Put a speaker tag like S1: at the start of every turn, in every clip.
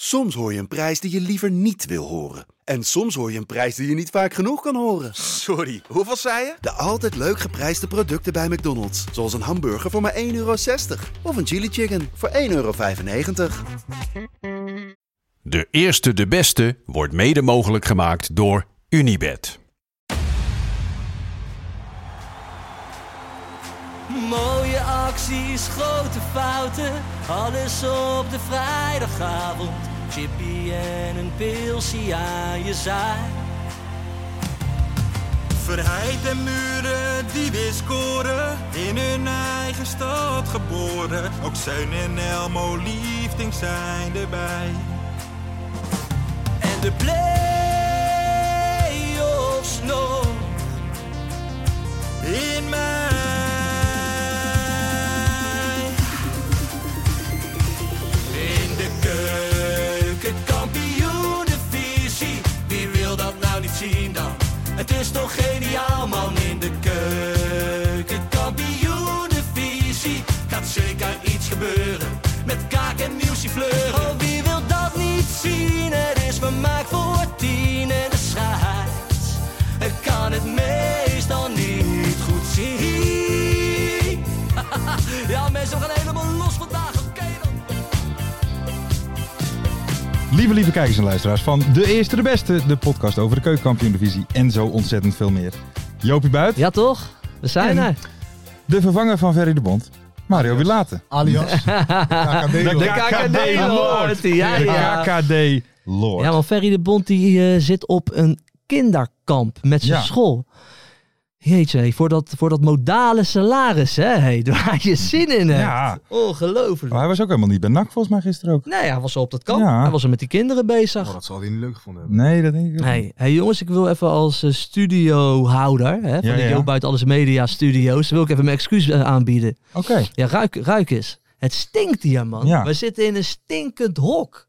S1: Soms hoor je een prijs die je liever niet wil horen. En soms hoor je een prijs die je niet vaak genoeg kan horen.
S2: Sorry, hoeveel zei je?
S1: De altijd leuk geprijsde producten bij McDonald's. Zoals een hamburger voor maar 1,60 euro. Of een chili chicken voor 1,95 euro.
S3: De eerste de beste wordt mede mogelijk gemaakt door Unibed.
S4: Mooie acties, grote fouten, alles op de vrijdagavond. Chippy en een pilsie aan je zaai.
S5: Verheid en muren die weer scoren, in hun eigen stad geboren. Ook Zijn en Elmo liefdings zijn erbij.
S4: En de play-offs nog.
S5: In mij.
S4: In de keuken, kampioenenvisie. Wie wil dat nou niet zien dan? Het is toch geniaal man in de keuken, kampioenenvisie. Gaat zeker iets gebeuren met kaak en muziefleur. Oh, wie wil dat niet zien? Het is vermaakt voor tien en de scheids. Ik kan het meestal niet goed zien. ja mensen, we gaan helemaal los vandaag, oké dan.
S6: Lieve, lieve kijkers en luisteraars van De Eerste de Beste, de podcast over de keukenkampioen-divisie en zo ontzettend veel meer. Joopie Buit,
S7: Ja toch? We zijn
S6: En-
S7: er.
S6: de vervanger van Ferry de Bond, Mario Wilaten.
S8: Alias.
S6: De
S8: KKD.
S6: KKD Lord.
S7: Lord. Ja, ja.
S6: De KKD Lord.
S7: Ja, want Ferry de Bond die eh, zit op een kinderkamp met zijn
S6: Ja.
S7: school. Jeetje, hé, voor dat, voor dat modale salaris, hè? hé, waar je zin in hebt.
S6: Ja.
S7: Ongelooflijk.
S6: Maar hij was ook helemaal niet bij NAC volgens mij gisteren ook.
S7: Nee, hij was al op dat kamp.
S6: Ja.
S7: Hij was al met die kinderen bezig.
S8: Oh, dat zal hij niet leuk gevonden hebben.
S6: Nee, dat denk ik ook niet.
S7: Hey, hey jongens, ik wil even als eh, studiohouder hè, van
S6: Ja,
S7: de
S6: ja.
S7: Jo Buiten Alles Media Studio's, wil ik even mijn excuus eh, aanbieden.
S6: Oké.
S7: Ja, ruik, ruik eens. Het stinkt hier, man.
S6: Ja.
S7: We zitten in een stinkend hok.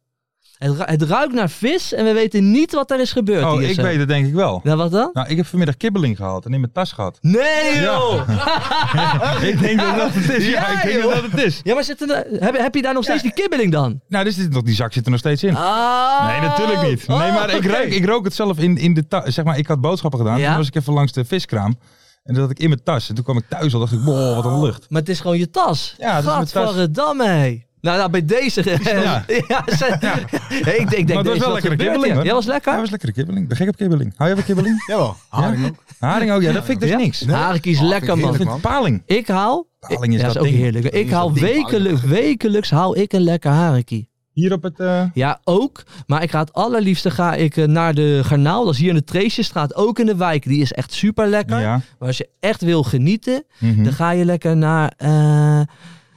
S7: Het, ru- het ruikt naar vis en we weten niet wat er is eh, gebeurd.
S6: Oh,
S7: hier
S6: ik
S7: zo.
S6: weet het denk ik wel.
S7: Nou, wat dan?
S6: Nou, ik heb vanmiddag kibbeling gehaald en in mijn tas gehad.
S7: Nee, joh! Ja,
S6: ik denk dat dat het is. Ja,
S7: Ja,
S6: ik denk
S7: joh.
S6: dat dat het is.
S7: maar zitten er- heb, heb je daar nog steeds die kibbeling dan?
S6: Nou, dus dit, die zak zit er nog steeds in.
S7: Ah.
S6: Nee, natuurlijk niet. Nee, maar ik,
S7: Oh, oké.
S6: ruik, ik rook het zelf in, in de tas. Zeg maar, ik had boodschappen gedaan.
S7: Ja.
S6: Toen was ik even langs de viskraam. En dat had ik in mijn tas. En toen kwam ik thuis al. dacht ik, wow, wat
S7: Ah.
S6: een lucht.
S7: Maar het is gewoon je tas.
S6: Ja, het is mijn tas.
S7: Gadverdamme, hé. Nou, nou, bij deze.
S6: Ja.
S7: Ja. ze- Hey, ik denk, denk
S6: Maar
S7: deze
S6: het was wel
S7: wat
S6: lekkere
S7: gebeurt hier.
S6: kibbeling, hoor.
S7: Ja, was lekker.
S6: Ja, was lekkere kibbeling. Ben gek op kibbeling. Hou je van kibbeling?
S8: Jawel, haring ook.
S6: Haring ook, ja. Dat vind ik dus
S7: Ja?
S6: niks.
S7: Nee. Harenkies,
S8: Oh,
S7: lekker,
S8: vind ik
S7: man.
S6: Ik vind
S8: man.
S6: paling.
S7: Ik haal...
S6: Paling is
S7: ja,
S6: dat
S7: is ook
S6: ding.
S7: heerlijk. Ik
S8: is
S7: haal
S8: dat ding,
S7: wekelijks, wekelijks haal ik een lekker harenkie.
S6: Hier op het... eh,
S7: Ja, ook. Maar ik ga het allerliefste ga ik eh, naar de Garnaal. Dat is hier in de Treesjesstraat, ook in de wijk. Die is echt super lekker.
S6: ja.
S7: Maar als je echt wil genieten,
S6: Mhm.
S7: Dan ga je lekker naar, eh,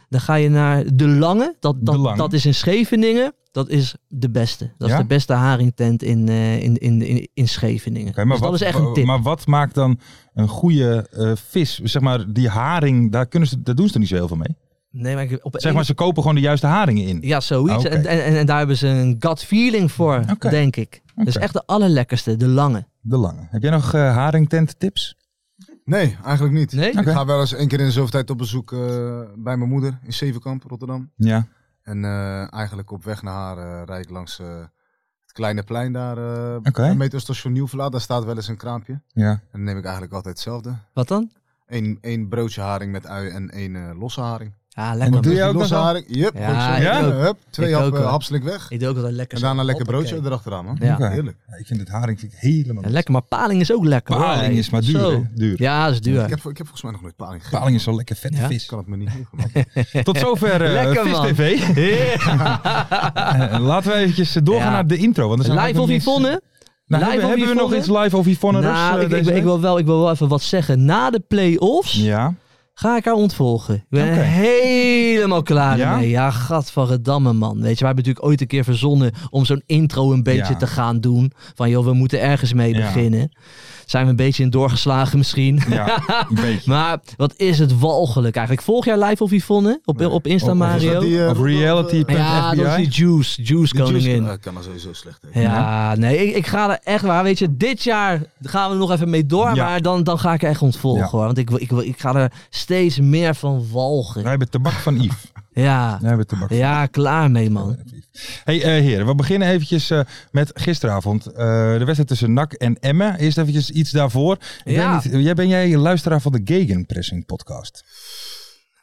S7: dan ga je naar De Lange. Dat, dat,
S6: De Lange.
S7: dat is in Scheveningen. Dat is de beste. Dat
S6: Ja?
S7: is de beste haringtent in, eh, in, in, in, in Scheveningen.
S6: Oké, maar,
S7: dus dat
S6: wat,
S7: is echt een tip.
S6: maar wat maakt dan een goede eh, vis? Zeg maar, die haring, daar, kunnen ze, daar doen ze er niet zo heel veel mee.
S7: nee, maar ik- op
S6: Zeg
S7: een-
S6: maar, ze kopen gewoon de juiste haringen in.
S7: ja, zoiets.
S6: Ah, oké.
S7: En, en, en- en daar hebben ze een gut feeling voor,
S6: Oké.
S7: denk ik. Dat is
S6: Oké.
S7: echt de allerlekkerste, de lange.
S6: De lange. Heb jij nog eh haringtent tips?
S8: Nee, eigenlijk niet.
S7: Nee?
S8: Ik
S6: Oké.
S8: ga wel eens één keer in de zoveel tijd op bezoek eh, bij mijn moeder in Zevenkamp, Rotterdam.
S6: Ja.
S8: En eh, eigenlijk op weg naar haar eh, rijd ik langs eh, het kleine plein daar. eh
S6: Oké.
S8: bij metrostation Nieuwvlaat, daar staat wel eens een kraampje. En
S6: Ja.
S8: dan neem ik eigenlijk altijd hetzelfde.
S7: Wat dan?
S8: Eén, één broodje haring met ui en één eh, losse haring.
S7: Ja,
S6: En
S7: lekker.
S6: dat
S7: man.
S6: doe
S8: Dus
S6: je
S8: die
S6: ook nog
S8: losse
S6: wel?
S8: haring. Yep,
S7: Ja,
S8: gewoon zo.
S7: ik
S8: Ja?
S7: ook.
S8: Hup, twee
S7: Ik ook
S8: happen,
S7: wel.
S8: hapslik weg.
S7: Ik doe ook altijd lekker.
S8: En
S7: zo.
S8: daarna lekker broodje
S7: Hoppakee.
S8: erachteraan, man.
S7: Ja.
S6: Oké.
S8: Heerlijk.
S6: Ja, ik vind het haring vind ik helemaal
S7: Ja, lekker, maar paling is ook lekker. hoor.
S6: Paling is maar duur,
S7: Zo.
S6: hè? Duur.
S7: Ja, dat is duur.
S8: Ik heb, ik heb volgens mij nog nooit paling gegeten.
S6: Paling is zo lekker vette
S7: Ja.
S8: Ik
S6: vis.
S8: kan het me niet genoeg. man.
S6: Tot zover eh
S7: Lekker,
S6: Vis
S7: man.
S6: TV. Eh, Laten we eventjes doorgaan
S7: Ja.
S6: naar de intro. Want er zijn
S7: Live of
S6: eigenlijk nog eh, niks-
S7: Yvonne?
S6: Nou,
S7: Live
S6: hebben
S7: of
S6: hebben we nog
S7: Yvonne?
S6: iets live of Yvonne? eh,
S7: Nou, ik, ik, ik, wil wel, ik wil wel even wat zeggen. Na de play-offs
S6: Ja.
S7: ga ik haar ontvolgen. Ik ben
S6: Oké.
S7: helemaal klaar
S6: Ja?
S7: mee. Ja, gadverdamme man. Weet je, wij hebben natuurlijk ooit een keer verzonnen om zo'n intro een beetje
S6: Ja.
S7: te gaan doen. Van joh, we moeten ergens mee
S6: Ja.
S7: beginnen. Zijn we een beetje in doorgeslagen misschien.
S6: Ja, een beetje.
S7: Maar wat is het walgelijk eigenlijk. Vorig jaar live of Yvonne op, op Insta
S6: Oh, oh,
S8: Is dat
S7: Mario.
S8: die, eh,
S6: Of reality.
S7: ja, dat is die Juice, Juice
S8: Die juice-
S7: koningin.
S8: eh, kan er sowieso slecht tegen.
S7: Ja, nee, ik, ik ga er echt waar. Weet je, dit jaar gaan we er nog even mee door.
S6: Ja.
S7: Maar dan, dan ga ik er echt ontvolgen
S6: Ja.
S7: hoor. Want ik, wil- ik, wil- ik ga er s- steeds meer van walgen.
S6: Wij hebben tabak van Yves.
S7: Ja,
S6: Wij hebben tabak van
S7: ja, klaar mee man.
S6: Hey eh, heren, we beginnen eventjes eh, met gisteravond. eh, de wedstrijd tussen NAC en Emmen. Eerst eventjes iets daarvoor. Ik
S7: Ja.
S6: weet niet, jij, ben jij luisteraar van de Gegenpressing podcast?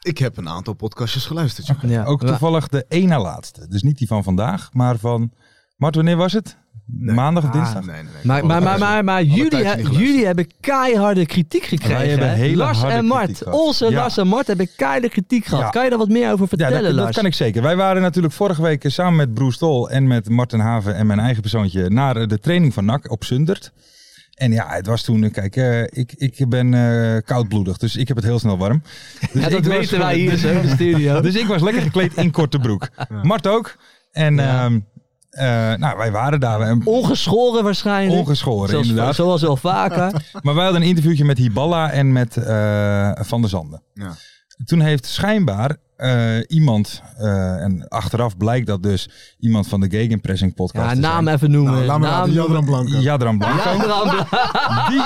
S8: Ik heb een aantal podcastjes geluisterd. joh.
S7: Ja.
S6: Ook
S7: Maar-
S6: toevallig de één na laatste. Dus niet die van vandaag, maar van... Mart, wanneer was het? Maandag of
S7: Ah,
S6: dinsdag?
S8: Nee, nee, nee.
S7: Maar, maar, maar, maar, maar jullie,
S8: tijdje
S7: he-
S8: niet geluisterd.
S7: jullie hebben keiharde kritiek gekregen.
S6: Wij hebben
S7: hè?
S6: hele
S7: Lars
S6: harde
S7: en Mart,
S6: kritiek gehad.
S7: onze
S6: Ja.
S7: Lars en Mart hebben keiharde kritiek gehad.
S6: Ja.
S7: Kan je daar wat meer over
S6: Ja,
S7: vertellen,
S6: dat, dat
S7: Lars?
S6: kan ik zeker. Wij waren natuurlijk vorige week eh, samen met Broes Tol en met Martin Haven en mijn eigen persoontje naar eh, de training van NAC op Sundert. En ja, het was toen, eh, kijk, eh, ik, ik ben eh, koudbloedig, dus ik heb het heel snel warm. Dus
S7: Ja,
S6: ik
S7: dat
S6: was
S7: weten
S6: gewoon-
S7: wij hier
S6: dus-
S7: zo in de studio.
S6: Dus ik was lekker gekleed in korte broek. Mart ook. En ehm, eh, nou, wij waren daar eh,
S7: Ongeschoren waarschijnlijk.
S6: ongeschoren
S7: zoals,
S6: inderdaad.
S7: Zoals wel vaker.
S6: Maar wij hadden een interviewtje met Hiballa en met eh, Van der Zanden.
S8: Ja.
S6: Toen heeft schijnbaar eh, iemand, eh, en achteraf blijkt dat dus iemand van de Gegenpressing podcast
S7: Ja,
S6: te
S7: naam
S6: zijn.
S7: even noemen.
S8: Nou, laat maar
S7: naam
S8: raden, Jadran Blanco.
S6: Jadran Blanco. Die,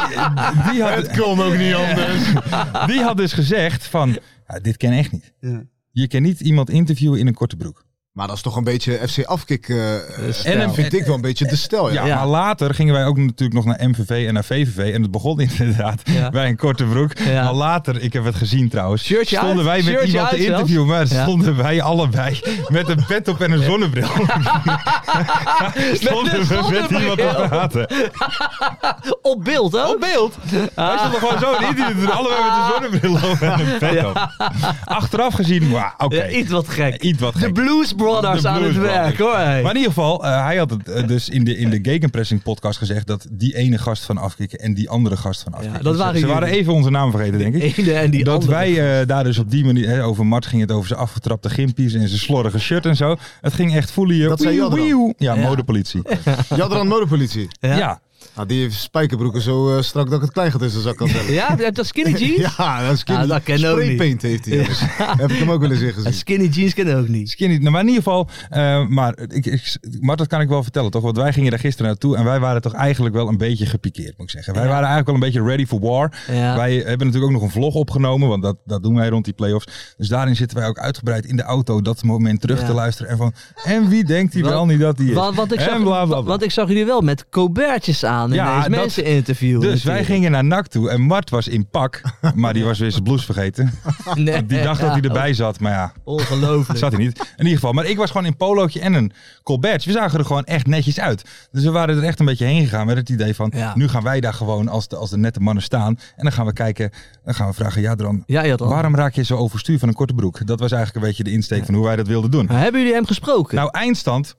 S6: die, had,
S8: kon ook niet anders.
S6: die had dus gezegd van, "Ja, dit ken echt niet. Je kan niet iemand interviewen in een korte broek.
S8: Maar dat is toch een beetje FC afkick. eh,
S7: Stel.
S6: En een-
S8: vind ik wel een beetje de stel. Ja.
S6: Ja, maar later gingen wij ook natuurlijk nog naar MVV en naar VVV. En het begon inderdaad
S7: Ja.
S6: bij een korte broek.
S7: Ja.
S6: Maar later, ik heb het gezien trouwens,
S7: Shirtje
S6: stonden
S7: uit,
S6: wij met
S7: shirtje
S6: iemand te
S7: uit zelfs.
S6: interviewen. Maar
S7: Ja.
S6: stonden wij allebei met een pet op en een zonnebril. stonden we met
S7: zonnebril. Ah.
S6: iemand te praten.
S7: Op beeld, hè? Op beeld?
S6: Wij stonden gewoon zo in interview te doen. Allebei met een zonnebril op en een pet op. Achteraf gezien, wauw, oké.
S7: iets wat gek.
S6: Iets wat
S7: De
S6: gek.
S7: Blues Brothers
S6: De
S7: aan
S6: Blues
S7: het werk, hoor. hey.
S6: Maar in ieder geval, eh, hij had het eh, dus in de, in de Gegenpressing podcast gezegd dat die ene gast van afkicken en die andere gast van afkicken.
S7: dat waren
S6: Ze
S7: jullie.
S6: waren even onze naam vergeten, denk ik.
S7: ene en die
S6: dat
S7: andere.
S6: wij eh, daar dus op die manier, hè, over Mart ging het over zijn afgetrapte gimpies en zijn slordige shirt en zo. Het ging echt voelen hier.
S8: Dat zei
S6: wieuw,
S8: Jadran.
S6: wieuw. Ja,
S7: Ja.
S6: modepolitie.
S8: Jadran Modepolitie.
S7: Ja.
S6: Ja.
S8: Nou, die heeft spijkerbroeken zo eh, strak dat ik het klein gaat in zijn zak kan tellen.
S7: Ja, dat is skinny jeans?
S8: Ja, dat is
S7: Ja, nou, dat ken ik ook
S8: Spraypaint heeft hij. dus. Heb ik hem ook wel eens in
S7: En
S8: gezien.
S7: Skinny jeans kennen ook niet.
S6: Skinny, nou, maar in ieder geval, eh, maar, ik, ik, maar dat kan ik wel vertellen toch? Want wij gingen daar gisteren naartoe en wij waren toch eigenlijk wel een beetje gepikeerd, moet ik zeggen. Wij
S7: Ja.
S6: waren eigenlijk wel een beetje ready for war.
S7: Ja.
S6: Wij hebben natuurlijk ook nog een vlog opgenomen, want dat, dat doen wij rond die playoffs. Dus daarin zitten wij ook uitgebreid in de auto dat moment terug
S7: Ja.
S6: te luisteren. En van, en wie denkt hij
S7: Wat-
S6: wel niet dat hij is?
S7: Want, want, ik
S6: En
S7: zag,
S6: bla, bla, bla.
S7: want ik zag jullie wel met Colbertjes aan
S6: Ja,
S7: ineens
S6: dat-
S7: mensen interviewen.
S6: Dus wij gingen naar NAC toe en Mart was in pak, maar die was weer zijn blouse vergeten.
S7: gingen...
S6: Die dacht dat hij erbij zat, maar ja,
S7: Ongelooflijk.
S6: zat hij niet. In ieder geval, maar ik was gewoon in polootje en een colbertje. We zagen er gewoon echt netjes uit. Dus we waren er echt een beetje heen gegaan met het idee van,
S7: Ja.
S6: nu gaan wij daar gewoon als de, als de nette mannen staan. En dan gaan we kijken, dan gaan we vragen, ja Dran,
S7: Ja, Jadran.
S6: waarom raak je zo overstuur van een korte broek? Dat was eigenlijk een beetje de insteek van hoe wij dat wilden doen.
S7: Maar hebben jullie hem gesproken?
S6: Nou, eindstand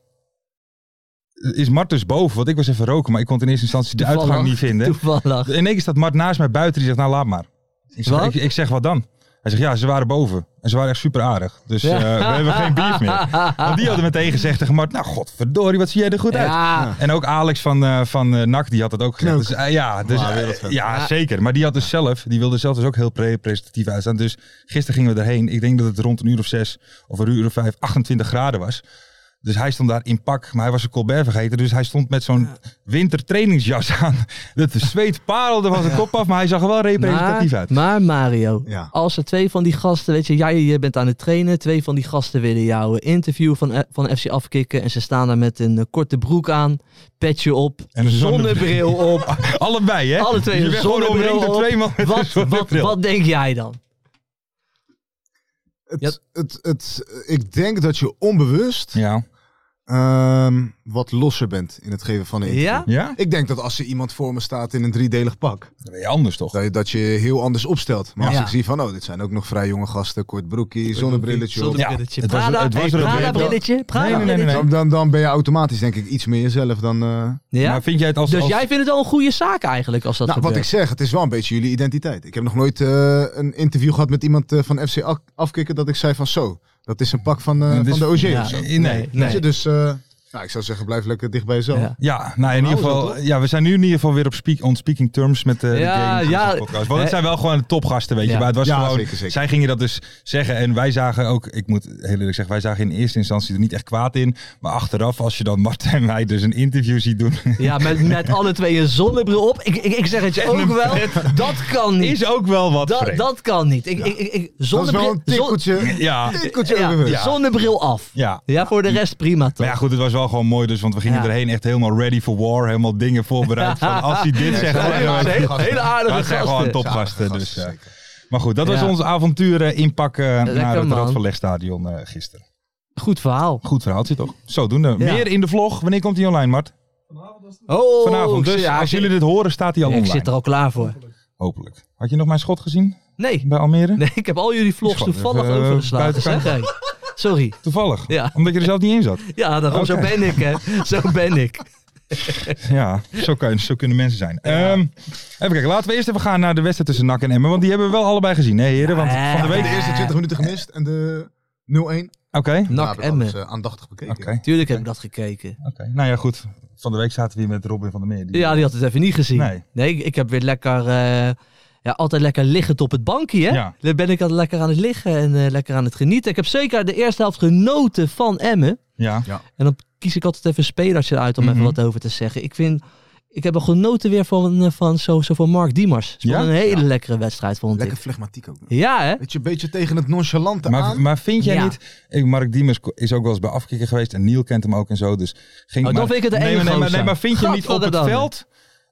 S6: is Mart dus boven, want ik was even roken, maar ik kon in eerste instantie de
S7: Toevallig.
S6: uitgang niet vinden.
S7: Toevallig.
S6: In één keer staat Mart naast mij buiten. Die zegt, nou laat maar. Ik zeg,
S7: Wat?
S6: ik, ik zeg wat dan? Hij zegt, ja, ze waren boven. En ze waren echt super aardig. Dus
S7: Ja.
S6: eh, we hebben geen beef meer. Want die hadden meteen gezegd tegen Mart, nou godverdorie, wat zie jij er goed uit.
S7: Ja,
S6: En ook Alex van, eh van eh, NAC, die had dat ook gezegd. Dus, eh, ja, dus,
S8: Maar
S6: eh,
S8: wereldvent.
S6: ja, zeker. Maar die had dus zelf, die wilde zelf dus ook heel pre- presentatief uitstaan. Dus gisteren gingen we erheen. Ik denk dat het rond een uur of zes of een uur of vijf 28 graden was. Dus hij stond daar in pak, maar hij was een colbert vergeten. Dus hij stond met zo'n wintertrainingsjas aan. Dat zweet parelde van zijn kop af, maar hij zag er wel representatief
S7: maar,
S6: uit.
S7: maar Mario,
S8: Ja.
S7: als er twee van die gasten, weet je, jij je bent aan het trainen, twee van die gasten willen jou een interview van, eh, van FC afkicken en ze staan daar met een eh, korte broek aan, petje op,
S6: En een
S7: zonnebril op,
S6: Allebei, hè?
S7: alle twee
S6: Je
S7: een
S6: bent gewoon
S7: zonnebril
S6: omringd
S7: op.
S6: door twee man met een
S7: wat, wat,
S6: zonnebril.
S7: wat denk jij dan?
S8: Het,
S7: Ja.
S8: het, het, ik denk dat je onbewust
S6: Ja.
S8: ehm, wat losser bent in het geven van een interview.
S7: Ja?
S6: Ja?
S8: Ik denk dat als er iemand voor me staat in een driedelig pak,
S6: Dat ben je anders toch?
S8: dat je, dat je heel anders opstelt. Maar als
S7: Ja.
S8: ik zie van, oh, dit zijn ook nog vrij jonge gasten, kort broekje, zonnebrilletje op.
S7: Zonnebrilletje.
S6: Ja, het was-
S7: Prada,
S6: het was
S7: hey,
S6: er een
S7: Prada
S6: bril.
S7: brilletje. Prada
S6: Nee, nee, nee, nee,
S7: brilletje.
S8: Dan, dan, dan ben je automatisch denk ik iets meer jezelf dan... eh,
S7: Ja?
S6: Maar vind jij het als...
S7: Dus
S6: als-
S7: jij vindt het al een goede zaak eigenlijk als dat
S8: Nou, wat
S7: gebeurt?
S8: ik zeg, het is wel een beetje jullie identiteit. Ik heb nog nooit eh, een interview gehad met iemand eh, van FC Ak- Afkikken dat ik zei van zo, dat is een pak van, eh,
S6: Het
S8: van
S6: is-
S8: de OG
S7: Ja.
S8: of zo.
S6: Nee, nee.
S8: Weet je, dus eh, Nou, ik zou zeggen, blijf lekker dicht bij jezelf.
S7: Ja.
S6: Ja, nou in
S8: Nou,
S6: ieder
S8: is dat
S6: geval,
S8: toch?
S6: ja, we zijn nu in ieder geval weer op speak, on speaking terms met eh,
S7: Ja,
S6: de game
S7: ja.
S6: podcast. Want het
S7: Hè?
S6: zijn wel gewoon de topgasten, weet je.
S7: Ja.
S6: Maar het was
S8: Ja,
S6: gewoon,
S8: zeker, zeker.
S6: zij gingen dat dus zeggen. En wij zagen ook, ik moet heel eerlijk zeggen, wij zagen in eerste instantie er niet echt kwaad in. Maar achteraf, als je dan Martijn en mij dus een interview ziet doen,
S7: Ja, met, met alle twee een zonnebril op. Ik, ik, ik zeg het je ook wel. Dat kan niet.
S6: is ook wel wat
S7: Dat,
S6: vreemd.
S7: dat kan niet. Ik, ik, ik, ik-
S8: Dat is wel
S7: zonnebril,
S8: een tikkeltje.
S6: ja,
S8: tikkeltje
S7: zon- ja,
S8: overwinst.
S7: zonnebril af.
S6: ja.
S7: Ja, voor de rest prima
S6: Maar
S7: toch?
S6: ja, goed, het was wel gewoon mooi dus, want we gingen
S7: Ja.
S6: erheen echt helemaal ready for war. Helemaal dingen voorbereid van als hij dit zegt.
S8: Ja,
S6: dan-
S8: ja, ja.
S7: Hele- hele aardige
S6: Dat zijn gewoon
S7: gasten.
S6: topgasten.
S8: Gasten,
S6: Dus, eh,
S8: zeker.
S6: Maar goed, dat was
S7: Ja.
S6: ons avontuur eh, inpakken naar het
S7: man.
S6: Radverlegstadion eh gisteren.
S7: Goed verhaal.
S6: Goed verhaaltje toch? Zodoende.
S7: Ja.
S6: Meer in de vlog. Wanneer komt hij online, Mart?
S7: Oh,
S6: Vanavond. Dus als jullie dit horen, staat hij al
S7: Ik
S6: online.
S7: zit er al klaar voor.
S6: Hopelijk. Had je nog mijn schot gezien
S7: Nee,
S6: bij Almere?
S7: nee ik heb al jullie vlogs
S6: Is gewoon
S7: toevallig
S6: even, eh,
S7: overgeslagen. Zeg,
S6: buitenkant.
S7: hey. Sorry.
S6: Toevallig.
S7: Ja.
S6: Omdat je er zelf niet in zat.
S7: Ja, daarom zo
S6: Oké.
S7: ben ik, hè. Zo ben ik.
S6: Ja, zo, kan, zo kunnen mensen zijn. Ehm, even kijken. Laten we eerst even gaan naar de wedstrijd tussen NAC en Emmen. Want die hebben we wel allebei gezien, hè heren? Want
S7: Ja,
S6: van de week...
S8: De eerste 20 minuten gemist en de Nou, 0-1.
S6: Oké.
S7: Nak
S8: en
S7: Emmen.
S8: eh, aandachtig bekeken.
S6: Oké. Oké.
S7: Tuurlijk heb ik dat gekeken.
S6: Nou eh, ja, goed. Van de week zaten we hier met Robin van der Meer. Die-
S7: Ja, die had het even niet gezien.
S6: Nee.
S7: Nee, ik, ik heb weer lekker... eh, ja, altijd lekker liggend op het bankje, hè?
S6: Ja.
S7: Daar ben ik altijd lekker aan het liggen en eh, lekker aan het genieten. Ik heb zeker de eerste helft genoten van Emmen.
S6: Ja.
S7: En dan kies ik altijd even een spelertje uit om
S6: Mhm.
S7: even wat over te zeggen. Ik vind... Ik heb er genoten weer van, eh, van, zo, zo van Mark Diemers. Het was
S6: Ja?
S7: een hele lekkere wedstrijd, vond
S8: Lekker
S7: ik.
S8: flegmatiek ook.
S7: Ja, hè?
S8: Weet je, een beetje tegen het nonchalante
S6: Maar,
S8: aan.
S6: maar vind jij
S7: Ja.
S6: niet... Ik, Mark Diemers is ook wel eens bij Afkikken geweest. En Niel kent hem ook en zo. Dus ging
S7: Oh, dan vind ik het de
S6: nee,
S7: enige
S6: maar, nee, maar,
S7: gozer.
S6: nee, maar vind je niet op het
S7: Gadverdamme.
S6: veld...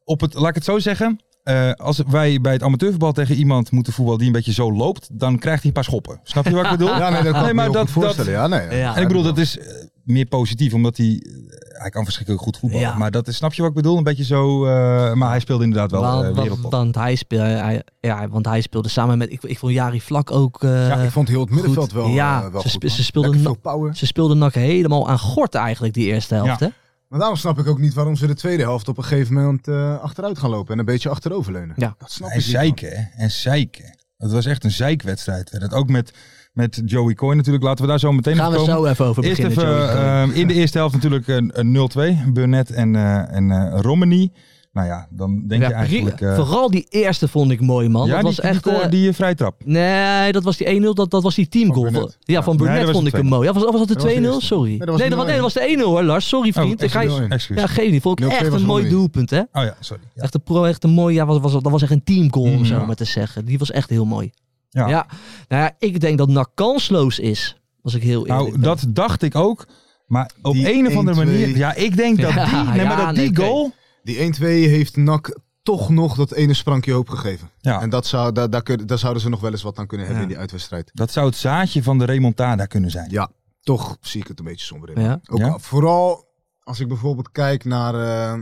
S6: Op het, laat ik het zo zeggen... eh, als wij bij het amateurvoetbal tegen iemand moeten voetballen die een beetje zo loopt, dan krijgt hij een paar schoppen. Snap je wat ik bedoel?
S8: Ja, nee, dat kan
S6: Nee, maar
S8: ik me heel
S6: dat-
S8: goed voorstellen.
S6: dat-
S8: ja, nee, ja.
S7: Ja.
S6: En ik bedoel, dat is eh, meer positief, omdat hij, eh, hij kan verschrikkelijk goed voetballen.
S7: Ja.
S6: Maar dat is, snap je wat ik bedoel? Een beetje zo, eh, maar hij speelde inderdaad wel
S7: want,
S6: eh,
S7: want-
S6: wereldtop.
S7: want hij speel, hij, ja, want hij speelde samen met... Ik, ik vond Jari Vlak ook... eh,
S8: Ja, ik vond heel het middenveld wel,
S7: Ja,
S8: eh, wel
S7: ze
S8: goed.
S7: spe-
S8: man.
S7: ze speelden
S8: Lekker
S7: na-
S8: veel power.
S7: Ze speelden NAC helemaal aan gort eigenlijk die eerste helft.
S6: Ja.
S7: Hè?
S8: Maar daarom snap ik ook niet waarom ze de tweede helft op een gegeven moment eh, achteruit gaan lopen en een beetje achteroverleunen.
S7: Ja.
S8: Dat snap
S6: En
S8: ik niet. man.
S6: zeiken, hè? en zeiken. Het was echt een zeikwedstrijd. werd het. ook met, met Joey Coy natuurlijk. Laten we daar zo meteen
S7: Gaan
S6: op
S7: we
S6: komen.
S7: zo even over
S6: Eerst
S7: beginnen.
S6: even,
S7: Joey.
S6: ehm, in de eerste helft natuurlijk een, een 0-2. Burnett en, eh en eh, Romney. Nou ja, dan denk
S7: Ja,
S6: je eigenlijk...
S7: Rie-
S6: eh,
S7: vooral die eerste vond ik mooi, man.
S6: ja,
S7: dat
S6: die,
S7: was
S6: die,
S7: echt...
S6: die,
S7: eh,
S6: die vrijtrap.
S7: Nee, dat was die 1-0, dat, dat was die teamgoal.
S8: Van
S7: Van-
S8: Burnett.
S7: Ja, van
S6: Nee,
S7: Burnett
S6: dat was
S7: vond ik
S6: de
S7: hem mooi. Ja, was, was dat de
S8: Dat was de
S7: 2-0?
S8: eerste.
S7: Sorry.
S8: Nee, dat was de
S7: nee, dat,
S8: 0-1.
S7: was de 1-0 hoor, Lars. Sorry,
S6: Oh,
S7: vriend. ik ga je...
S8: de 0-1.
S6: excuus.
S7: Ja, geef niet. Vond ik
S8: 0-2
S7: echt
S8: was
S7: een mooi
S8: 0-1.
S7: doelpunt, hè?
S6: Oh ja, sorry. Ja.
S7: Echt een pro, echt een mooi, ja, was, was, dat was echt een teamgoal om zo
S6: Ja.
S7: maar te zeggen. Die was echt heel mooi.
S6: Ja.
S7: Ja. Nou ja, ik denk dat NAC kansloos is, als ik heel eerlijk
S6: Nou,
S7: ben.
S6: dat dacht ik ook. Maar op
S8: Die
S6: een of andere
S8: 1-2.
S6: manier... Ja, ik denk dat die,
S7: Ja,
S6: nee, maar
S7: ja,
S6: dat die
S7: nee,
S6: goal...
S8: Die 1-2 heeft NAC toch nog dat ene sprankje hoop gegeven.
S6: Ja.
S8: En dat zou, daar, daar, kun- daar zouden ze nog wel eens wat aan kunnen hebben
S6: Ja.
S8: in die uitwedstrijd.
S6: Dat zou het zaadje van de remontada kunnen zijn.
S8: Ja, toch zie ik het een beetje somber in.
S7: Ja.
S8: Ook
S6: Ja.
S8: al- Vooral als ik bijvoorbeeld kijk naar, eh,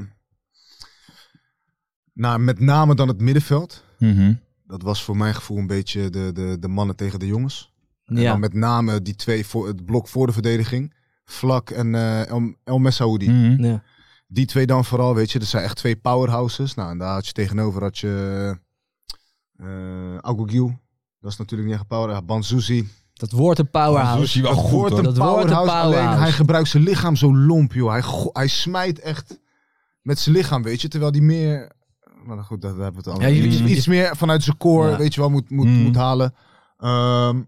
S8: naar met name dan het middenveld.
S6: Mhm.
S8: Dat was voor mijn gevoel een beetje de, de, de mannen tegen de jongens. En
S7: ja.
S8: dan met name die twee voor het blok voor de verdediging. Vlak en eh, El, El Messaoudi.
S6: Mhm.
S7: Ja.
S8: Die twee dan vooral, weet je. Dat zijn echt twee powerhouses. Nou, en daar had je tegenover had je eh Agogil. Dat is natuurlijk niet echt een powerhouse. Banzuzi.
S7: Dat wordt een
S6: Maar zo
S7: powerhouse.
S6: is hij wel goed,
S8: wordt
S6: hoor.
S8: een
S7: Dat wordt een
S8: powerhouse, alleen
S7: powerhouse.
S8: hij gebruikt zijn lichaam zo lomp, joh. Hij, go- hij smijt echt met zijn lichaam, weet je. Terwijl die meer... Maar goed, daar daar hebben we het al.
S7: Ja, je-
S8: iets,
S7: je-
S8: iets meer vanuit zijn core,
S7: Ja. Hmm.
S8: weet je wel, moet, moet,
S6: Mm.
S8: moet halen. Ehm,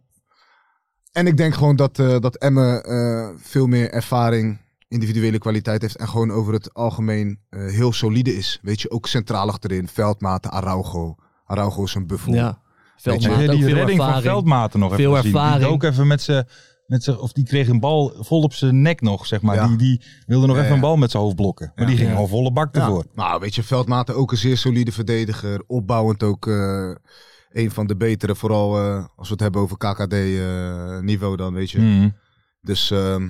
S8: en ik denk gewoon dat, eh dat Emme eh, veel meer ervaring, individuele kwaliteit heeft. En gewoon over het algemeen eh, heel solide is. Weet je, ook centraal achterin. Veldmaten, Araujo. Araujo is een buffel.
S7: Ja. Veldmaat,
S6: Heb je
S7: ook
S6: die
S7: veel
S6: redding van
S7: ervaring.
S6: Veldmaten nog
S7: Veel
S6: even gezien? Die
S7: ervaring.
S6: dook even met zijn... Met zijn, of die kreeg een bal vol op zijn nek nog, zeg maar.
S8: Ja.
S6: Die, die wilde nog
S8: Ja,
S6: even een
S8: ja.
S6: bal met zijn hoofd blokken. Maar
S8: Ja.
S6: die ging
S7: Ja.
S6: al volle bak ervoor.
S8: Nou, weet je, Veldmaten ook een zeer solide verdediger. Opbouwend ook eh, een van de betere. Vooral eh, als we het hebben over KKD-niveau eh, dan, weet
S7: Hmm.
S8: je.
S6: Mhm.
S8: Dus ehm,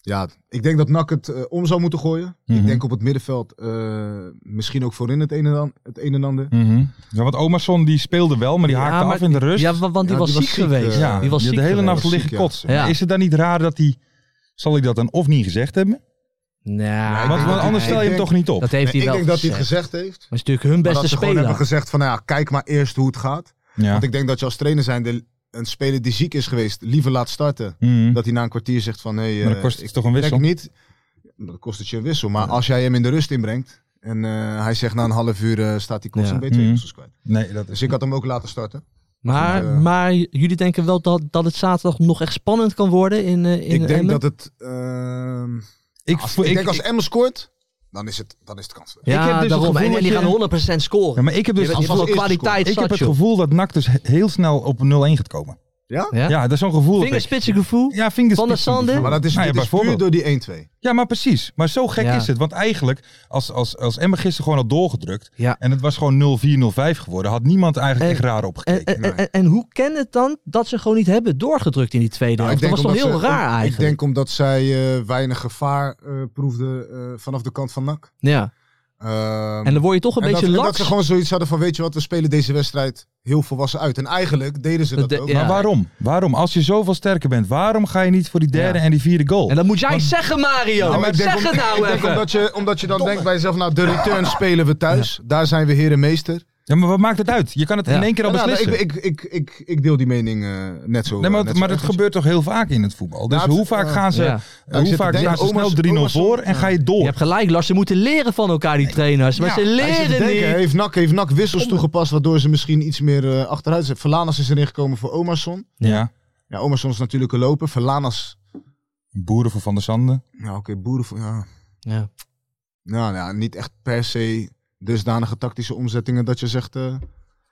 S8: ja, ik denk dat NAC het eh, om zou moeten gooien.
S6: Mhm.
S8: Ik denk op het middenveld eh, misschien ook voorin het een en, an- het een en ander.
S6: Mhm. Ja, want Omerson die speelde wel, maar die
S7: Ja,
S6: haakte
S7: maar-
S6: af in de rust.
S7: Ja, wa- want die
S8: Ja,
S7: was
S8: die was
S7: ziek
S8: ziek,
S7: geweest.
S8: eh,
S7: die
S6: Ja,
S7: was
S6: die had
S7: ziek
S6: de hele
S7: geweest.
S6: nacht
S8: geweest.
S6: liggen
S8: Ziek, ja.
S6: kotsen.
S7: Ja.
S6: Maar Is het dan niet raar dat hij... Zal ik dat dan of niet gezegd hebben?
S7: Nou,
S6: Want, want anders stel je hem
S8: denk-
S6: toch niet op.
S7: Dat heeft
S8: Nee,
S7: hij
S8: ik
S7: wel
S8: denk dat hij het
S7: gezegd.
S8: gezegd heeft.
S7: Maar het is natuurlijk hun
S8: Maar dat
S7: beste
S8: ze gewoon hebben
S7: speler.
S8: gezegd van, nou ja, kijk maar eerst hoe het gaat.
S6: ja.
S8: Want ik denk dat je als trainer zijnde een speler die ziek is geweest, liever laat starten.
S7: Hmm.
S6: Mhm.
S8: Dat hij na een kwartier zegt van, hé, hey,
S6: Maar dan
S8: eh,
S6: kost het
S8: ik
S6: toch een
S8: denk
S6: wissel?
S8: niet. dat kost het je een wissel. Maar als jij hem in de rust inbrengt en eh, hij zegt na een half uur eh, staat die kost
S7: Ja.
S8: een beetje
S6: Mhm.
S8: wissels kwijt.
S6: Nee, dat is...
S8: Dus ik had hem ook laten starten.
S7: Maar,
S8: Goed, eh.
S7: maar j- jullie denken wel dat, dat het zaterdag nog echt spannend kan worden in, eh, in
S8: ik denk
S7: Emmen?
S8: dat het. ehm,
S6: Ik,
S8: als,
S6: voel-
S8: ik, denk als
S6: ik-
S8: Emmen scoort, dan is het, dan is het kans.
S6: ik heb
S7: Ja,
S6: dus het
S7: daarom.
S6: gevoel
S7: En, en
S6: dat
S7: die
S6: je-
S7: gaan 100% scoren.
S6: Ja, maar ik heb
S7: Je
S6: dus...
S7: bent
S8: als-
S7: in
S8: als
S7: ieder geval
S8: eerste
S7: kwaliteit,
S6: Ik heb het
S7: zat, joh.
S6: gevoel dat NAC dus heel snel op 0-1 gaat komen.
S8: Ja?
S7: Ja?
S6: Ja, dat is zo'n gevoel. dat ik-
S7: Vingerspitsengevoel.
S6: Ja, vingers.
S7: Van der Sande?
S8: Maar dat is,
S6: Nou ja,
S8: dit is puur
S6: bijvoorbeeld.
S8: door die 1-2.
S6: Ja, maar precies. Maar zo gek
S7: Ja.
S6: is het. Want eigenlijk, als, als, als Emma gisteren gewoon had doorgedrukt.
S7: Ja. Eh,
S6: En het was gewoon 0-4, 0-5 geworden. Had niemand eigenlijk
S7: En-
S6: echt raar
S7: En,
S6: opgekeken. Nou,
S7: en, en, en hoe kan het dan dat ze gewoon niet hebben doorgedrukt in die tweede
S8: Nou,
S7: helft? Dat was toch
S8: omdat
S7: heel
S8: ze-
S7: raar
S8: om-
S7: eigenlijk?
S8: Ik denk omdat zij eh, weinig gevaar eh proefde eh, vanaf de kant van NAC.
S7: ja.
S8: Ehm,
S7: En dan word je toch een
S8: en
S7: beetje
S8: dat, en
S7: laks.
S8: dat ze gewoon zoiets hadden van, weet je wat, we spelen deze wedstrijd heel volwassen uit. En eigenlijk deden ze
S7: Dat
S8: dat,
S7: de-
S8: ook.
S7: ja.
S6: Maar waarom? Waarom? Als je zoveel sterker bent, waarom ga je niet voor die derde
S7: Ja.
S6: en die vierde goal?
S7: En dat moet jij zeggen, Mario.
S8: Nou, maar ik denk,
S7: zeg
S8: om-
S7: het nou
S8: ik denk
S7: even.
S8: omdat, je, omdat je dan denkt bij jezelf, nou de return spelen we thuis. Daar zijn we heer en meester.
S6: Ja, maar wat maakt het uit? Je kan het
S7: Ja.
S6: in één keer al
S8: Nou, nou,
S6: beslissen.
S8: ik, ik, ik, ik, ik deel die mening eh, net zo.
S6: nee, maar,
S8: eh, net
S6: dat-
S8: zo
S6: maar dat
S8: erg als
S6: gebeurt toch heel vaak in het voetbal. Dus
S8: Nou, het-
S6: hoe vaak
S8: eh,
S6: gaan ze,
S7: ja.
S8: Nou, ik
S6: hoe
S8: zit te
S6: vaak
S8: denken,
S6: staan ze snel
S8: Omas-
S6: 3-0
S8: Omarsson-
S6: voor en ga je door?
S7: Je hebt gelijk, Lars. Ze moeten leren van elkaar, die trainers. Maar
S6: Ja,
S7: ze
S8: je. Ja, ik zit te
S7: leren
S8: denken,
S7: niet.
S8: heeft NAC, heeft NAC wissels toegepast, waardoor ze misschien iets meer eh, achteruit zijn. Verlanas is erin gekomen voor Omarsson.
S6: Ja.
S8: Ja, Omarsson is natuurlijk een loper. Verlanas,
S6: Boeren voor Van der Sande.
S8: ja oké, boeren voor... Ja.
S7: Ja.
S8: Nou ja, niet echt per se dusdanige tactische omzettingen dat je zegt... eh,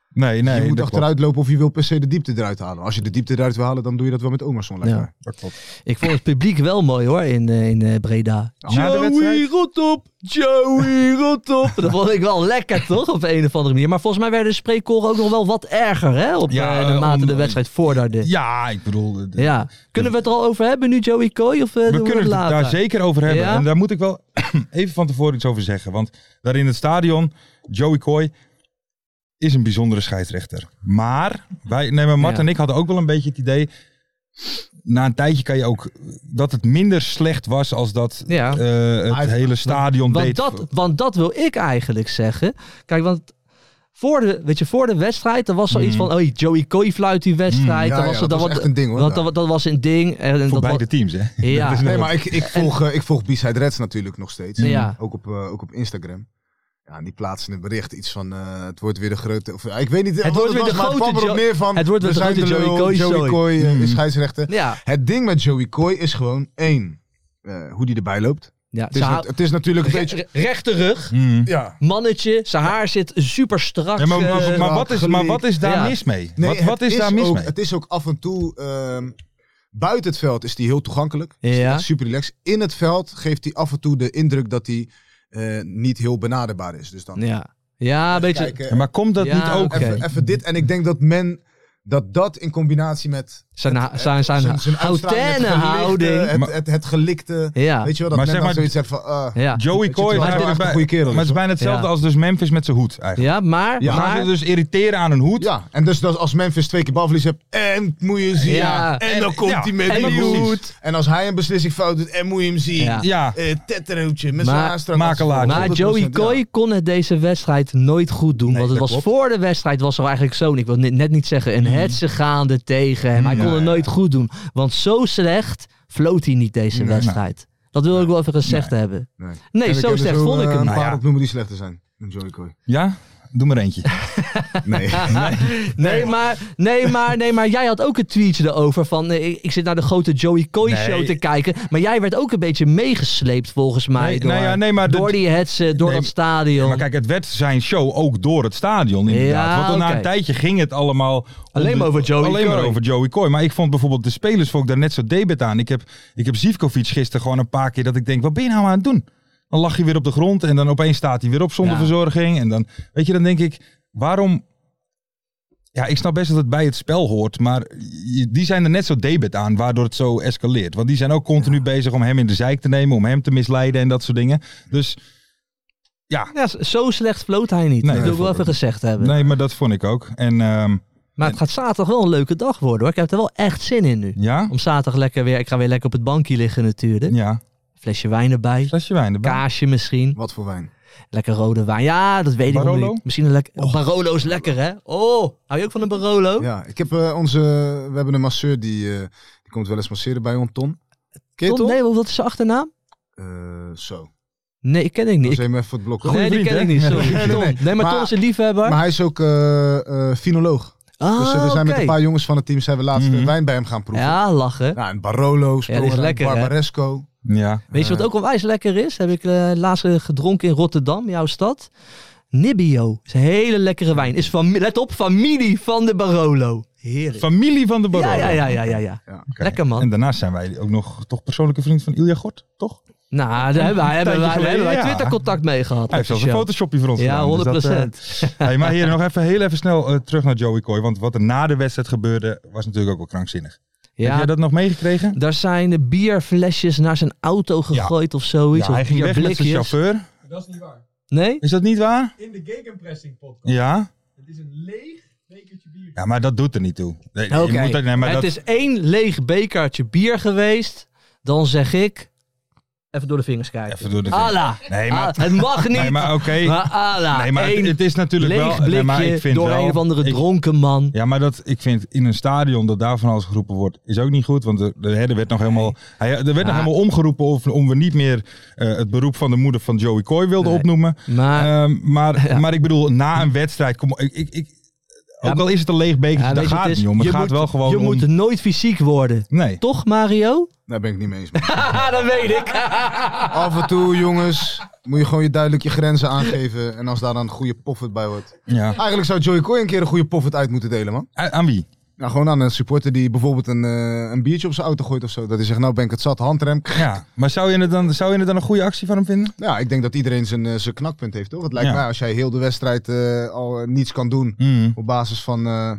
S6: Nee, nee.
S8: je moet
S6: dat klopt.
S8: achteruit lopen of je wil per se de diepte eruit halen. Als je de diepte eruit wil halen, dan doe je dat wel met Omerson. Lijkt
S7: Ja.
S8: mij.
S6: Dat klopt.
S7: Ik vond het publiek wel mooi hoor in, eh, in eh, Breda.
S6: Na de
S7: Joey,
S6: wedstrijd?
S7: rot op! Joey, rot op! Dat vond ik wel lekker toch, op een of andere manier. Maar volgens mij werden de spreekkoren ook nog wel wat erger hè, op
S6: Ja,
S7: eh, de
S6: eh,
S7: mate
S6: om-
S7: de wedstrijd voorderde.
S6: Ja, ik bedoel... eh,
S7: Ja. Kunnen we het er al over hebben nu, Joey Kooi? Of eh, doen
S6: We kunnen
S7: het
S6: het
S7: later?
S6: daar zeker over hebben.
S7: Ja?
S6: En daar moet ik wel even van tevoren iets over zeggen. Want daar in het stadion, Joey Coy is een bijzondere scheidsrechter. Maar, wij, nee, maar Mart
S7: Ja.
S6: en ik hadden ook wel een beetje het idee... Na een tijdje kan je ook dat het minder slecht was als dat
S7: Ja.
S6: eh, het
S8: Uit-
S6: hele stadion
S7: Want
S6: deed.
S7: dat, want dat wil ik eigenlijk zeggen. Kijk, want voor de, weet je, voor de wedstrijd, er was zoiets
S6: Mm.
S7: van, oh, Joey Kooi fluit die wedstrijd.
S8: Ja,
S7: dan
S8: ja,
S7: was er-
S8: dat
S7: dan
S8: was
S7: wat-
S8: echt een ding, hoor,
S7: Want
S8: daar.
S7: dat, dat was een ding. En, en dat
S6: voor beide
S7: was-
S6: teams, hè?
S7: Ja.
S6: Dat is nog
S8: Nee,
S6: wat.
S8: maar ik, ik volg, eh, ik volg B-Side Reds natuurlijk nog steeds.
S7: Ja.
S8: Ook, op, eh, ook op Instagram. Ja, en die plaatsen een bericht, iets van eh, het wordt weer de grote... Of, ja, ik weet niet, eh, wat
S7: wordt weer
S8: was,
S7: de
S8: maar het
S7: grote
S8: kwam erop
S7: Jo-
S8: neer van...
S7: het wordt weer
S8: we
S7: de
S8: zijn
S7: grote
S8: de
S7: Joey
S8: lul,
S7: Coy Hmm.
S8: Joey
S7: zooi.
S8: Coy eh, is scheidsrechter.
S7: ja,
S8: Het ding met Joey Coy is gewoon één, eh, hoe die erbij loopt.
S7: ja.
S8: Het is,
S7: Ze
S8: nat-
S7: hou-
S8: het is natuurlijk een beetje...
S7: re- rechte rug,
S6: Mm.
S8: Ja.
S7: mannetje, zijn haar zit super strak.
S6: Ja, maar,
S8: Eh,
S6: maar, maar wat is, maar
S8: geleerd.
S6: wat is daar
S7: eh, Ja.
S6: mis mee?
S8: Nee,
S6: wat wat
S8: het
S6: is, daar mis
S8: ook,
S6: mee?
S8: Het is ook af en toe... ehm, buiten het veld is die heel toegankelijk. Is die
S7: Ja.
S8: echt super relaxed. In het veld geeft hij af en toe de indruk dat hij eh, niet heel benaderbaar is. Dus dan
S7: ja. ja, een beetje.
S8: kijken,
S6: Ja, maar komt dat
S7: Ja,
S6: niet ook?
S7: oké.
S8: even, even dit. En ik denk dat men... Dat dat in combinatie met
S7: Zijn, ha- zijn, zijn,
S8: Eh, zijn, zijn
S7: hautaine
S8: uitstraling, eh, het gelikte,
S7: houding.
S8: het,
S6: Maar-
S8: het, het gelikte,
S7: Ja.
S8: weet je wel, dat
S6: Maar
S8: men
S6: zeg
S8: dan
S6: maar-
S8: zoiets heeft van, ah,
S7: Ja.
S6: Joey
S8: Weet je,
S6: Coy is
S8: het was wel
S6: eigenlijk
S8: echt een
S6: bij-
S8: goede kerel,
S6: Maar het is
S8: hoor.
S6: bijna hetzelfde
S7: Ja.
S6: als dus Memphis met zijn hoed eigenlijk.
S7: ja, maar.
S8: Ja.
S6: Maar,
S7: maar
S6: ze dus irriteren aan hun hoed.
S8: Ja, en dus dat als Memphis twee keer balverlies hebt, en moet je zien.
S7: Ja.
S8: En dan
S6: En-
S8: komt
S6: ja,
S8: hij met
S7: en
S8: die
S7: precies.
S8: hoed. En als hij een beslissing fout doet, en moet je hem zien.
S7: Ja.
S8: Ja.
S6: Ja.
S8: tetterootje met
S7: Maar-
S8: zijn haarstrak.
S6: makelaar.
S7: Maar
S8: 100%,
S7: Joey
S8: ja.
S7: Coy kon het deze wedstrijd nooit goed doen. want het was
S8: dat klopt. Mhm.
S7: voor de wedstrijd was er eigenlijk zo'n, ik wil ni- net niet zeggen, een hetze gaande tegen hem. Hij kon het nooit goed doen. Want zo slecht floot hij niet deze
S8: Nee.
S7: wedstrijd. Dat wil ik wel even gezegd hebben.
S8: Nee,
S7: Nee,
S8: En ik heb
S7: zo
S8: er
S7: slecht vond ik
S8: eh,
S7: hem.
S8: Een paar
S6: Nou ja.
S8: opnoemen die slechter zijn dan Joey Coy.
S6: Ja? Doe maar eentje.
S8: Nee.
S7: Nee, maar, nee, maar, nee, maar jij had ook een tweetje erover van eh, ik, ik zit naar de grote Joey Coy
S6: Nee.
S7: show te kijken. Maar jij werd ook een beetje meegesleept volgens mij
S6: Nee,
S7: door,
S6: nou ja, nee, maar de-
S7: door die hetsen, door
S6: Nee,
S7: dat stadion.
S6: maar kijk, het werd zijn show ook door het stadion inderdaad.
S7: Ja,
S6: Want al na
S7: oké.
S6: een tijdje ging het allemaal... om
S7: Alleen
S6: de-
S7: maar over Joey
S6: Alleen maar
S7: Coy.
S6: over Joey Coy. Maar ik vond bijvoorbeeld de spelers vond ik daar net zo debet aan. Ik heb, ik heb Zivkovic gisteren gewoon een paar keer dat ik denk... Wat ben je nou aan het doen? Dan lag hij weer op de grond en dan opeens staat hij weer op zonder
S7: Ja.
S6: verzorging. En dan, weet je, dan denk ik... Waarom... Ja, ik snap best dat het bij het spel hoort, maar je- die zijn er net zo debet aan, waardoor het zo escaleert. Want die zijn ook continu bezig om hem in de zijk te nemen, om hem te misleiden en dat soort dingen. Dus ja,
S7: Ja, z- zo slecht floot hij niet.
S6: Nee,
S7: dat wil ik wel
S6: dat
S7: even gezegd hebben.
S6: Nee, maar dat vond ik ook. En ehm,
S7: Maar het gaat zaterdag wel een leuke dag worden hoor. Ik heb er wel echt zin in nu.
S6: ja,
S7: Om zaterdag lekker weer. Ik ga weer lekker op het bankje liggen natuurlijk.
S6: ja,
S7: Flesje wijn erbij.
S6: flesje wijn erbij.
S7: Kaasje misschien.
S8: Wat voor wijn.
S7: Lekker rode wijn. Ja, dat weet ik nog
S6: Barolo?
S7: niet. Misschien een lekker. Barolo is lekker hè. Oh, hou je ook van een Barolo?
S8: Ja, ik heb eh, onze... We hebben een masseur die, eh, die komt wel eens masseren bij ons, Ton. Ken je
S7: Tom,
S8: Ton?
S7: nee, wat is zijn achternaam?
S8: eh, zo.
S7: Nee, ik ken ik
S8: Ik
S7: niet.
S8: hem even voor het blok. hoor.
S7: nee, die
S6: vriend,
S7: ken ik
S6: hè?
S7: niet.
S6: Ja,
S7: Sorry.
S8: nee,
S7: Tom.
S8: nee.
S7: Nee, maar,
S8: Maar-
S7: Tom is een liefhebber.
S8: Maar hij is ook eh, eh, finoloog.
S7: ah,
S8: dus eh, we zijn met een
S7: oké.
S8: paar jongens van het team zijn we laatst
S6: Mhm.
S8: eh, wijn bij hem gaan proeven.
S7: Ja, lachen.
S8: Nou, en Barolo, Spronger,
S7: lekker, hè?
S8: Barbaresco.
S6: Ja.
S7: Weet je wat ook onwijs lekker is? Heb ik eh, laatst eh, gedronken in Rotterdam, jouw stad. Nibio. Is een hele lekkere wijn. Is van, let op, familie van de Barolo. Heerlijk.
S6: Familie van de Baron.
S7: Ja, ja, ja, ja, ja. ja.
S8: Ja.
S6: Oké.
S7: Lekker man.
S6: En daarnaast zijn wij ook nog toch persoonlijke vriend van Ilja Gort, toch?
S7: Nou, daar hebben, wij- hebben, wij-
S6: tijdje
S7: hebben wij
S6: geleden, ja.
S7: Twitter-contact mee gehad.
S6: Hij heeft zelfs een
S7: officieel.
S6: photoshopje voor ons
S7: Ja,
S6: gedaan.
S7: 100%.
S6: Dus dat, eh, hey, maar hier nog even, heel even snel eh, terug naar Joey Coy. Want wat er na de wedstrijd gebeurde, was natuurlijk ook wel krankzinnig. Heb
S7: ja,
S6: jij dat nog meegekregen?
S7: daar zijn de bierflesjes naar zijn auto gegooid of zoiets.
S6: Ja,
S7: of
S6: hij ging weg met zijn
S7: bierblikjes.
S6: chauffeur.
S9: Dat is niet waar.
S7: Nee?
S6: Is dat niet waar?
S9: In de Gegenpressing podcast.
S6: Ja.
S9: Het is een leeg bekertje bier.
S6: Ja, maar dat doet er niet toe. Nee, je
S7: Oké.
S6: moet dat- nee, maar
S7: het
S6: dat,
S7: is één leeg bekertje bier geweest. Dan zeg ik... Even door de vingers kijken.
S6: Even door de vingers.
S7: Allah.
S6: Nee, maar-
S7: Ah, het mag niet.
S6: Nee, maar oké.
S7: Maar Allah.
S6: nee, maar het,
S7: Ah, één
S6: het is natuurlijk
S7: leeg
S6: wel...
S7: blikje
S6: Nee, maar ik vind
S7: door
S6: wel,
S7: een of andere
S6: ik-
S7: dronken man.
S6: Ja, maar dat, ik vind in een stadion dat daar van alles geroepen wordt, is ook niet goed. Want er, er- hè, er werd nog helemaal, hij, er werd
S7: Ah.
S6: nog helemaal omgeroepen of, om we niet meer eh, het beroep van de moeder van Joey Coy wilden
S7: Nee. Ah.
S6: opnoemen.
S7: Maar
S6: Ehm, maar, maar ik bedoel, na een wedstrijd, kom, ik, ik, ik,
S7: Ja,
S6: ook al is het een leeg bekertje,
S7: Ja,
S6: daar
S7: weet je,
S6: gaat het
S7: is-
S6: niet om. Het
S7: je
S6: gaat
S7: moet-
S6: wel gewoon
S7: Je
S6: om...
S7: moet nooit fysiek worden.
S6: Nee.
S7: Toch, Mario?
S8: Daar ben ik niet mee eens. mee.
S7: Haha, dat weet ik.
S8: Af en toe, jongens, moet je gewoon je duidelijk je grenzen aangeven. En als daar dan een goede poffert bij hoort.
S6: Ja.
S8: Eigenlijk zou Joey Coy een keer een goede poffert uit moeten delen, man.
S7: Ah.
S6: A- Aan wie?
S8: Nou, gewoon aan een supporter die bijvoorbeeld een, eh, een biertje op zijn auto gooit of zo. Dat hij zegt, nou ben ik het zat, handrem.
S6: Ja. Maar zou je, het dan, zou je het dan een goede actie van hem vinden?
S8: Ja, ik denk dat iedereen zijn, eh, zijn knakpunt heeft, toch? Het lijkt
S6: Ja.
S8: mij, als jij heel de wedstrijd eh, al eh, niets kan doen...
S6: Mm,
S8: op basis van eh,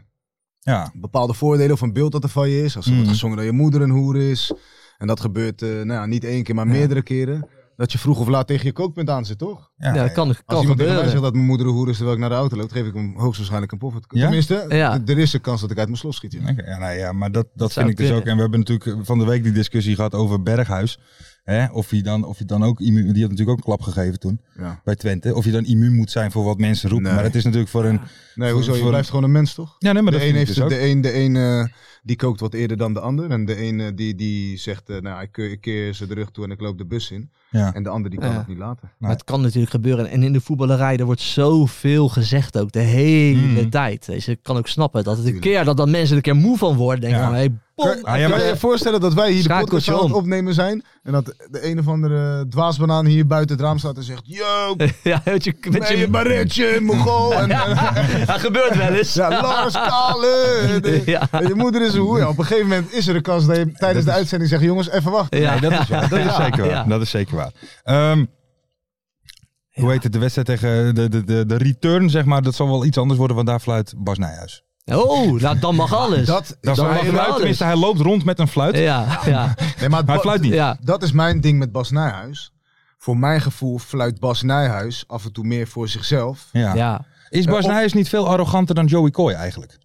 S6: Ja.
S8: bepaalde voordelen of een beeld dat er van je is... als er
S6: Mm.
S8: wordt gezongen dat je moeder een hoer is... en dat gebeurt eh, nou, ja, niet één keer, maar meerdere keren... dat je vroeg of laat tegen je kookpunt aan zit, toch?
S6: Ja.
S7: Ja, dat Nou, kan,
S8: Als
S7: kan
S8: iemand tegen mij
S7: gebeuren.
S8: zegt dat mijn moeder een hoer is terwijl ik naar de auto loop, geef ik hem hoogstwaarschijnlijk een poffert.
S6: Ja?
S8: Tenminste,
S7: Ja.
S8: d- er is een kans dat ik uit mijn slot schiet. ja.
S6: Oké, ja, nou ja, maar dat, dat
S7: zou
S6: vind ik
S7: kunnen.
S6: dus ook. En we hebben natuurlijk van de week die discussie gehad over Berghuis. Hè? Of hij dan, of hij dan ook immuun, die had natuurlijk ook een klap gegeven toen
S8: Ja.
S6: bij Twente. Of je dan immuun moet zijn voor wat mensen roepen.
S8: Nee.
S6: Maar het is natuurlijk voor een.
S8: Nee, hoezo?
S6: voor-
S8: Je blijft gewoon een mens, toch?
S6: Ja, nee, maar dat
S8: de een,
S6: vind ik
S8: heeft,
S6: dus ook.
S8: de een, de een eh, die kookt wat eerder dan de ander. En de een eh, die, die zegt, eh, nou, ik, keur- ik keer ze de rug toe en ik loop de bus in.
S6: Ja.
S8: En de ander die kan
S7: Ja.
S8: het niet laten.
S7: Maar het kan natuurlijk gebeuren. En in de voetballerij, er wordt zoveel gezegd ook. De hele
S6: Mm.
S7: tijd. Dus ik kan ook snappen dat het een
S8: Tuurlijk.
S7: keer, dat dan mensen er een keer moe van worden. Denken
S6: Ja.
S7: van, hey, bom.
S8: Kun-
S6: Ah, ja, maar-
S8: Kan je je voorstellen dat wij hier de
S7: Schakeltje
S8: podcast aan het
S7: Eh, om.
S8: opnemen zijn en dat de een of andere dwaasbanaan hier buiten het raam staat en zegt, yo,
S7: ja, met je, Eh, met
S8: met je
S7: je,
S8: barretje, Mogol. En, eh,
S7: dat gebeurt wel eens.
S8: Ja, Lars Kalen. De-
S7: Ja.
S8: Je moeder is een hoer. Ja, Op een gegeven moment is er een kans dat je tijdens de uitzending zegt, jongens, even wachten.
S7: Ja.
S6: Nee, dat is waar. Dat is
S7: Ja,
S6: zeker waar.
S7: ja.
S6: Dat is zeker waar. Ehm, Hoe heet het? De wedstrijd tegen de, de, de, de return, zeg maar. Dat zal wel iets anders worden, want daar fluit Bas Nijhuis.
S7: Oh, nou, dan mag alles.
S8: Dat,
S6: Dat
S7: Dan
S6: hij,
S7: mag
S6: fluit,
S7: alles.
S6: tenminste, hij loopt rond met een fluit.
S7: Ja, ja,
S8: nee, maar
S6: Hij
S8: Ba-
S6: fluit niet.
S7: ja.
S8: Dat is mijn ding met Bas Nijhuis. Voor mijn gevoel fluit Bas Nijhuis af en toe meer voor zichzelf.
S6: Ja.
S7: ja.
S6: Is Bas
S8: Eh, op-
S6: Nijhuis niet veel arroganter dan Joey Coy eigenlijk?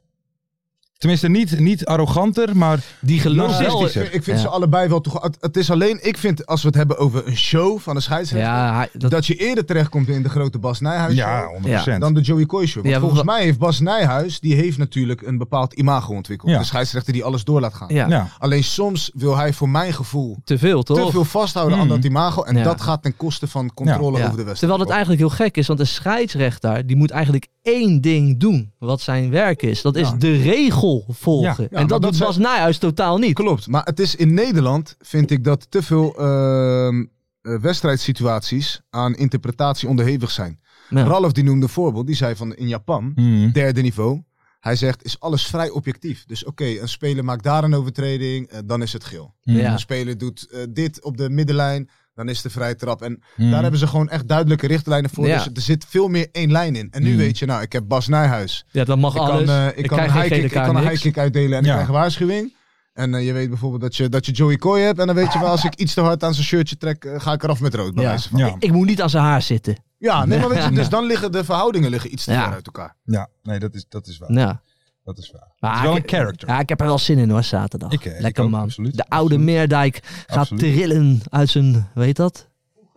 S6: Tenminste, niet, niet arroganter, maar...
S7: Die gelooft wel.
S8: Nou, Ik vind, ik vind
S7: Ja.
S8: ze allebei wel toch. Het- Het is alleen, ik vind als we het hebben over een show van een scheidsrechter.
S7: Ja, hij-
S8: dat...
S7: dat,
S8: je eerder terechtkomt in de grote Bas Nijhuis.
S6: Ja,
S8: show
S6: 100%.
S8: Dan de Joey Coy show. Want
S7: Ja,
S8: volgens
S7: wa-
S8: mij heeft Bas Nijhuis. die heeft natuurlijk een bepaald imago ontwikkeld.
S6: Ja.
S8: De scheidsrechter die alles door laat gaan.
S7: ja,
S6: ja.
S8: Alleen soms wil hij voor mijn gevoel.
S7: te veel toch?
S8: te veel vasthouden
S6: Mhm.
S8: aan dat imago. En
S7: Ja.
S8: dat gaat ten koste van controle
S7: Ja.
S8: over de wedstrijd.
S7: Terwijl dat eigenlijk heel gek is, want een scheidsrechter die moet eigenlijk één ding doen wat zijn werk is. Dat is de regel volgen.
S8: Ja,
S7: en
S8: maar
S7: dat,
S8: dat
S7: doet
S8: zijn-
S7: Bas Nijhuis totaal niet.
S8: Klopt, maar het is in Nederland, vind ik, dat te veel ehm, eh, wedstrijdssituaties aan interpretatie onderhevig zijn.
S7: Ja.
S8: Ralf die noemde een voorbeeld, die zei van in Japan,
S6: Mm.
S8: derde niveau. Hij zegt, is alles vrij objectief. Dus oké, een speler maakt daar een overtreding, eh, dan is het geel.
S7: Ja.
S8: Een speler doet eh, dit op de middenlijn, dan is de vrije trap. En
S6: Mm.
S8: daar hebben ze gewoon echt duidelijke richtlijnen voor.
S7: Ja.
S8: Dus er zit veel meer één lijn in. En nu
S6: Mm.
S8: weet je, nou, ik heb Bas Nijhuis.
S7: Ja, dat mag
S8: Ik kan,
S7: alles.
S8: eh, ik, kan een
S7: krijg geen
S8: high
S7: gele
S8: kick, ik
S7: kaart,
S8: kan een
S7: niks.
S8: high kick uitdelen en
S6: Ja.
S8: ik krijg een waarschuwing. En eh, je weet bijvoorbeeld dat je, dat je Joey Coy hebt. En dan weet je wel, als ik iets te hard aan zijn shirtje trek, eh, ga ik eraf met rood. Bij
S7: Ja.
S8: wijze van.
S6: Ja.
S7: Ik moet niet aan zijn haar zitten.
S8: ja, nee, maar weet je, dus dan liggen de verhoudingen liggen iets te
S7: Ja.
S8: ver uit elkaar.
S6: ja, nee, dat is, dat is waar.
S7: Ja.
S6: Dat is waar.
S7: Maar
S6: het is wel
S7: ik-
S6: een character.
S7: Ja, ik heb er wel zin in hoor, zaterdag.
S6: Ik, eh, ik
S7: Lekker
S6: ook,
S7: man.
S6: absoluut,
S7: de oude
S6: absoluut.
S7: Meerdijk gaat
S6: Absoluut.
S7: trillen uit zijn, weet dat?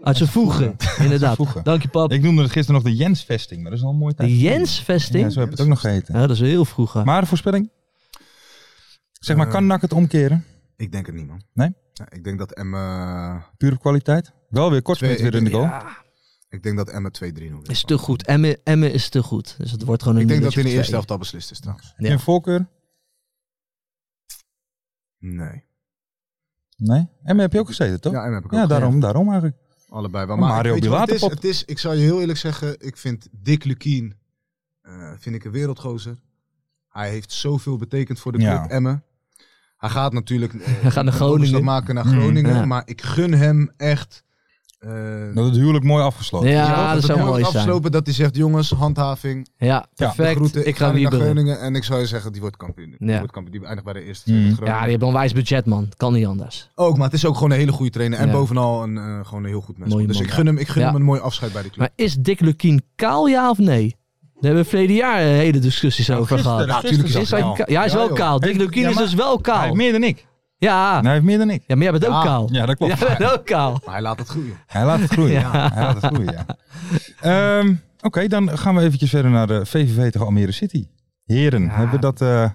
S7: Uit zijn voegen. Inderdaad.
S6: voegen.
S7: Dank je pap.
S6: Ik noemde het gisteren nog de Jens-vesting, maar dat is al een mooie tijd.
S7: De Jens-vesting.
S6: Ja, zo heb ik het ook nog geheten.
S7: Ja, dat is heel vroeger.
S8: Eh.
S6: Maar de voorspelling? Zeg maar, kan NAC het omkeren?
S8: Ik denk het niet, man. Ja, ik denk dat Emmen
S6: Pure kwaliteit. Wel weer Kortsmit
S8: Twee-
S6: weer in de goal.
S8: ik denk dat Emmen 2-3 wint.
S7: Is te goed. Emmen, Emmen is te goed. Dus het wordt gewoon een
S8: Ik denk dat
S7: nulletje
S8: in
S7: of
S8: de
S7: twee.
S8: eerste helft al beslist is trouwens.
S7: Ja.
S6: En voorkeur?
S8: Nee.
S6: Nee. En heb je ook gezeten, toch?
S8: Ja,
S6: Ja,
S8: Emmen heb ik ook.
S6: daarom, daarom eigenlijk.
S8: Allebei wel.
S6: Maar
S8: Maar
S6: Mario
S8: weet je wat het is?
S6: Bilaterpot.
S8: Het is, ik zal je heel eerlijk zeggen, ik vind Dick Lukien eh, vind ik een wereldgozer. Hij heeft zoveel betekend voor de club
S6: Ja.
S8: Emmen. Hij gaat natuurlijk eh,
S7: Hij gaat naar
S8: een overstap
S7: Groningen.
S8: maken naar
S6: Mm,
S8: Groningen.
S7: ja.
S8: Maar ik gun hem echt. eh,
S6: Dat het huwelijk mooi afgesloten.
S7: Ja,
S8: ja,
S7: dat zou
S8: het
S7: mooi
S8: wordt
S7: zijn.
S8: afgelopen dat hij zegt, jongens, handhaving,
S7: Ja,
S8: de
S7: perfect.
S8: groeten.
S7: ik ga
S8: nu naar
S7: wieberen.
S8: Groningen en ik zou je zeggen, die wordt kampioen. Die,
S7: Ja.
S8: wordt kampioen. die eindigt bij de eerste.
S6: Mm.
S8: tweede
S7: Ja, die
S8: Groningen.
S7: hebben een wijs budget, man. Kan niet anders.
S8: Ook, maar het is ook gewoon een hele goede trainer. En
S7: Ja.
S8: bovenal een, eh, gewoon een heel goed mens.
S7: Mooie
S8: Dus
S7: man,
S8: ik gun, hem, ik gun
S7: Ja.
S8: hem een mooi afscheid bij de club.
S7: Maar is Dick Lukien kaal, ja of nee? Daar hebben we verleden jaar eh, hele discussies over
S6: gisteren,
S7: gehad. Nou,
S6: gisteren
S8: tuurlijk
S7: Is hij
S8: kaal.
S7: ka- ja, hij is
S8: Ja,
S7: wel
S8: joh.
S7: kaal. Dick
S6: Heeft-
S7: Lukien
S6: ja,
S7: is
S6: maar-
S7: dus wel
S6: Hij heeft
S7: kaal.
S6: meer dan ik.
S7: Ja.
S6: Hij heeft meer dan ik.
S7: ja, maar jij bent ook
S8: Ja.
S7: kaal.
S6: Ja, dat klopt.
S7: Jij bent ook kaal.
S8: Maar hij laat het groeien.
S6: Hij laat het groeien. ja. Hij laat het groeien, ja. Ehm, Oké, dan gaan we eventjes verder naar eh, de VVV tegen Almere City. Heren,
S7: Ja.
S6: hebben we dat... eh,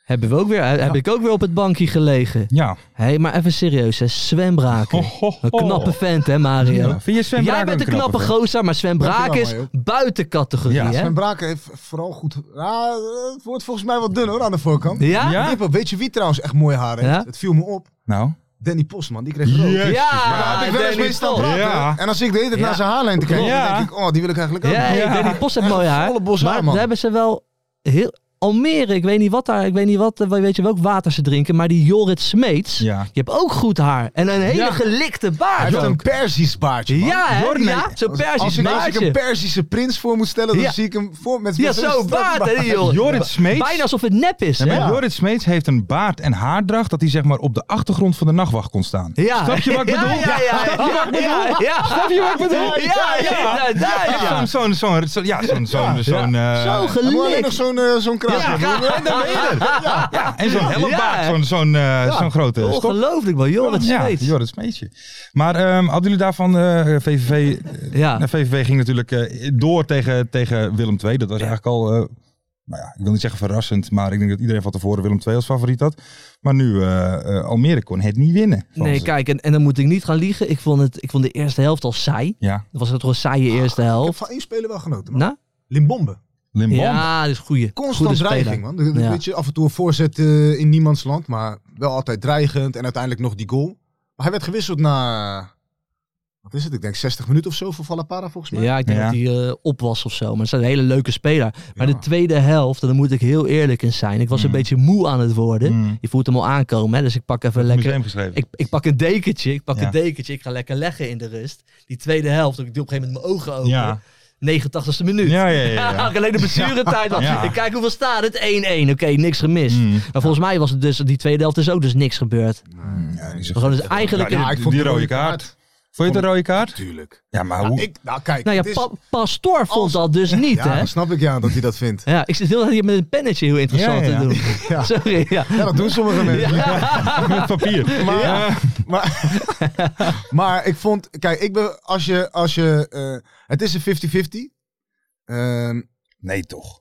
S7: Hebben we ook weer, eh, heb ik ook weer op het bankje gelegen.
S6: ja.
S7: Hé, hey, maar even serieus, hè. Sven Braken.
S6: Ho, ho, ho.
S7: Een knappe vent, hè, Mario?
S6: Oh. Ja. Vind je Sven
S7: Jij
S6: Braak
S7: bent een
S6: ook
S7: knappe
S6: vent?
S7: gozer, maar Sven
S8: Dankjewel,
S7: Braak is
S8: Mario.
S7: buiten categorie,
S6: Ja,
S7: hè?
S8: Sven Braken heeft vooral goed... Ja, het wordt volgens mij wat dun hoor aan de voorkant.
S7: Ja?
S6: Ja?
S8: Diepe, weet je wie trouwens echt mooi haar heeft?
S7: Ja?
S8: Het viel me op.
S6: Nou.
S8: Danny Postman, die kreeg rood.
S6: Jezus,
S7: Ja,
S8: Heb ik wel eens
S7: Danny
S8: mee staan
S7: Post.
S8: praten.
S6: Ja.
S8: En als ik de hele tijd
S7: Ja.
S8: naar zijn haarlijn te kijken,
S6: Ja.
S8: dan denk ik, oh, die wil ik eigenlijk ook.
S7: Ja, hey,
S6: Ja.
S7: Danny Post heeft mooi haar.
S8: volle bos
S7: maar
S8: haar, man.
S7: daar hebben ze wel heel... Almere, ik weet niet wat daar, ik weet niet wat, eh, weet je welk water ze drinken, maar die Jorrit Smeets,
S6: Ja.
S7: je hebt ook goed haar. En een hele
S6: Ja.
S7: gelikte
S8: Hij
S7: baard
S8: heeft een
S7: ook.
S8: Perzisch baardje, man.
S7: Ja, hè?
S6: Jorrit-
S7: Ja, zo'n
S8: Als- als,
S7: Persisch
S8: ik, als ik een
S7: baardje.
S8: Perzische prins voor moet stellen, dan
S7: Ja.
S8: zie ik hem voor met
S7: Ja,
S8: met
S7: zo'n baard, hè, die jongen.
S6: Jorrit Smeets.
S7: Bijna alsof het nep is,
S6: Ja,
S7: hè?
S6: maar Jorrit Smeets heeft een baard en haardracht dat hij zeg maar op de achtergrond van de nachtwacht kon staan.
S7: Ja.
S6: Snap je wat ik bedoel?
S7: Ja, ja, ja. Snap je wat ik bedoel? Ja, ja. Snap je wat ik bedoel? Ja, ja,
S6: Echt
S7: ja.
S6: Zo'n, zo'n, zo'n, zo'n- ja, zo'n, zo'n, zo'n, eh,
S7: Zo
S8: En moet alleen nog
S7: gelikt.
S8: zo'n eh, zo'n kraag
S7: Ja.
S8: hebben.
S6: en dan ben je er. Ja, en zo'n
S7: Ja.
S6: helmbaard, zo'n, zo'n, eh, zo'n grote stok.
S7: Ongelooflijk, man. Jorrit
S6: Ja,
S7: Smeets.
S6: Jorrit Smeetsje. Maar ehm, hadden jullie daarvan, eh, VVV, eh,
S7: Ja.
S6: nou, VVV ging natuurlijk eh, door tegen, tegen Willem II. Dat was eigenlijk al, eh, nou ja, ik wil niet zeggen verrassend, maar ik denk dat iedereen van tevoren Willem II als favoriet had. Maar nu, eh, eh, Almere kon het niet winnen. van
S7: Nee,
S6: ze.
S7: kijk, en, en dan moet ik niet gaan liegen. Ik vond, het, ik vond de eerste helft al saai.
S6: Ja,
S7: Dat was het toch een saaie eerste
S8: Ik heb
S7: helft.
S8: van één speler wel genoten, man.
S7: Nou?
S8: Limbombe.
S6: Limbombe.
S7: Ja, dat is goeie.
S8: Constant
S7: Goede speler.
S8: dreiging, man. De- de-
S7: Ja.
S8: Weet je, af en toe een voorzet eh, in niemands land, maar wel altijd dreigend. En uiteindelijk nog die goal. Maar hij werd gewisseld na, wat is het? Ik denk 60 minuten of zo voor Vallapara, volgens mij.
S7: Ja, ik denk
S6: Ja.
S7: dat hij eh, op was of zo. Maar het is een hele leuke speler. Maar
S8: Ja.
S7: de tweede helft, en daar moet ik heel eerlijk in zijn. Ik was een
S6: Mm.
S7: beetje moe aan het worden.
S6: Mm.
S7: Je voelt hem al aankomen, hè? dus ik pak even lekker...
S6: museum geschreven.
S7: Ik, ik pak een dekentje, ik pak
S6: Ja.
S7: een dekentje, ik ga lekker leggen in de rust. Die tweede helft, ik doe op een gegeven moment mijn ogen open.
S6: Ja.
S7: 89ste minuut.
S6: Ja, ja, ja, ja.
S7: Ja, alleen de blessuretijd. was.
S6: Ja.
S7: Ik kijk hoeveel staat het. 1-1. Oké, niks gemist.
S6: Mm.
S7: Maar volgens mij was het dus, die tweede helft is ook dus niks gebeurd.
S6: Mm, Ja, die is-
S7: Gewoon dus eigenlijk...
S6: Ja,
S7: een-
S8: ik
S6: die-
S8: vond
S6: die
S8: de
S6: rode
S8: rode
S6: kaart.
S8: kaart.
S6: Vond je het een rode kaart?
S8: Tuurlijk.
S6: Ja, maar
S8: Nou,
S6: hoe?
S8: ik, nou kijk,
S7: nou ja,
S8: het is-
S7: Pa- Pastoor vond
S8: Als-
S7: dat dus niet,
S8: ja,
S7: hè?
S8: dat snap ik ja, dat hij dat vindt.
S7: Ja, ik zit heel erg hier met een pennetje heel interessant
S6: Ja, ja, ja.
S7: te doen.
S8: Ja.
S7: Sorry, ja.
S8: Ja, dat doen sommige mensen.
S6: Met papier. Maar, eh,
S8: Maar, maar ik vond, kijk, ik ben, als je, als je, eh, het is een 50-50. Ehm,
S6: nee, toch.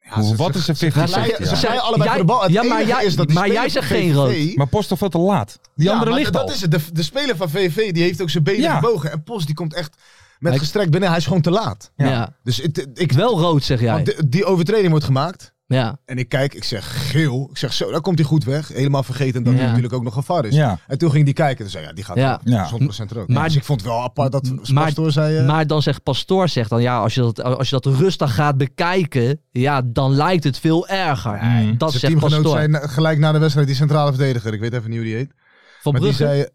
S8: ja, ze-
S6: Wat
S8: ze-
S6: is een
S8: Ze glijden-
S6: 50
S8: ze
S6: ja.
S7: zijn-
S8: glijden allebei
S7: Jij-
S8: voor de bal. Het
S7: ja, maar
S8: enige
S7: jij-
S8: is dat die
S7: maar jij
S8: speler
S7: zegt
S8: van
S7: geen
S8: VVV
S7: rood.
S6: Maar post toch veel te laat. Die
S8: Ja,
S6: andere
S8: maar
S6: ligt
S8: dat
S6: al.
S8: is het. De, de speler van VV die heeft ook zijn benen
S6: Ja.
S8: gebogen. En Post die komt echt met
S7: Hij-
S8: gestrekt binnen. Hij is gewoon te laat.
S7: Ja.
S8: Dus het, ik,
S7: Wel rood, zeg jij.
S8: want de- die overtreding wordt gemaakt.
S7: Ja.
S8: En ik kijk, ik zeg geel. Ik zeg zo, daar komt hij goed weg. Helemaal vergeten dat
S7: Ja.
S8: hij natuurlijk ook nog een var is.
S6: Ja.
S8: En toen ging die kijken. en zei ja, die gaat
S7: Ja.
S8: ja.
S6: Ja.
S8: 100% rood.
S7: Maar-
S8: dus ik vond het wel apart dat
S7: maar-
S8: Pastoor zei... eh,
S7: Maar dan zegt Pastoor, zegt dan, ja, als je, dat, als je dat rustig gaat bekijken, ja, dan lijkt het veel erger.
S6: Mm.
S7: Dat
S8: zijn
S7: zegt
S8: teamgenoot
S7: Pastoor.
S8: zei na- gelijk na de wedstrijd, die centrale verdediger. Ik weet even niet hoe die heet.
S7: Van
S8: maar die
S7: Brugge?
S8: zei,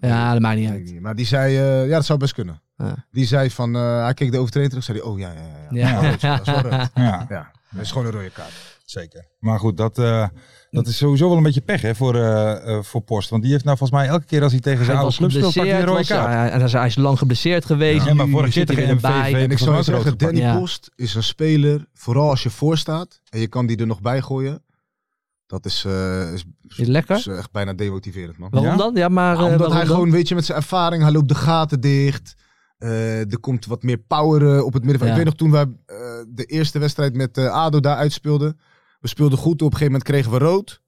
S7: Ja, dat maakt niet
S8: weet ik
S7: uit.
S8: niet, maar die zei eh, ja, dat zou best kunnen.
S7: Ja.
S8: Die zei van, eh, hij keek de overtreding terug. Zei hij, oh ja, ja, ja. ja.
S7: Ja.
S8: Dat is wel rood, dat is wel rood.
S6: Ja,
S8: Ja, dat is gewoon een rode kaart.
S6: zeker. Maar goed, dat, eh, dat
S7: Hm.
S6: is sowieso wel een beetje pech hè, voor, eh, eh, voor Post. Want die heeft nou volgens mij elke keer als hij tegen zijn
S7: Hij
S6: oude
S7: was
S6: club speelt, pakt hij een
S7: geblesseerd,
S6: rode
S7: was-
S6: kaart.
S7: ja, en hij is- hij is lang geblesseerd geweest.
S6: Ja, maar
S7: nu
S6: vorig jaar
S7: zit hij
S6: tegen
S7: weer
S6: MVV.
S7: erbij.
S8: En ik
S6: Volgens mij
S8: zou
S6: ook rood
S8: zeggen,
S6: gepakt.
S8: Danny
S7: Ja.
S8: Post is een speler, vooral als je voor staat en je kan die er nog bij gooien. Dat is, eh, is,
S7: Is het lekker?
S8: is echt bijna demotiverend, man.
S7: Waarom
S6: Ja?
S7: dan? Ja, maar...
S8: Ja,
S7: eh,
S8: omdat
S7: waarom
S8: hij
S7: dan?
S8: gewoon, weet je, met zijn ervaring, hij loopt de gaten dicht. Eh, er komt wat meer power eh, op het middenveld.
S7: Ja.
S8: Ik weet nog toen wij eh, de eerste wedstrijd met eh, ADO daar uitspeelden. We speelden goed, op een gegeven moment kregen we rood.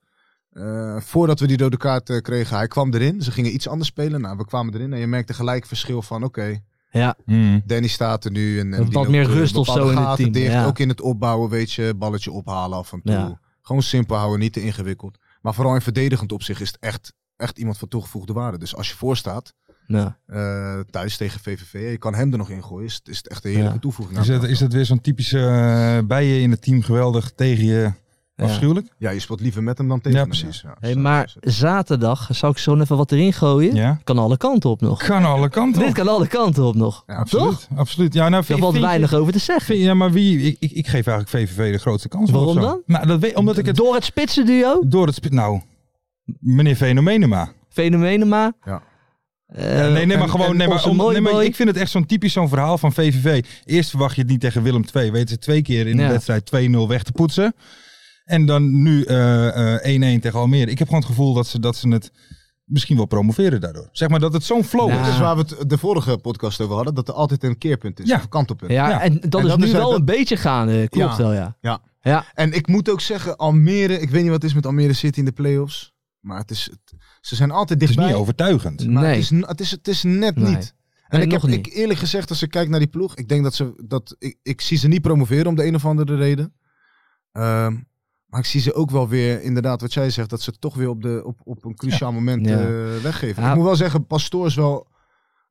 S8: Eh, voordat we die rode kaart eh, kregen, hij kwam erin. Ze gingen iets anders spelen. Nou, we kwamen erin en je merkte gelijk verschil van oké,
S7: Ja,
S6: Mm.
S8: Danny staat er nu. En, en
S7: Wat
S8: die loopt,
S7: meer
S8: eh,
S7: rust of zo
S8: bepaalde
S7: in het
S8: gaten
S7: team,
S8: dicht.
S7: ja.
S8: Ook in het opbouwen, weet je, balletje ophalen af en toe.
S7: Ja.
S8: Gewoon simpel houden, niet te ingewikkeld. Maar vooral in verdedigend opzicht is het echt, echt iemand van toegevoegde waarde. Dus als je voor staat,
S7: ja.
S8: eh, thuis tegen VVV, en je kan hem er nog in gooien, is, het- is het echt een heerlijke
S7: Ja.
S8: toevoeging. Nou,
S6: Is
S8: aan
S6: dat,
S8: het
S6: is dat weer zo'n typische eh, bij je in het team geweldig tegen je
S7: Ja.
S6: afschuwelijk?
S8: elftal. Ja, je speelt liever met hem dan
S6: Ja,
S8: tegen hem.
S6: precies.
S8: Ja,
S7: Hey,
S8: zo
S7: maar
S8: is het.
S7: zaterdag zou ik zo even wat erin gooien.
S6: Ja.
S7: Kan alle kanten op nog.
S6: Kan alle kanten
S7: Dit
S6: op.
S7: kan alle kanten op nog.
S8: Ja,
S6: Absoluut, absoluut. Ja, nou,
S7: Er
S6: vind,
S7: valt
S6: vind je-
S7: weinig over te zeggen.
S6: vind je- ja, maar wie? Ik, ik, ik geef eigenlijk VVV de grootste kans.
S7: Waarom
S6: of zo.
S7: dan?
S6: Nou, dat weet, omdat ik het
S7: Door het spitsenduo,
S6: door het spe- nou, meneer Fenomenema.
S7: Fenomenema.
S8: Ja.
S7: Eh,
S6: Ja, nee, nee, maar
S7: en-
S6: gewoon.
S7: en
S6: nee, maar,
S7: onze
S6: om-
S7: mooie
S6: nee, maar
S7: boy.
S6: ik vind het echt zo'n typisch zo'n verhaal van VVV. Eerst verwacht je het niet tegen Willem II. Weten ze twee keer in de
S7: Ja.
S6: wedstrijd 2-0 weg te poetsen. En dan nu eh, eh, 1-1 tegen Almere. Ik heb gewoon het gevoel dat ze, dat ze het misschien wel promoveren daardoor. Zeg maar dat het zo'n flow
S7: Ja.
S8: Dat
S6: is.
S8: is waar we het de vorige podcast over hadden, dat er altijd een keerpunt is,
S6: Ja.
S8: of een kantelpunt.
S7: Ja,
S6: Ja.
S7: en dat
S8: En
S7: is
S8: dat
S7: nu
S8: is-
S7: wel
S8: dat-
S7: een beetje gaande. Klopt
S8: Ja.
S7: wel, ja.
S8: En ik moet ook zeggen, Almere, ik weet niet wat het is met Almere City in de play-offs. Maar het is, het- ze zijn altijd
S6: Het is
S8: dichtbij.
S6: niet overtuigend.
S8: Maar
S7: Nee.
S8: het, is, n- het, is, het is net
S7: Nee.
S8: niet. En
S7: Nee,
S8: ik
S7: nog
S8: heb
S7: niet.
S8: Ik, eerlijk gezegd, als ik kijk naar die ploeg, ik denk dat ze dat ik, ik zie ze niet promoveren om de een of andere reden. Ehm, maar ik zie ze ook wel weer, inderdaad, wat jij zegt, dat ze het toch weer op, de, op, op een cruciaal moment
S7: Ja.
S8: eh, weggeven.
S7: Ja.
S8: Ik moet wel zeggen, Pastoor is wel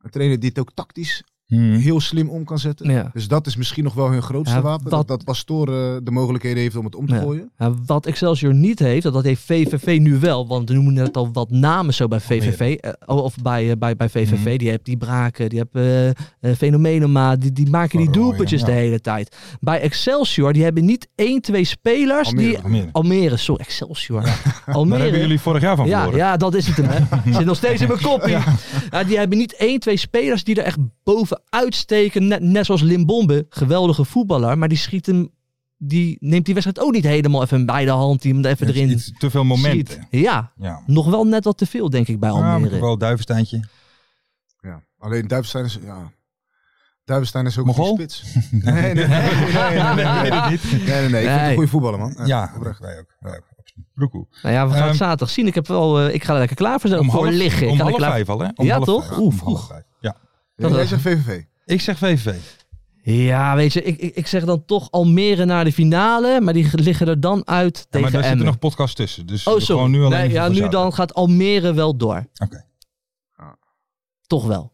S8: een trainer die het ook tactisch
S6: Hmm.
S8: heel slim om kan zetten.
S7: Ja.
S8: Dus dat is misschien nog wel hun grootste
S7: Ja,
S8: wapen. Dat,
S7: dat-
S8: dat Pastoor eh, de mogelijkheden heeft om het om te
S7: Ja.
S8: gooien.
S7: Ja, wat Excelsior niet heeft, dat, dat heeft VVV nu wel. Want we noemen net al wat namen zo bij VVV. eh, oh, of bij, eh, bij, bij VVV.
S8: Mhm.
S7: Die hebt die Braken, die hebben eh eh, Fenomenema. Die, die maken die
S6: Van Rooyen,
S7: doelpuntjes
S6: ja.
S7: de hele tijd. Bij Excelsior, die hebben niet één, twee spelers. die,
S8: Almere.
S6: Almere.
S7: Almere, sorry, Excelsior.
S6: Daar hebben
S7: Almere.
S6: jullie vorig jaar van
S7: Ja,
S6: verloren.
S7: ja, dat is het hem. Hè. Zit nog steeds in mijn kopie. Ja. die hebben niet één, twee spelers die er echt bovenuit steken. Net, net zoals Limbombe, geweldige voetballer. Maar die schiet hem, die neemt die wedstrijd ook niet helemaal even bij de hand. Die hem er even
S6: Het is
S7: erin
S6: iets te veel momenten.
S7: schiet. Ja,
S6: Ja.
S7: nog wel net wat te veel denk ik bij
S6: Ja, maar
S7: Almere.
S6: toch wel duivensteintje.
S8: Ja. Alleen Duivenstein is, ja. Duivenstein is ook
S6: Mogol?
S8: een goede spits. Nee, nee, nee. nee, nee, nee, nee. Nee, nee, nee. Ik vind het
S7: Nee.
S8: een goede voetballer, man.
S6: Ja,
S8: oprecht.
S6: wij ook. Wij ook. absoluut. Broekoe.
S7: Nou ja, we gaan het
S6: Ehm,
S7: zaterdag zien. Ik, heb wel, eh, ik ga er lekker klaar voor, zijn, voor
S6: half,
S7: liggen. Ik
S6: om
S7: ga er
S6: half
S7: klaar...
S6: vijf al, hè? Om
S7: Ja,
S6: half
S7: toch?
S6: vijf.
S7: Oeh,
S6: Om half
S7: vroeg.
S6: vijf. Ja.
S8: Ja, jij zegt VVV.
S6: Ik zeg VVV.
S7: Ja, weet je, ik, ik, ik zeg dan toch Almere naar de finale. Maar die liggen er dan uit
S6: Ja, maar
S7: tegen
S6: daar zitten
S7: Emmen.
S6: nog podcasts tussen. Dus
S7: Oh, sorry.
S6: gewoon nu alleen.
S7: nee,
S6: even
S7: ja,
S6: voor
S7: nu
S6: zaterdag.
S7: dan gaat Almere wel door. Ah.
S6: Oké.
S8: Ja.
S7: Toch wel.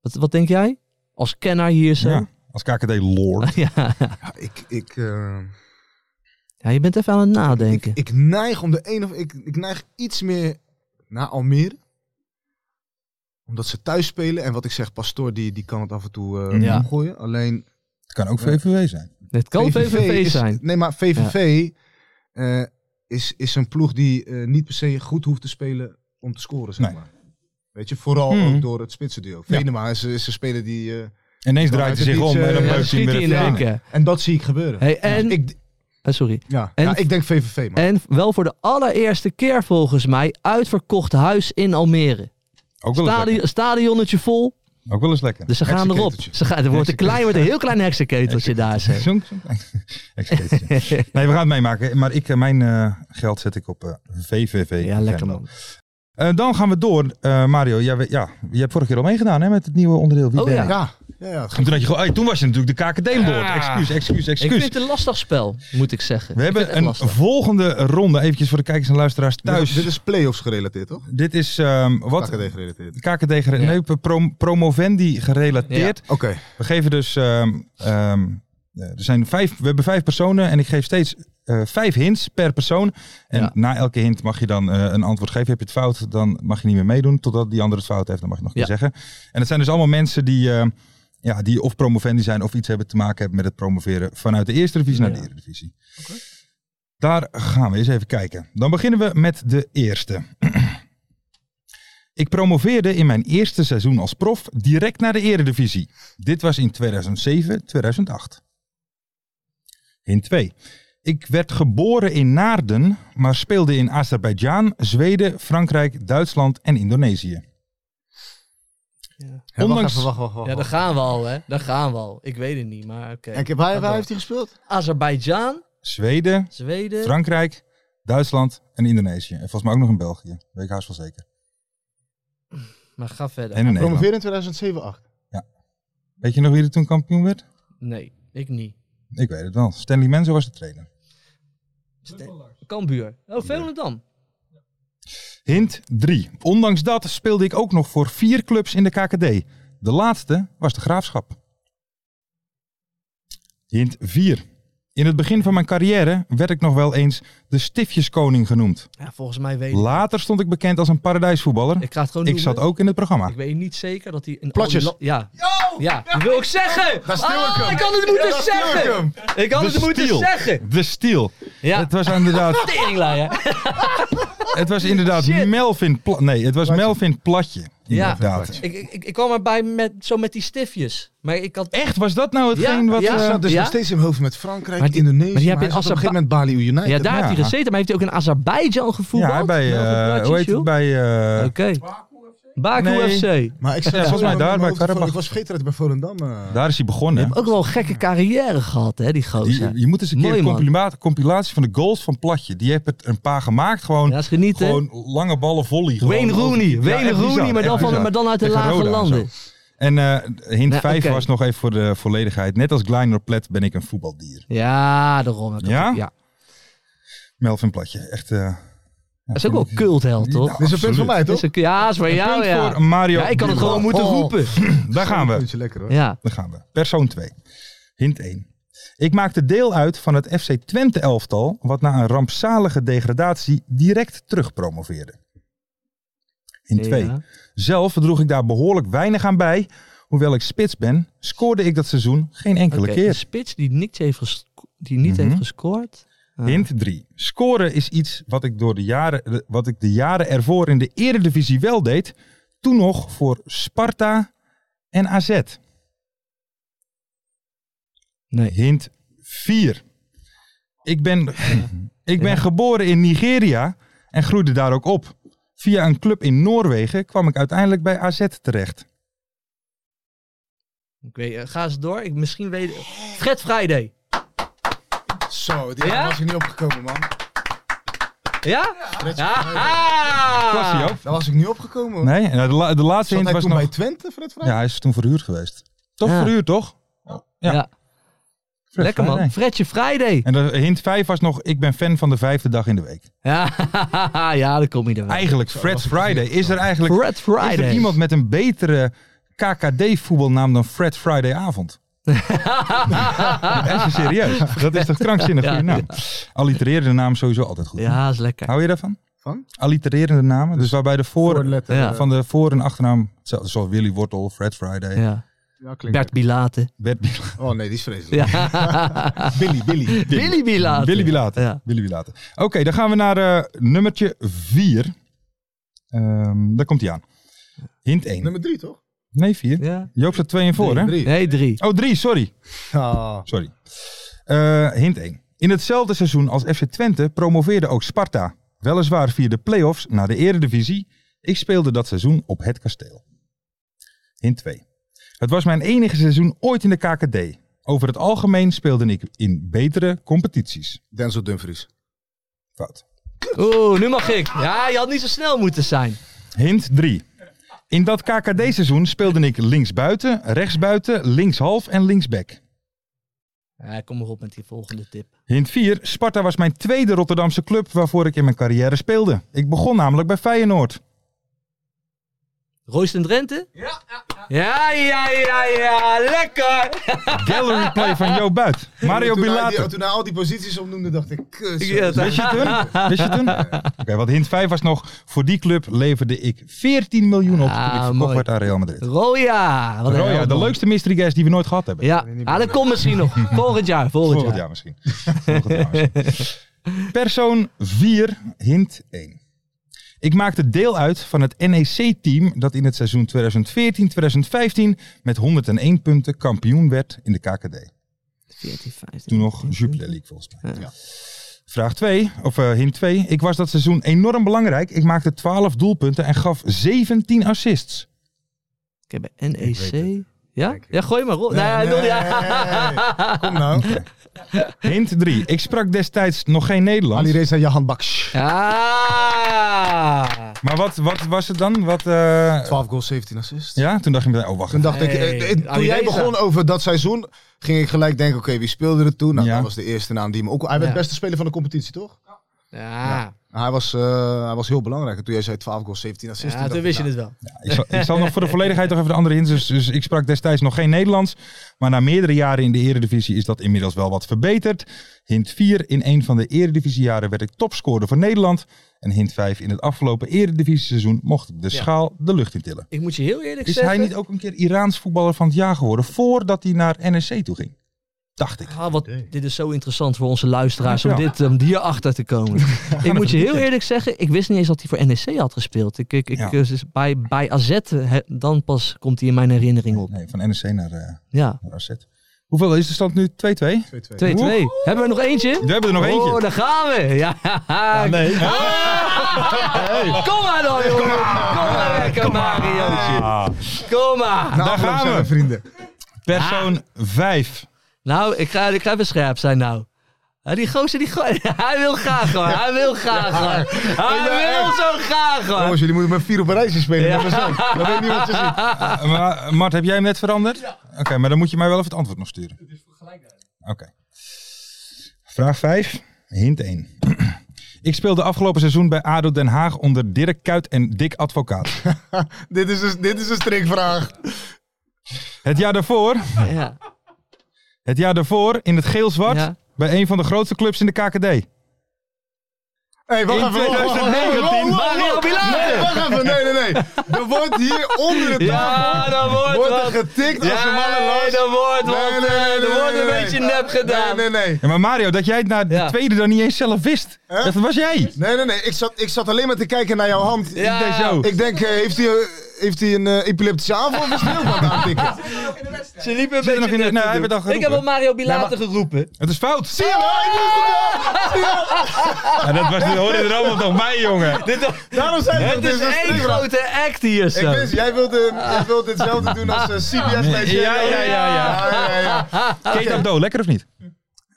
S7: Wat, wat denk jij? Als kenner hier zo.
S6: Ja, als KKD Lord.
S7: ja.
S8: Ja, ik, ik, eh,
S7: Ja, je bent even aan het
S8: ik,
S7: nadenken.
S8: ik neig om de een of... Ik, ik neig iets meer naar Almere. Omdat ze thuis spelen. En wat ik zeg, Pastoor, die, die kan het af en toe eh
S7: Ja.
S8: omgooien. Alleen
S6: Het kan ook VVV zijn.
S7: Het kan VVV,
S8: is-
S7: zijn.
S8: Nee, maar VVV eh, is, is een ploeg die eh, niet per se goed hoeft te spelen om te scoren, zeg
S6: Nee.
S8: maar. Weet je, vooral
S7: Mhm.
S6: Hmm.
S8: ook door het spitsenduo. Venema is, is een speler die... eh,
S6: En ineens
S8: Dan
S6: draait hij
S8: uit het
S6: zich om
S8: iets,
S6: en
S8: eh,
S6: dan
S7: Ja,
S8: ja,
S7: dan
S6: leukt hij
S7: schiet
S6: met
S7: hij
S6: het
S7: in één
S6: veen.
S7: keer.
S8: en dat zie ik gebeuren.
S7: Hey, en,
S8: ik,
S7: Ah, sorry.
S8: ja,
S7: en-
S8: ja, ik denk VVV, man.
S7: En wel voor de allereerste keer volgens mij uitverkocht huis in Almere.
S6: Ook wel eens lekker.
S7: Stadion, stadionnetje vol.
S6: Ook wel eens lekker.
S7: Dus ze gaan erop.
S8: Heksenketeltje.
S7: Ze gaan, er wordt een klein, wordt een heel klein heksenketeltje daar. zeg.
S6: Zo'n- zo'n- Ik vergeet het, ja. nee, we gaan het meemaken. Maar ik, eh, mijn eh, geld zet ik op eh, VVV.
S7: Ja, lekker
S6: Venlo.
S7: man.
S6: Eh, dan gaan we door. Eh, Mario, ja, we- ja, je hebt vorige keer al meegedaan hè, met het nieuwe onderdeel. Wie
S7: Oh,
S6: ben
S7: ja.
S6: ik?
S8: Ja, ja, ja.
S6: En Toen, had je, gewoon- hey, toen was je natuurlijk de KKD-lord.
S7: Ah.
S6: Excuus, excuus,
S7: Ik vind
S6: excuus.
S7: het een lastig spel, moet ik zeggen.
S6: We
S7: Ik vind
S6: hebben
S7: het echt
S6: een
S7: lastig.
S6: volgende ronde. Eventjes voor de kijkers en luisteraars thuis.
S8: Dit, dit is play-offs gerelateerd, toch?
S6: Dit is ehm, wat?
S8: KKD gerelateerd.
S6: KKD gere-
S7: Ja.
S6: nee, prom- promovendi gerelateerd.
S8: Oké,
S6: We geven dus. ehm, ehm, eh, er zijn vijf, we hebben vijf personen en ik geef steeds eh, vijf hints per persoon. En
S7: Ja.
S6: na elke hint mag je dan eh, een antwoord geven. Heb je het fout, dan mag je niet meer meedoen. Totdat die ander het fout heeft, dan mag je nog een
S7: Ja.
S6: keer zeggen. En het zijn dus allemaal mensen die, ehm, ja, die of promovendi zijn of iets hebben te maken hebben met het promoveren vanuit de eerste divisie naar
S7: Ja.
S6: de eredivisie. Daar gaan we eens even kijken. Dan beginnen we met de eerste. Ik promoveerde in mijn eerste seizoen als prof direct naar de eredivisie. Dit was in 2007, 2008. Hint 2. Ik werd geboren in Naarden, maar speelde in Azerbeidzjan, Zweden, Frankrijk, Duitsland en Indonesië.
S8: Ja,
S6: Ondanks-
S8: wacht even, wacht, wacht, wacht.
S7: Ja, daar
S8: wacht.
S7: gaan we al, hè. Daar gaan we al. Ik weet het niet, maar oké.
S8: En ik heb, waar,
S7: Ga
S8: waar
S7: door.
S8: heeft hij gespeeld?
S7: Azerbeidzjan,
S6: Zweden,
S7: Zweden,
S6: Frankrijk, Duitsland en Indonesië. En volgens mij ook nog in België. Weet ik haast wel zeker.
S7: Maar ga verder.
S6: En in Nederland.
S10: Promoveer in 2007, 8.
S6: Weet je nog wie er toen kampioen werd?
S7: Nee, ik niet.
S6: Ik weet het wel. Stanley Menzo was de trainer.
S7: Kambuur. Oh, Volendam.
S6: Hint 3. Ondanks dat speelde ik ook nog voor vier clubs in de KKD. De laatste was de Graafschap. Hint 4. In het begin van mijn carrière werd ik nog wel eens de Stiftjeskoning genoemd.
S7: Ja, volgens mij weet ik.
S6: Later stond ik bekend als een paradijsvoetballer.
S7: Ik ga het gewoon
S6: Ik
S7: doen,
S6: zat
S7: hè.
S6: ook in het programma.
S7: Ik weet niet zeker dat hij een
S10: Platjes.
S7: Ja. Ja, dat wil ik zeggen.
S8: Daar stil ik
S7: Ah,
S8: hem.
S7: ik had het moeten
S8: Daar stil
S7: zeggen.
S8: ik hem.
S7: Ik had
S6: De
S7: het moeten
S6: Steel.
S7: zeggen.
S6: De Stiel.
S7: Ja.
S6: Het was inderdaad,
S7: Teringlaaier.
S6: het was inderdaad
S7: Shit.
S6: Melvin Pla- Nee, het was Melvin Platje.
S7: Ja.
S6: Inderdaad.
S7: Ik, ik, ik kwam erbij met, zo met die stiftjes. Maar ik had...
S6: Echt, was dat nou hetgeen
S7: Ja,
S6: wat...
S7: ja.
S8: Hij
S6: eh,
S8: staat dus
S7: Ja?
S8: nog steeds in mijn hoofd met Frankrijk,
S7: Maar die-
S8: Indonesië.
S7: maar die
S8: Maar die
S7: heb
S8: heb
S7: je
S8: je
S7: in
S8: op een gegeven
S7: Azerbei-
S8: moment Bali United.
S7: Ja, daar
S6: ja.
S7: heeft hij gezeten. Maar heeft hij ook in Azerbeidzjan gevoetbald? Nou,
S6: ja, bij... eh,
S7: Welke
S6: hoe heet
S7: platjes,
S6: het? Bij...
S7: joh?
S6: eh,
S7: Oké. Baku
S6: Nee.
S7: FC.
S8: Maar ik zat
S6: Ja, volgens mij
S8: zo
S6: daar
S8: in mijn
S6: bij
S8: hoofd van,
S6: Karabach.
S8: Ik was vergeten dat hij bij Volendam... eh,
S6: Daar is hij begonnen. hè?
S7: Ook wel een gekke carrière gehad, hè, die gozer.
S6: Die, je moet eens een keer
S7: Oh, Mooi,
S6: een
S7: man.
S6: compila- compilatie van de goals van Platje. Die heeft er een paar gemaakt. Gewoon,
S7: Ja, is genieten.
S6: gewoon lange ballen volley. gewoon
S7: Wayne
S6: over-
S7: Rooney.
S6: Ja,
S7: Wayne
S6: echt
S7: Rooney,
S6: bizar,
S7: maar dan
S6: echt
S7: van-
S6: bizar.
S7: maar dan uit de
S6: Tegen
S7: lage
S6: Roda en
S7: landen.
S6: zo. En eh, hint
S7: Ja,
S6: 5
S7: oké.
S6: was nog even voor de volledigheid. Net als Gleinor Plet ben ik een voetbaldier.
S7: Ja, daarom. Dat
S6: Ja?
S7: ja? ja.
S6: Melvin Platje. Echt... eh, ja,
S7: Dat is
S6: vind
S7: ook wel
S6: ik-
S7: cultheld,
S6: Ja,
S7: toch?
S8: Dit is een punt van mij,
S7: Dat is
S8: toch?
S7: een, ja, is voor jou,
S6: punt
S7: ja.
S6: voor Mario.
S7: Ja, ik had het
S6: Buurman.
S7: gewoon moeten
S8: Oh.
S7: roepen.
S6: Daar gaan we.
S8: Puntje lekker hoor.
S7: Ja.
S6: Daar gaan we. Persoon 2. Hint 1. Ik maakte deel uit van het FC Twente elftal, wat na een rampzalige degradatie direct terugpromoveerde. Hint 2.
S7: Ja.
S6: Zelf droeg ik daar behoorlijk weinig aan bij. Hoewel ik spits ben, scoorde ik dat seizoen geen enkele
S7: Oké, dus- een
S6: keer.
S7: spits die niet heeft, gesco- die niet
S6: Mhm.
S7: heeft gescoord. Ah.
S6: Hint 3. Scoren is iets wat ik, door de jaren, wat ik de jaren ervoor in de eredivisie wel deed. Toen nog voor Sparta en AZ.
S7: Nee.
S6: Hint 4. Ik ben, ik ben geboren in Nigeria en groeide daar ook op. Via een club in Noorwegen kwam ik uiteindelijk bij AZ terecht.
S7: Ik weet, eh, ga eens door. Ik, misschien weet... Fred Friday.
S8: Zo, die
S7: Ja?
S8: was ik niet opgekomen, man.
S7: Ja?
S8: Fred
S6: Was hij
S7: Ja.
S6: ook?
S8: Daar was ik niet opgekomen. hoor.
S6: Nee, en de, la- de laatste
S8: Zat
S6: hint
S8: hij
S6: was
S8: toen bij
S6: nog...
S8: Twente, Fred Vrij?
S6: Ja, hij is toen verhuurd geweest. Toch
S7: Ja.
S6: verhuurd, toch? Ja.
S7: Ja.
S6: Fred
S7: Lekker man.
S6: Friday.
S7: Fredje Friday.
S6: En de hint 5 was nog, ik ben fan van de vijfde dag in de week.
S7: Ja, ja dan kom je er wel.
S6: Eigenlijk, Fred Friday. Is er eigenlijk
S7: Fred Friday.
S6: is er iemand met een betere KKD-voetbalnaam dan Fred Friday avond? Dat is een serieus. Dat is toch krankzinnig
S7: Ja,
S6: goede naam. Allitererende naam sowieso altijd goed.
S7: Ja, is lekker.
S6: Hou je daarvan?
S8: Van?
S6: Allitererende namen. Dus waarbij de voor,
S8: Voorletter.
S7: Ja.
S6: van de voor- en achternaam, hetzelfde, zoals Willy Wortel, Fred Friday,
S7: Ja.
S8: Ja, klinkt
S7: Bert Bilaten.
S6: Bert Biel-
S8: lekker. Oh nee, die is vreselijk.
S7: Ja.
S8: Billy, Billy.
S7: Billy Bilaten.
S6: Willy Bilater.
S7: Ja.
S6: Willy Bilater. Oké, dan gaan we naar eh, nummertje 4. daar komt hij aan. Hint 1.
S8: Nummer drie, toch?
S6: Nee, 4.
S7: Ja.
S6: Joop staat 2 en voor, hè?
S8: Drie.
S7: Nee, drie.
S6: Oh, 3, sorry.
S8: Ah.
S6: Sorry. Eh, hint 1. In hetzelfde seizoen als FC Twente promoveerde ook Sparta. Weliswaar via de play-offs naar de eredivisie. Ik speelde dat seizoen op het kasteel. Hint 2. Het was mijn enige seizoen ooit in de KKD. Over het algemeen speelde ik in betere competities.
S8: Denzel Dumfries.
S6: Fout.
S7: Oeh, nu mag ik. Ja, je had niet zo snel moeten zijn.
S6: Hint 3. In dat KKD-seizoen speelde ik linksbuiten, rechtsbuiten, linkshalf en linksback.
S7: Ja, kom maar op met die volgende tip.
S6: Hint 4. Sparta was mijn tweede Rotterdamse club waarvoor ik in mijn carrière speelde. Ik begon namelijk bij Feyenoord.
S7: Royce en Drenthe? Ja. Ja, ja, ja, ja. Lekker.
S6: Gallery play van Jo Buit. Mario
S8: toen hij-
S6: Bilater.
S8: die- Toen hij al die posities opnoemde, dacht ik... Kus,
S7: Ja,
S8: jongens.
S7: dat-
S6: Wist je het toen? Wist je het toen? Oké, wat hint 5 was nog. Voor die club leverde ik 14 miljoen op toen ik
S7: Ah,
S6: verkocht
S7: mooi.
S6: werd aan Real Madrid.
S7: Roya. Wat een
S6: Roya,
S7: held,
S6: de
S7: man.
S6: leukste mystery guest die we nooit gehad hebben.
S7: Ja, ah, dat komt misschien nog. Volgend jaar, volgend,
S6: Volgend
S7: jaar.
S6: jaar misschien. Volgend jaar misschien. Persoon 4, hint 1. Ik maakte deel uit van het NEC-team dat in het seizoen 2014-2015 met 101 punten kampioen werd in de KKD.
S7: 14, 15.
S6: Toen nog Jupiler League volgens mij.
S7: Ja.
S6: Ja. Vraag 2, of eh, hint 2. Ik was dat seizoen enorm belangrijk. Ik maakte 12 doelpunten en gaf 17 assists.
S7: Ik heb bij NEC. E Ja?
S8: Denk ik.
S7: Ja, gooi maar. Ro- nee, hij wil niet-
S8: Kom nou.
S6: Hint 3. Ik sprak destijds nog geen Nederlands.
S8: Alireza Jahan Baksh.
S7: Ah.
S6: Maar wat, wat was het dan? Wat, eh,
S8: 12 goals, 17 assists.
S6: Ja, toen dacht je meteen, oh wacht.
S8: Toen
S6: even.
S8: dacht ik, eh,
S7: Hey,
S8: eh, toen jij
S7: Alireza.
S8: begon over dat seizoen, ging ik gelijk denken, oké, wie speelde er toen? Nou,
S6: Ja.
S8: dat was de eerste naam die me ook... Hij werd
S7: Ja.
S8: beste speler van de competitie, toch?
S7: Ja,
S8: Hij was, eh, hij was heel belangrijk. En toen jij zei 12 goals, 17 assists.
S7: ja, toen
S8: dacht
S7: wist je
S8: ik, nou,
S7: het wel.
S6: Ik zal, ik zal nog voor de volledigheid nog even de andere hints. Dus, dus ik sprak destijds nog geen Nederlands. Maar na meerdere jaren in de eredivisie is dat inmiddels wel wat verbeterd. Hint 4. In een van de eredivisiejaren werd ik topscorer voor Nederland. En hint 5. In het afgelopen eredivisie-seizoen mocht ik de
S7: Ja.
S6: schaal de lucht in tillen.
S7: Ik moet je heel eerlijk
S6: Is hij
S7: zeggen.
S6: niet ook een keer Iraans voetballer van het jaar geworden? Voordat hij naar NSC toe ging. Dacht ik.
S7: Ah, wat, dit is zo interessant voor onze luisteraars om
S6: Ja.
S7: dit om hier achter te komen. ik moet je heel eerlijk zeggen, ik wist niet eens dat hij voor NEC had gespeeld. Ik, ik, ik,
S6: Ja.
S7: dus bij, bij AZ, eh, dan pas komt hij in mijn herinnering op.
S6: Nee, van NSC naar, eh
S7: Ja, 2-2.
S6: naar AZ. Hoeveel is de stand nu? 2-2? We
S7: Hebben we nog eentje?
S6: hebben er nog eentje.
S7: Oh, daar Ah! gaan we. Ja. nee. Kom maar dan, jongen. Kom maar lekker, Mariootje.
S6: Ah,
S7: Kom maar.
S8: Nou,
S6: Daar
S8: afgelopen
S6: gaan
S8: zijn
S6: we.
S8: vrienden.
S7: Ah.
S6: persoon 5.
S7: Nou, ik ga, ik ga even scherp zijn nou. Ja, die gozer, die go- hij wil graag hoor. Hij wil graag hoor. Hij wil zo graag hoor.
S8: Jongens, jullie moeten met vier op een rij zien spelen. Dat is leuk. Dat weet ik niet wat je ziet.
S7: Ah.
S6: Maar, Mart, heb jij hem net veranderd? Oké, maar dan moet je mij wel even het antwoord nog sturen. Het is Oké. Vraag 5, hint 1. Ik speelde afgelopen seizoen bij ADO Den Haag onder Dirk Kuit en Dick Advocaat.
S8: Dit is, een, dit is een strikvraag.
S6: Het jaar daarvoor,
S7: Ja.
S6: het jaar daarvoor in het geel-zwart
S7: Ja.
S6: bij een van de grootste clubs in de KKD.
S8: Hé, hey, wacht
S6: In
S8: even. wacht, wacht, wacht, wacht, wacht, wacht,
S7: 2019,
S8: wacht,
S7: Mario
S8: wacht.
S7: Bilater.
S8: Nee, wacht even. Nee, nee, nee. Er wordt hier onder de tafel
S7: Ja, dat wordt
S8: wordt er
S7: wat.
S8: getikt als een malle
S7: Ja,
S8: last.
S7: nee, dat wordt wat.
S8: Nee, nee,
S7: eh,
S8: nee,
S7: er
S8: nee,
S7: wordt een
S8: nee,
S7: beetje
S8: nee.
S7: nep gedaan.
S8: Nee, nee, nee.
S6: Ja, maar Mario, dat jij het na de
S7: Ja.
S6: tweede dan niet eens zelf wist.
S8: Hè?
S6: Dat was jij.
S8: Nee, nee, nee. Ik zat, ik zat alleen maar te kijken naar jouw hand.
S7: Ja.
S6: Ik deed zo.
S8: Ik denk, eh, heeft hij, eh, heeft hij een eh, epileptische aanval of is hij heel wat aan het tikken?
S7: Ze liepen een
S6: Zit
S7: beetje
S6: er nog in de-
S7: nep
S6: Nee,
S7: te
S6: hij
S7: doen.
S6: werd al
S7: Ik
S6: geroepen.
S7: heb al Mario Bilater geroepen.
S6: Het is fout. Zie
S8: Ja, maar ik wist het wel.
S6: Ja, dat was, hoorde er allemaal nog bij, jongen.
S8: Daarom zei ik,
S7: Het
S8: dat dus-
S7: is
S8: een
S7: één
S8: strikvraag.
S7: grote act hier
S8: Ik
S7: zo.
S8: wist, jij wilde, jij wilde hetzelfde doen als eh, CBS
S6: Ja,
S8: Nigeria.
S6: ja, ja, ja.
S8: ja, ja, ja.
S6: Keet Abdo, lekker of niet?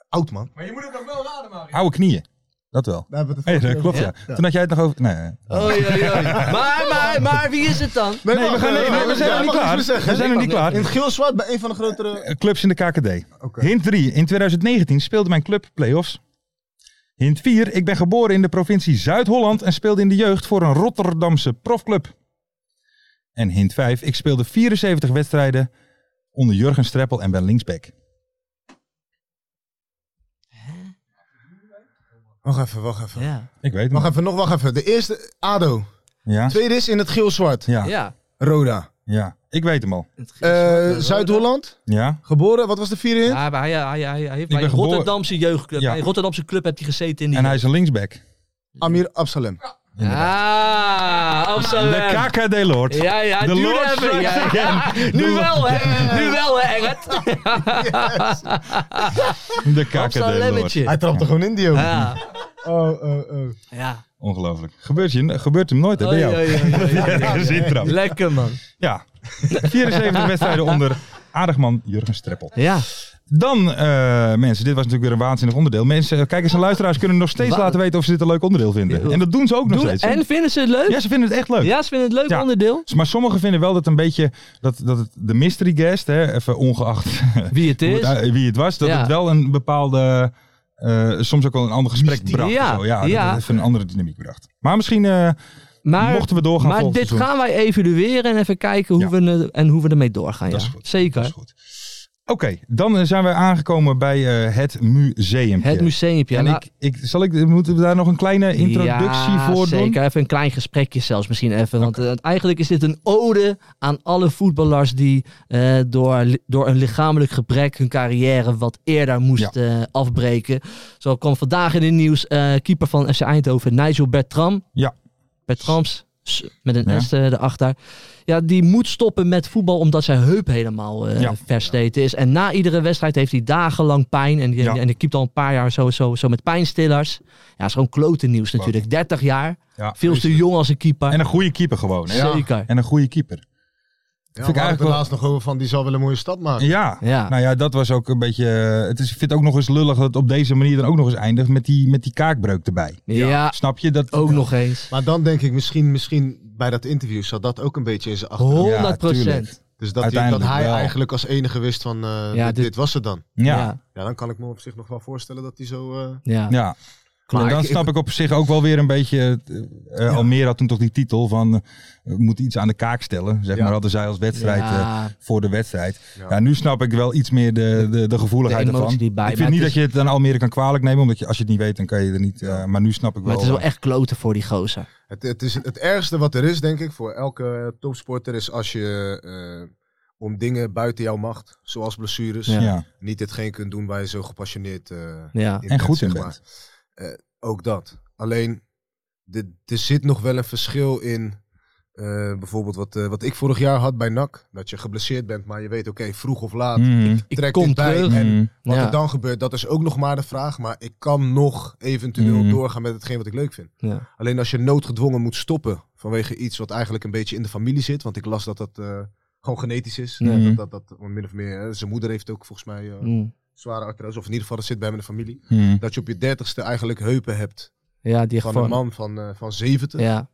S8: Oud man.
S9: Maar je moet het nog wel raden, Mario.
S6: Oude knieën. Dat wel.
S8: Daar hebben we
S6: Hey,
S8: het
S6: dat klopt, ja. Toen had jij het nog over... Nee, nee.
S7: Oei, oei, oei. Maar, maar, maar, wie is het dan?
S8: Nee,
S6: we, gaan, nee, nee, we zijn nog niet klaar. We zijn nog niet klaar.
S8: In het geel-zwart bij een van de grotere...
S6: eh, Clubs in de KKD. Hint 3. In 2019 speelde mijn club play-offs. Hint 4. Ik ben geboren in de provincie Zuid-Holland en speelde in de jeugd voor een Rotterdamse profclub. En hint 5. Ik speelde 74 wedstrijden onder Jurgen Streppel en ben linksback.
S8: Wacht even, wacht even.
S7: Ja.
S6: Ik weet het
S8: Wacht
S6: nog.
S8: even, nog wacht even. De eerste, ADO.
S6: Ja,
S8: Tweede is in het geel-zwart.
S6: ja,
S7: Ja.
S8: Roda.
S6: ja. Ik weet hem al.
S8: Eh, Zuid-Holland.
S6: Ja.
S8: Geboren, wat was de vierde in?
S7: Ja, maar hij, hij, hij, hij heeft
S6: Ik
S7: bij een
S6: ben geboren-
S7: Rotterdamse jeugdclub.
S6: Ja.
S7: Bij een Rotterdamse club heeft hij gezeten in die...
S6: En hij is een linksback.
S8: Amir Absalem.
S7: Ah,
S6: De
S7: Amsterdam.
S6: KKD Lord.
S7: Ja, ja,
S6: De
S7: duurde
S6: Lord
S7: even.
S6: strikes
S7: Ja,
S6: again.
S7: Nu wel, hè? Nu wel, hè, Engert?
S6: De KKD Lord.
S7: Amsterdam-lemmetje.
S8: Hij trapte gewoon in die jongen.
S7: Ja,
S8: Oh, oh, oh.
S7: ja.
S6: Ongelooflijk. Gebeurt, je, gebeurt hem nooit hè, bij
S7: Oei,
S6: jou.
S7: oei, oei, oei, oei.
S6: Ergens intrapt.
S7: Lekker, man.
S6: Ja. 74 wedstrijden onder aardigman Jurgen Streppel.
S7: Ja.
S6: Dan, eh, mensen, dit was natuurlijk weer een waanzinnig onderdeel. Mensen, eh, kijkers en luisteraars kunnen nog steeds
S7: Wa-
S6: laten weten of ze dit een leuk onderdeel vinden. En dat doen ze ook nog
S7: Doen-
S6: steeds. hè?
S7: en vinden ze het leuk?
S6: Ja, ze vinden het echt leuk.
S7: Ja, ze vinden het leuk
S6: Ja.
S7: onderdeel.
S6: Maar sommigen vinden wel dat een beetje, dat, dat het de mystery guest, hè, even ongeacht
S7: Wie het
S6: hoe
S7: is.
S6: het uit- wie het was, dat
S7: Ja.
S6: het wel een bepaalde, eh, soms ook wel een ander gesprek
S7: Mysterie.
S6: bracht.
S7: Ja,
S6: of zo. ja, dat
S7: ja.
S6: het even een andere dynamiek bracht. Maar misschien eh,
S7: Maar,
S6: mochten we doorgaan
S7: maar
S6: volgend
S7: dit
S6: seizoen.
S7: gaan wij evalueren en even kijken hoe,
S6: Ja.
S7: we, eh, en hoe we ermee doorgaan.
S6: Dat
S7: ja.
S6: is goed. Dat
S7: Zeker.
S6: is goed. Oké, dan eh, zijn we aangekomen bij eh, het museum.
S7: Het museumpje.
S6: En
S7: Nou,
S6: ik, ik, zal ik, moeten we daar nog een kleine introductie
S7: ja,
S6: voor
S7: zeker.
S6: doen?
S7: Even een klein gesprekje zelfs misschien even. Want eh, eigenlijk is dit een ode aan alle voetballers die eh, door, li- door een lichamelijk gebrek hun carrière wat eerder moest eh, afbreken. Zo kwam vandaag in het nieuws eh, keeper van FC Eindhoven, Nigel Bertram.
S6: Ja.
S7: Bertrams, s- met een
S6: Ja.
S7: S eh, erachter. Ja, die moet stoppen met voetbal omdat zijn heup helemaal eh
S6: Ja.
S7: versleten is. En na iedere wedstrijd heeft hij dagenlang pijn. En, die,
S6: Ja.
S7: en die keept al een paar jaar zo, zo, zo met pijnstillers. Ja, is gewoon klote nieuws natuurlijk. 30 jaar.
S6: Ja, dus-
S7: Veel te jong als een keeper.
S6: En een goede keeper gewoon. Hè?
S7: Zeker.
S6: En een goede keeper.
S8: Ja,
S6: Vind ik
S8: we hadden
S6: eigenlijk
S8: het er laatst nog over van, die zal wel een mooie stad maken.
S6: Ja.
S7: Ja.
S6: Nou ja, dat was ook een beetje... eh, Het is, ik vind het ook nog eens lullig dat het op deze manier dan ook nog eens eindigt met die, met die kaakbreuk erbij.
S7: Ja,
S6: Snap je? Dat,
S7: ook nog eens.
S8: Maar dan denk ik misschien, misschien bij dat interview zat dat ook een beetje in zijn achter.
S7: 100
S6: tuurlijk.
S7: procent.
S8: Dus dat, hij, dat
S6: uiteindelijk
S8: hij
S6: wel.
S8: eigenlijk als enige wist van, eh,
S7: Ja,
S8: dit,
S7: dit-
S8: dit was het dan.
S6: Ja. ja.
S7: ja.
S8: Ja, dan kan ik me op zich nog wel voorstellen dat hij zo... eh,
S7: ja.
S8: Maar
S6: Maar Nou, dan
S8: ik-
S6: snap ik op zich ook wel weer een beetje. eh, eh, Almere had toen toch die titel van. eh, we moeten iets aan de kaak stellen. Zeg
S8: Ja.
S6: maar, hadden zij als wedstrijd. eh,
S7: Ja.
S6: voor de wedstrijd.
S8: Ja.
S6: Ja. nu snap ik wel iets meer de, de, de gevoeligheid
S7: De emotie
S6: ervan.
S7: die bij-
S6: ik
S7: maar
S6: vind niet
S7: het
S6: dat je het aan Almere kan kwalijk nemen, omdat je, als je het niet weet, dan kan je er niet. eh, maar nu snap ik
S7: Maar
S6: wel.
S7: het is wel echt kloten voor die gozer.
S8: Het, het is het ergste wat er is, denk ik, voor elke topsporter is als je eh, om dingen buiten jouw macht, zoals blessures,
S7: Ja.
S6: ja.
S8: niet hetgeen kunt doen waar je zo gepassioneerd eh
S7: Ja.
S8: in
S6: En goed
S8: zeg
S6: in
S8: maar. Eh, ook dat. Alleen, de- er zit nog wel een verschil in. eh, bijvoorbeeld wat, eh, wat ik vorig jaar had bij NAC. Dat je geblesseerd bent, maar je weet, oké, vroeg of laat
S6: Mhm.
S7: Ik
S8: trekt
S7: kom
S8: dit bij.
S7: terug.
S8: En
S6: Mhm.
S8: wat
S7: Ja.
S8: er dan gebeurt, dat is ook nog maar de vraag. Maar ik kan nog eventueel
S6: Mhm.
S8: doorgaan met hetgeen wat ik leuk vind.
S7: Ja.
S8: Alleen als je noodgedwongen moet stoppen vanwege iets wat eigenlijk een beetje in de familie zit. Want ik las dat dat eh, gewoon genetisch is.
S6: Mhm.
S8: Dat, dat, dat min of meer, hè, zijn moeder heeft ook volgens mij eh,
S7: Mm.
S8: zware artrose. Of in ieder geval, dat zit bij hem in de familie.
S6: Mhm.
S8: Dat je op je dertigste eigenlijk heupen hebt
S7: ja, die
S8: van
S7: gewoon-
S8: een man van, eh, van 70.
S7: Ja.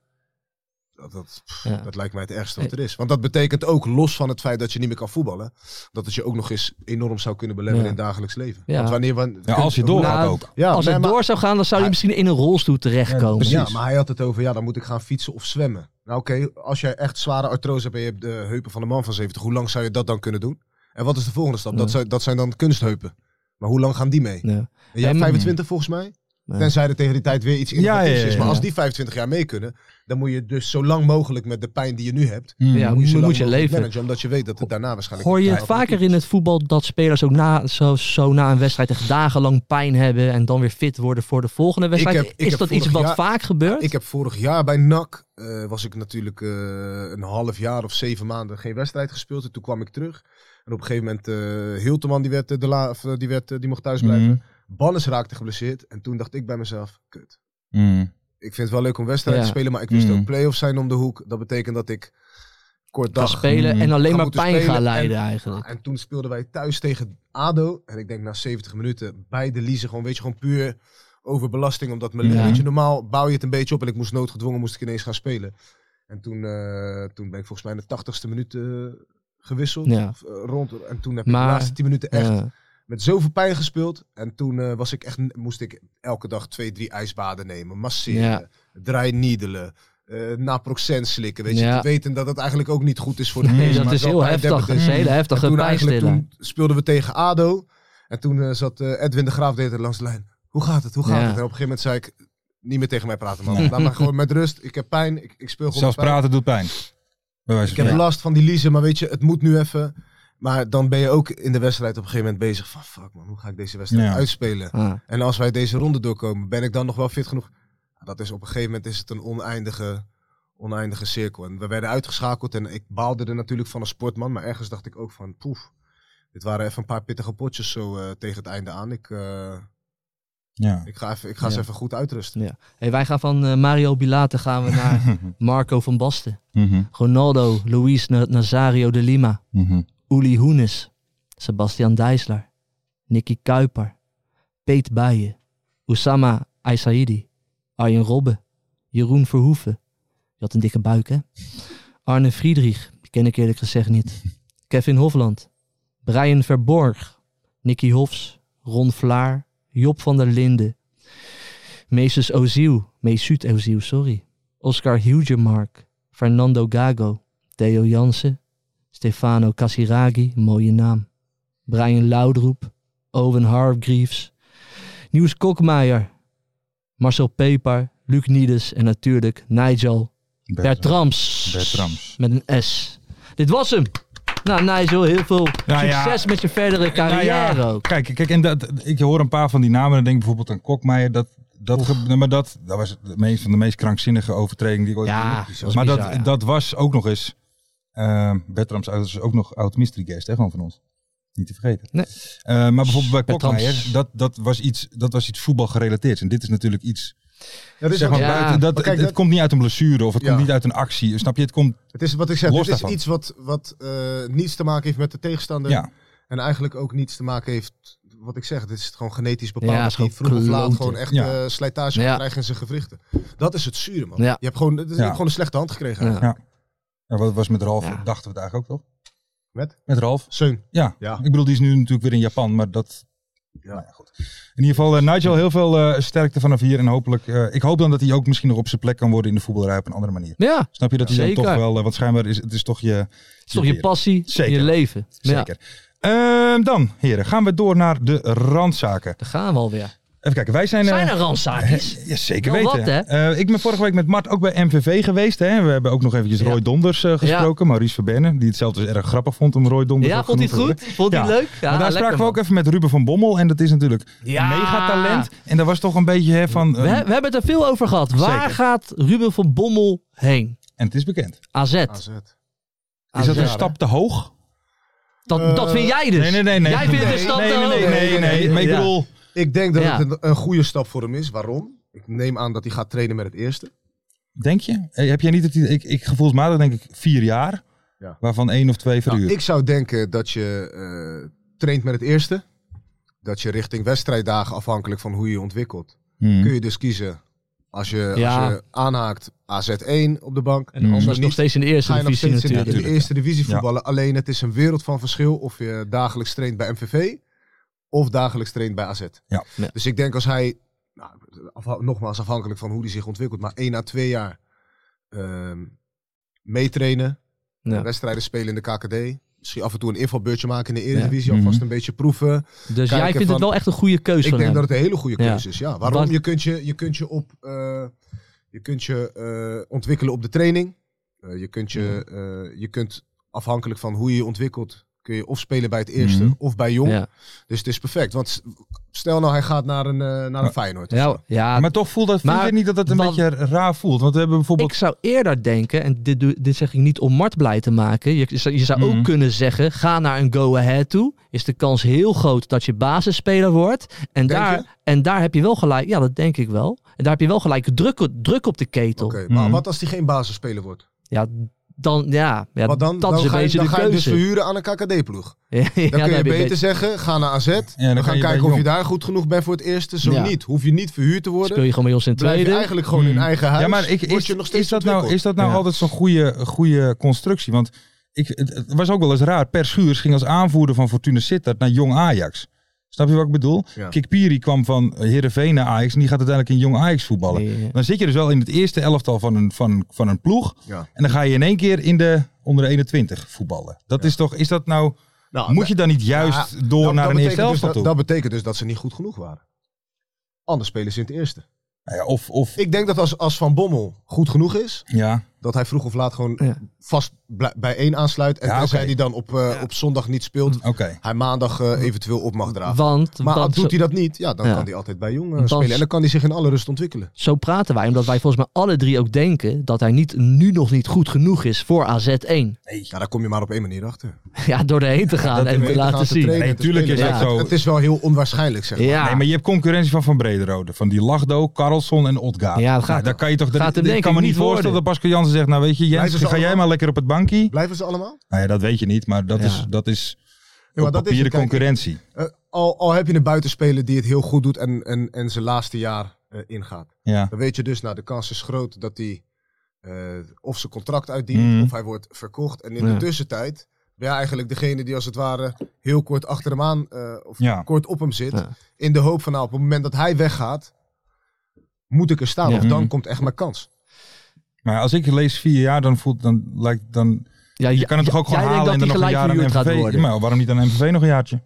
S8: Dat, dat, pff,
S7: Ja.
S8: dat lijkt mij het ergste wat er is. Want dat betekent ook, los van het feit dat je niet meer kan voetballen, dat het je ook nog eens enorm zou kunnen belemmeren
S7: Ja.
S8: in het dagelijks leven.
S7: Ja.
S8: Want wanneer, wan-
S6: Ja, als je doorgaat
S7: Nou,
S6: ook.
S8: Ja,
S7: Als
S8: nee,
S7: het
S8: maar-
S7: door zou gaan, dan zou hij misschien in een rolstoel terechtkomen.
S6: precies.
S8: ja, maar hij had het over, ja, dan moet ik gaan fietsen of zwemmen. Nou oké, als jij echt zware artrose hebt en je hebt de heupen van een man van 70, hoe lang zou je dat dan kunnen doen? En wat is de volgende stap?
S7: Ja.
S8: Dat, zijn, dat zijn dan kunstheupen. Maar hoe lang gaan die mee?
S7: Ja.
S8: En jij hebt
S7: En-
S8: 25 volgens mij?
S7: Ja.
S8: Tenzij er tegen die tijd weer iets
S6: Ja, ja,
S8: innovatiefs
S6: ja,
S8: is.
S6: ja.
S8: Maar als die 25 jaar mee kunnen, dan moet je dus zo lang mogelijk met de pijn die je nu hebt,
S6: Hmm.
S7: Ja,
S8: moet je, zo
S7: moet
S8: lang
S7: je
S8: mogelijk
S7: leven.
S8: managen, omdat je weet dat het daarna waarschijnlijk...
S7: Hoor je het
S8: Ja,
S7: vaker in het voetbal dat spelers ook na, zo, zo na een wedstrijd echt dagenlang pijn hebben en dan weer fit worden voor de volgende wedstrijd?
S8: heb- ik
S7: is
S8: heb
S7: dat iets
S8: vorig
S7: wat
S8: jaar-
S7: vaak gebeurt?
S8: Ik heb vorig jaar bij NAC, eh, was ik natuurlijk eh, een half jaar of zeven maanden geen wedstrijd gespeeld. En toen kwam ik terug. En op een gegeven moment, eh Hilteman die, werd, eh, de la, of, eh, die, werd, eh, die mocht thuis blijven.
S6: Mhm.
S8: Bannes raakte geblesseerd. En toen dacht ik bij mezelf, kut.
S6: Mhm.
S8: Ik vind het wel leuk om wedstrijden
S7: Ja.
S8: te spelen, maar ik wist
S6: Mm.
S8: ook play-offs zijn om de hoek. Dat betekent dat ik kort
S7: Gaan
S8: dag Mm.
S7: spelen en alleen
S8: Gaan
S7: maar
S8: moeten
S7: pijn
S8: spelen
S7: gaan leiden
S8: en-
S7: eigenlijk.
S8: En toen speelden wij thuis tegen ADO. En ik denk na 70 minuten bij de Lize gewoon, weet je, gewoon puur overbelasting. Omdat mijn
S7: Ja.
S8: weet je, normaal bouw je het een beetje op. En ik moest noodgedwongen, moest ik ineens gaan spelen. En toen, eh, toen ben ik volgens mij in de 80ste minuut eh, gewisseld.
S7: Ja.
S8: Of, eh, rond, en toen heb ik
S7: Maar-
S8: de laatste 10 minuten echt
S7: Ja.
S8: met zoveel pijn gespeeld. En toen eh, was ik echt, moest ik elke dag twee, drie ijsbaden nemen.
S7: Ja.
S8: Masseren, draai-niedelen, eh naproxen slikken. Weet je,
S7: Ja.
S8: te weten dat het eigenlijk ook niet goed is voor de
S6: Nee,
S8: geest,
S7: Dus dat
S8: maar
S7: is
S8: wel
S7: heel heftig.
S8: pijndeppend
S7: Dat is een hele heftige
S8: en toen, eigenlijk,
S7: pijnstiller.
S8: toen speelden we tegen ADO. En toen eh, zat eh, Edwin de Graaf deed er langs de lijn. Hoe gaat het? Hoe gaat
S7: Ja.
S8: het? En op een gegeven moment zei ik, niet meer tegen mij praten man. Laat maar gewoon met rust. Ik heb pijn. Ik, ik speel gewoon
S6: Zelfs
S8: met pijn.
S6: praten doet pijn. Bij wijze
S8: Ik
S6: van
S8: heb
S6: spreken.
S8: last van die liezen, maar weet je, het moet nu even. Maar dan ben je ook in de wedstrijd op een gegeven moment bezig van... Fuck man, hoe ga ik deze wedstrijd
S6: Ja.
S8: uitspelen?
S7: Ah.
S8: En als wij deze ronde doorkomen, ben ik dan nog wel fit genoeg? Ja, Dat is op een gegeven moment is het een oneindige, oneindige cirkel. En we werden uitgeschakeld en ik baalde er natuurlijk van als sportman. Maar ergens dacht ik ook van, poef, dit waren even een paar pittige potjes zo eh, tegen het einde aan. Ik, eh,
S6: Ja.
S8: ik ga, even, ik ga ze
S7: Ja.
S8: even goed uitrusten.
S7: Hey, wij gaan van eh, Mario Bilate gaan we naar Marco van Basten.
S6: Mhm.
S7: Ronaldo, Luis Na- Nazario de Lima,
S6: Mhm.
S7: Uli Hoenes, Sebastian Dijsler, Nicky Kuiper, Peet Bijen, Oussama Aisaidi, Arjen Robben, Jeroen Verhoeven. Je had een dikke buik, hè? Arne Friedrich, die ken ik eerlijk gezegd niet. Kevin Hofland, Brian Verborg, Nicky Hofs, Ron Vlaar, Job van der Linden, Mesus Oziel, Mesut Oziel, sorry. Oscar Hugemark, Fernando Gago, Theo Jansen, Stefano Casiraghi, mooie naam. Brian Laudroep, Owen Hargreaves, Nieuws Kokmeijer, Marcel Pepar, Luc Niedes en natuurlijk Nigel Bertrams.
S6: Bertrams.
S7: Met een S. Dit was hem. Nou Nigel, heel veel
S6: Nou ja.
S7: succes met je verdere carrière
S6: Nou ja,
S7: ook.
S6: Kijk, kijk en dat, ik hoor een paar van die namen. Dan denk ik bijvoorbeeld aan Kokmeijer. Dat, dat, ge- nee, maar dat, dat was de meest, van de meest krankzinnige overtreding die ik ooit gezien
S7: Ja,
S6: heb.
S7: dat was
S6: Maar
S7: bizar,
S6: dat,
S7: ja.
S6: dat was ook nog eens... eh Bertrams is ook nog oud mystery guest, hè, gewoon van ons. Niet te vergeten.
S7: Nee.
S6: Eh, maar bijvoorbeeld bij
S7: Bertrams.
S6: Kokmeijer, dat, dat, was iets, dat was iets voetbalgerelateerds. En dit is natuurlijk iets
S8: dat is
S6: Zeg maar,
S8: ook-
S7: Ja.
S6: buiten, dat,
S8: Maar kijk,
S6: het, het
S8: dat-
S6: komt niet uit een blessure of het
S8: Ja.
S6: komt niet uit een actie. Snap je? Het komt,
S8: Het is wat ik zeg,
S6: Los
S8: dit is
S6: daarvan.
S8: iets wat, wat eh, niets te maken heeft met de tegenstander.
S6: ja.
S8: En eigenlijk ook niets te maken heeft, wat ik zeg, dit is gewoon genetisch bepaald.
S7: Ja,
S8: Ja,
S7: is gewoon
S8: vroeg of laat
S7: kloten.
S8: gewoon echt eh
S6: Ja.
S8: slijtage
S7: Ja.
S8: krijgt in zijn gewrichten. Dat is het zure, man.
S7: Ja.
S8: Je hebt gewoon, je hebt gewoon een slechte hand gekregen.
S7: Ja.
S6: Ja, wat was met Ralf?
S7: Ja.
S6: Dachten we het eigenlijk ook toch?
S8: Met?
S6: Met Ralf?
S8: Seun.
S6: Ja.
S8: Ja.
S6: Ik bedoel, die is nu natuurlijk weer in Japan, maar dat.
S8: Ja.
S6: Nou ja, goed. In ieder geval, eh, Nigel, heel veel eh, sterkte vanaf hier. En hopelijk, eh, ik hoop dan dat hij ook misschien nog op zijn plek kan worden in de voetballerij op een andere manier.
S7: Ja, het
S6: Snap je dat hij dan
S7: Zeker.
S6: toch wel, eh, want schijnbaar is het is toch je.
S7: is toch je
S6: wereld.
S7: passie,
S6: Zeker.
S7: je leven. Ja,
S6: Zeker. Ehm, dan, heren, gaan we door naar de randzaken.
S7: daar gaan we alweer.
S6: Even kijken, wij zijn. eh,
S7: Zijn er randzaakjes?
S6: Ja, zeker
S7: Wel
S6: weten.
S7: wat,
S6: Eh, ik ben vorige week met Mart ook bij MVV geweest. Hè. We hebben ook nog eventjes
S7: Ja.
S6: Roy Donders eh, gesproken. Maurice Verbenne, die het zelf dus erg grappig vond om Roy Donders
S7: Ja,
S6: ook
S7: vond hij het
S6: genoemd
S7: goed?
S6: te
S7: Vond hij het
S6: Ja.
S7: leuk? Ja,
S6: maar daar
S7: lekker,
S6: spraken we ook
S7: man.
S6: even met Ruben van Bommel. En dat is natuurlijk
S7: Ja.
S6: een megatalent. En daar was toch een beetje hè, van...
S7: We,
S6: eh,
S7: we hebben het er veel over gehad. Waar
S6: Zeker.
S7: gaat Ruben van Bommel heen?
S6: En het is bekend.
S7: AZ.
S8: AZ.
S6: Is dat
S7: AZ.
S6: een stap te hoog?
S7: Dat, dat vind jij dus.
S6: Nee, nee, nee. nee.
S7: Jij vindt het een
S8: Nee,
S7: stap
S6: nee,
S7: te
S6: nee,
S7: hoog.
S6: nee, nee, nee, nee. Maar ik
S7: Ja.
S6: bedoel...
S8: Ik denk dat
S7: Ja.
S8: het een, een goede stap voor hem is. Waarom? Ik neem aan dat hij gaat trainen met het eerste.
S6: Denk je? Eh, Heb jij niet het idee... Ik, ik gevoelsmatig denk ik vier jaar.
S8: Ja.
S6: Waarvan één of twee
S8: Nou,
S6: verhuurd.
S8: ik zou denken dat je eh, traint met het eerste. Dat je richting wedstrijddagen, afhankelijk van hoe je je ontwikkelt,
S6: Hmm.
S8: kun je dus kiezen. Als je,
S7: Ja.
S8: als je aanhaakt AZ1 op de bank.
S7: En anders
S8: niet.
S7: nog steeds in de eerste
S8: ga je nog
S7: divisie
S8: steeds in de,
S7: natuurlijk.
S6: natuurlijk,
S8: in de eerste divisie
S6: Ja.
S8: voetballen. Alleen het is een wereld van verschil of je dagelijks traint bij MVV of dagelijks traint bij AZ.
S6: Ja.
S7: Ja.
S8: Dus ik denk als hij, nou, afha- nogmaals afhankelijk van hoe hij zich ontwikkelt, maar één à twee jaar ehm, meetrainen,
S7: Ja.
S8: wedstrijden spelen in de KKD. Misschien af en toe een invalbeurtje maken in de Eredivisie,
S6: Ja.
S8: alvast
S6: Mhm.
S8: een beetje proeven.
S7: Dus jij
S8: Kijken
S7: vindt het
S8: van-
S7: wel echt een goede keuze
S8: Ik
S7: van
S8: denk
S7: hem.
S8: dat het een hele goede
S7: Ja.
S8: keuze is. Ja. Waarom?
S7: Want-
S8: Je kunt je, je, kunt je, op, eh, je, kunt je eh, ontwikkelen op de training. Eh, je, kunt je, eh, je kunt afhankelijk van hoe je je ontwikkelt, kun je of spelen bij het eerste
S6: Mhm.
S8: of bij jong.
S7: Ja.
S8: Dus het is perfect. Want s- stel nou, hij gaat naar een, eh, naar een Feyenoord. of zo.
S7: Ja, ja,
S6: Maar toch voelt dat... Vind
S7: Maar
S6: je niet dat dat een
S7: dan-
S6: beetje raar voelt? Want we hebben bijvoorbeeld...
S7: ik zou eerder denken, en dit, doe- dit zeg ik niet om Mart blij te maken. Je, je zou- je zou
S6: Mhm.
S7: ook kunnen zeggen, ga naar een go-ahead toe. Is de kans heel groot dat je basisspeler wordt. En
S8: Denk je?
S7: daar, en daar heb je wel gelijk, ja dat denk ik wel. En daar heb je wel gelijk druk, druk op de ketel.
S8: Oké, maar
S6: Mhm.
S8: wat als hij geen basisspeler wordt?
S7: Ja, dan, ja, ja
S8: Want dan,
S7: dat
S8: dan
S7: is een
S8: ga je,
S7: beetje
S8: dan
S7: de
S8: ga je dus
S7: keuze.
S8: verhuren aan een KKD-ploeg.
S7: Ja, ja,
S8: Dan kun je
S7: heb
S8: beter
S7: een beetje-
S8: zeggen, ga naar AZ.
S6: dan
S8: we
S6: kan
S8: gaan
S6: je bij
S8: kijken of je
S6: Jong.
S8: daar goed genoeg bent voor het eerste. Zo
S7: Ja.
S8: niet. Hoef je niet verhuurd te worden.
S7: speel je gewoon bij ons in
S8: Blijf je
S7: tweede.
S8: eigenlijk gewoon in
S6: Hmm.
S8: eigen huis.
S6: Ja, maar ik,
S8: word
S6: is,
S8: je nog
S6: is
S8: steeds
S6: dat nou, is dat nou
S8: Ja.
S6: altijd zo'n goede, goede constructie? Want ik, het, het was ook wel eens raar. Per Schuurs ging als aanvoerder van Fortuna Sittard naar Jong Ajax. Snap je wat ik bedoel?
S8: Ja.
S6: Kikpiri kwam van Heerenveen naar Ajax en die gaat uiteindelijk in Jong Ajax voetballen.
S7: Nee, ja.
S6: Dan zit je dus wel in het eerste elftal van een, van, van een ploeg.
S8: Ja.
S6: En dan ga je in één keer in de onder de 21 voetballen. Dat is toch, is dat nou,
S8: Nou,
S6: moet je dan niet juist
S8: Ja,
S6: door
S8: dat-
S6: naar
S8: dat
S6: een eerste
S8: betekent dus
S6: elftal
S8: dat-
S6: toe?
S8: Dat betekent dus dat ze niet goed genoeg waren. Anders spelen ze in het eerste.
S6: Nou ja, of, of,
S8: Ik denk dat als, als Van Bommel goed genoeg is,
S6: ja.
S8: dat hij vroeg of laat gewoon
S7: Ja.
S8: vast blij- bij één aansluit. En
S6: Ja,
S8: tenzij
S6: oké.
S8: hij dan op, eh, op zondag niet speelt,
S6: Oké.
S8: hij maandag eh, eventueel op mag draven.
S7: Want,
S8: maar
S7: want zo,
S8: doet hij dat niet, ja, dan
S7: Ja.
S8: kan hij altijd bij jong eh,
S7: Dan-
S8: spelen. En dan kan hij zich in alle rust ontwikkelen.
S7: zo praten wij, omdat wij volgens mij alle drie ook denken dat hij niet, nu nog niet goed genoeg is voor AZ1.
S8: Ja, daar kom je maar op één manier achter.
S7: Ja, door erheen te gaan en
S8: Om
S7: te
S8: te gaan
S7: laten
S8: te
S7: zien.
S8: trainen
S6: Nee,
S8: en te
S6: tuurlijk is
S8: spelen.
S7: dat
S6: zo.
S8: Het is wel heel onwaarschijnlijk, zeg maar.
S7: Ja,
S6: Nee, maar je hebt concurrentie van Van Brederode. Van die Lachdo, Karlsson en Otgaard.
S7: Ja, dat gaat-
S6: nou, daar kan je toch,
S7: gaat hem
S6: dat,
S7: denk
S6: ik kan
S7: ik
S6: me niet
S7: niet
S6: voorstellen
S7: worden.
S6: dat Pascal Jansen zegt, nou weet je Jens,
S8: Blijven ze
S6: ga jij
S8: allemaal-
S6: maar lekker op het bankje.
S8: Blijven ze allemaal?
S6: Nou ja, dat weet je niet, maar dat
S7: Ja.
S6: is, dat is
S8: maar
S6: op
S8: dat is
S6: papier de
S8: het, kijk,
S6: concurrentie.
S8: Eh, al, al heb je een buitenspeler die het heel goed doet en, en, en zijn laatste jaar eh, ingaat.
S6: Ja.
S8: Dan weet je dus, nou, de kans is groot dat hij eh, of zijn contract uitdient
S6: Mm.
S8: of hij wordt verkocht. En in
S7: Mhm. Ja.
S8: de tussentijd ben je eigenlijk degene die als het ware heel kort achter hem aan eh, of
S6: Ja.
S8: kort op hem zit.
S7: Ja.
S8: In de hoop van, nou, op het moment dat hij weggaat, moet ik er staan.
S7: Ja. Mhm.
S8: Of dan
S6: Mm.
S8: komt echt mijn kans.
S6: Maar als ik lees vier jaar, dan voelt dan lijkt dan.
S7: ja,
S6: Je kan het toch ook gewoon
S7: jij
S6: halen
S7: denkt
S6: en dan
S7: dat
S6: nog een
S7: hij
S6: jaar
S7: gelijk
S6: aan
S7: verhuurd gaat
S6: MVV.
S7: worden.
S6: Maar waarom niet aan MVV nog een jaartje?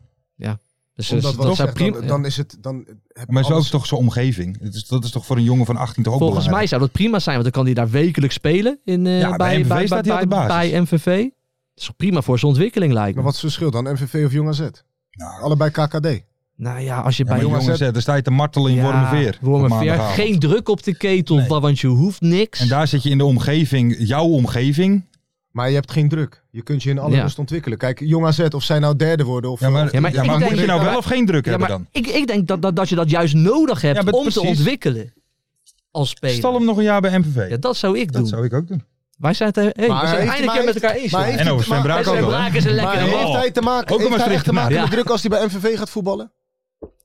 S7: Dus, dus
S8: Omdat, wat
S7: dat
S8: ik
S7: zou
S8: zeg, dan-
S7: prima...
S8: dan, is het... Dan heb je
S6: Maar zo
S8: alles-
S6: is toch zijn omgeving. Dat is, dat is toch voor een jongen van 18 toch ook
S7: Volgens mij
S6: belangrijk?
S7: zou dat prima zijn, want dan kan hij daar wekelijks spelen in, eh,
S6: Ja, bij
S7: bij,
S6: MVV
S7: bij,
S6: staat hij
S7: bij,
S6: aan de basis.
S7: bij MVV. Dat is toch prima voor zijn ontwikkeling lijkt me.
S8: Maar wat is het verschil dan? MVV of Jong AZ?
S6: Nou,
S8: Allebei KKD.
S7: Nou ja, als je
S6: ja,
S7: bij
S6: maar jongens, hè, daar sta je te martelen in
S7: Ja,
S6: Wormerveer. op
S7: Wormerveer.
S6: maandagavond.
S7: Geen druk op de ketel,
S6: Nee.
S7: wa- want je hoeft niks.
S6: En daar zit je in de omgeving, jouw omgeving.
S8: Maar je hebt geen druk. Je kunt je in alle
S7: Ja.
S8: rust ontwikkelen. Kijk, Jong AZ, of zij nou derde worden of...
S6: Ja, maar, ja,
S7: Ja, maar
S6: maar,
S7: ik denk-
S6: moet je nou
S7: Ja,
S6: wel
S7: maar-
S6: of geen druk
S7: ja,
S6: hebben
S7: maar
S6: dan?
S7: Ik, ik denk dat, dat, dat je dat juist nodig hebt
S6: Ja,
S7: om
S6: maar
S7: te
S6: precies.
S7: ontwikkelen. als speler.
S6: Stal hem nog een jaar bij MVV.
S7: Ja, dat zou ik doen.
S6: dat zou ik ook doen.
S7: Wij zijn het eh, hey, we zijn
S8: Maar
S7: het
S8: heeft-
S7: eindelijk
S8: maar
S7: weer met
S8: heeft-
S7: elkaar eens.
S8: maar
S7: joh.
S8: heeft
S6: En
S8: hij-
S6: over Sven
S8: maar-
S6: Braak
S7: En
S6: ook
S7: Sven
S6: wel. hè?
S7: Blaak is een
S8: Maar
S7: lekkere
S8: heeft
S7: man.
S8: hij te maken,
S6: Ook een
S8: heeft hij echt te
S6: Maastrichter,
S8: maken
S7: ja.
S8: met druk als hij bij MVV gaat voetballen?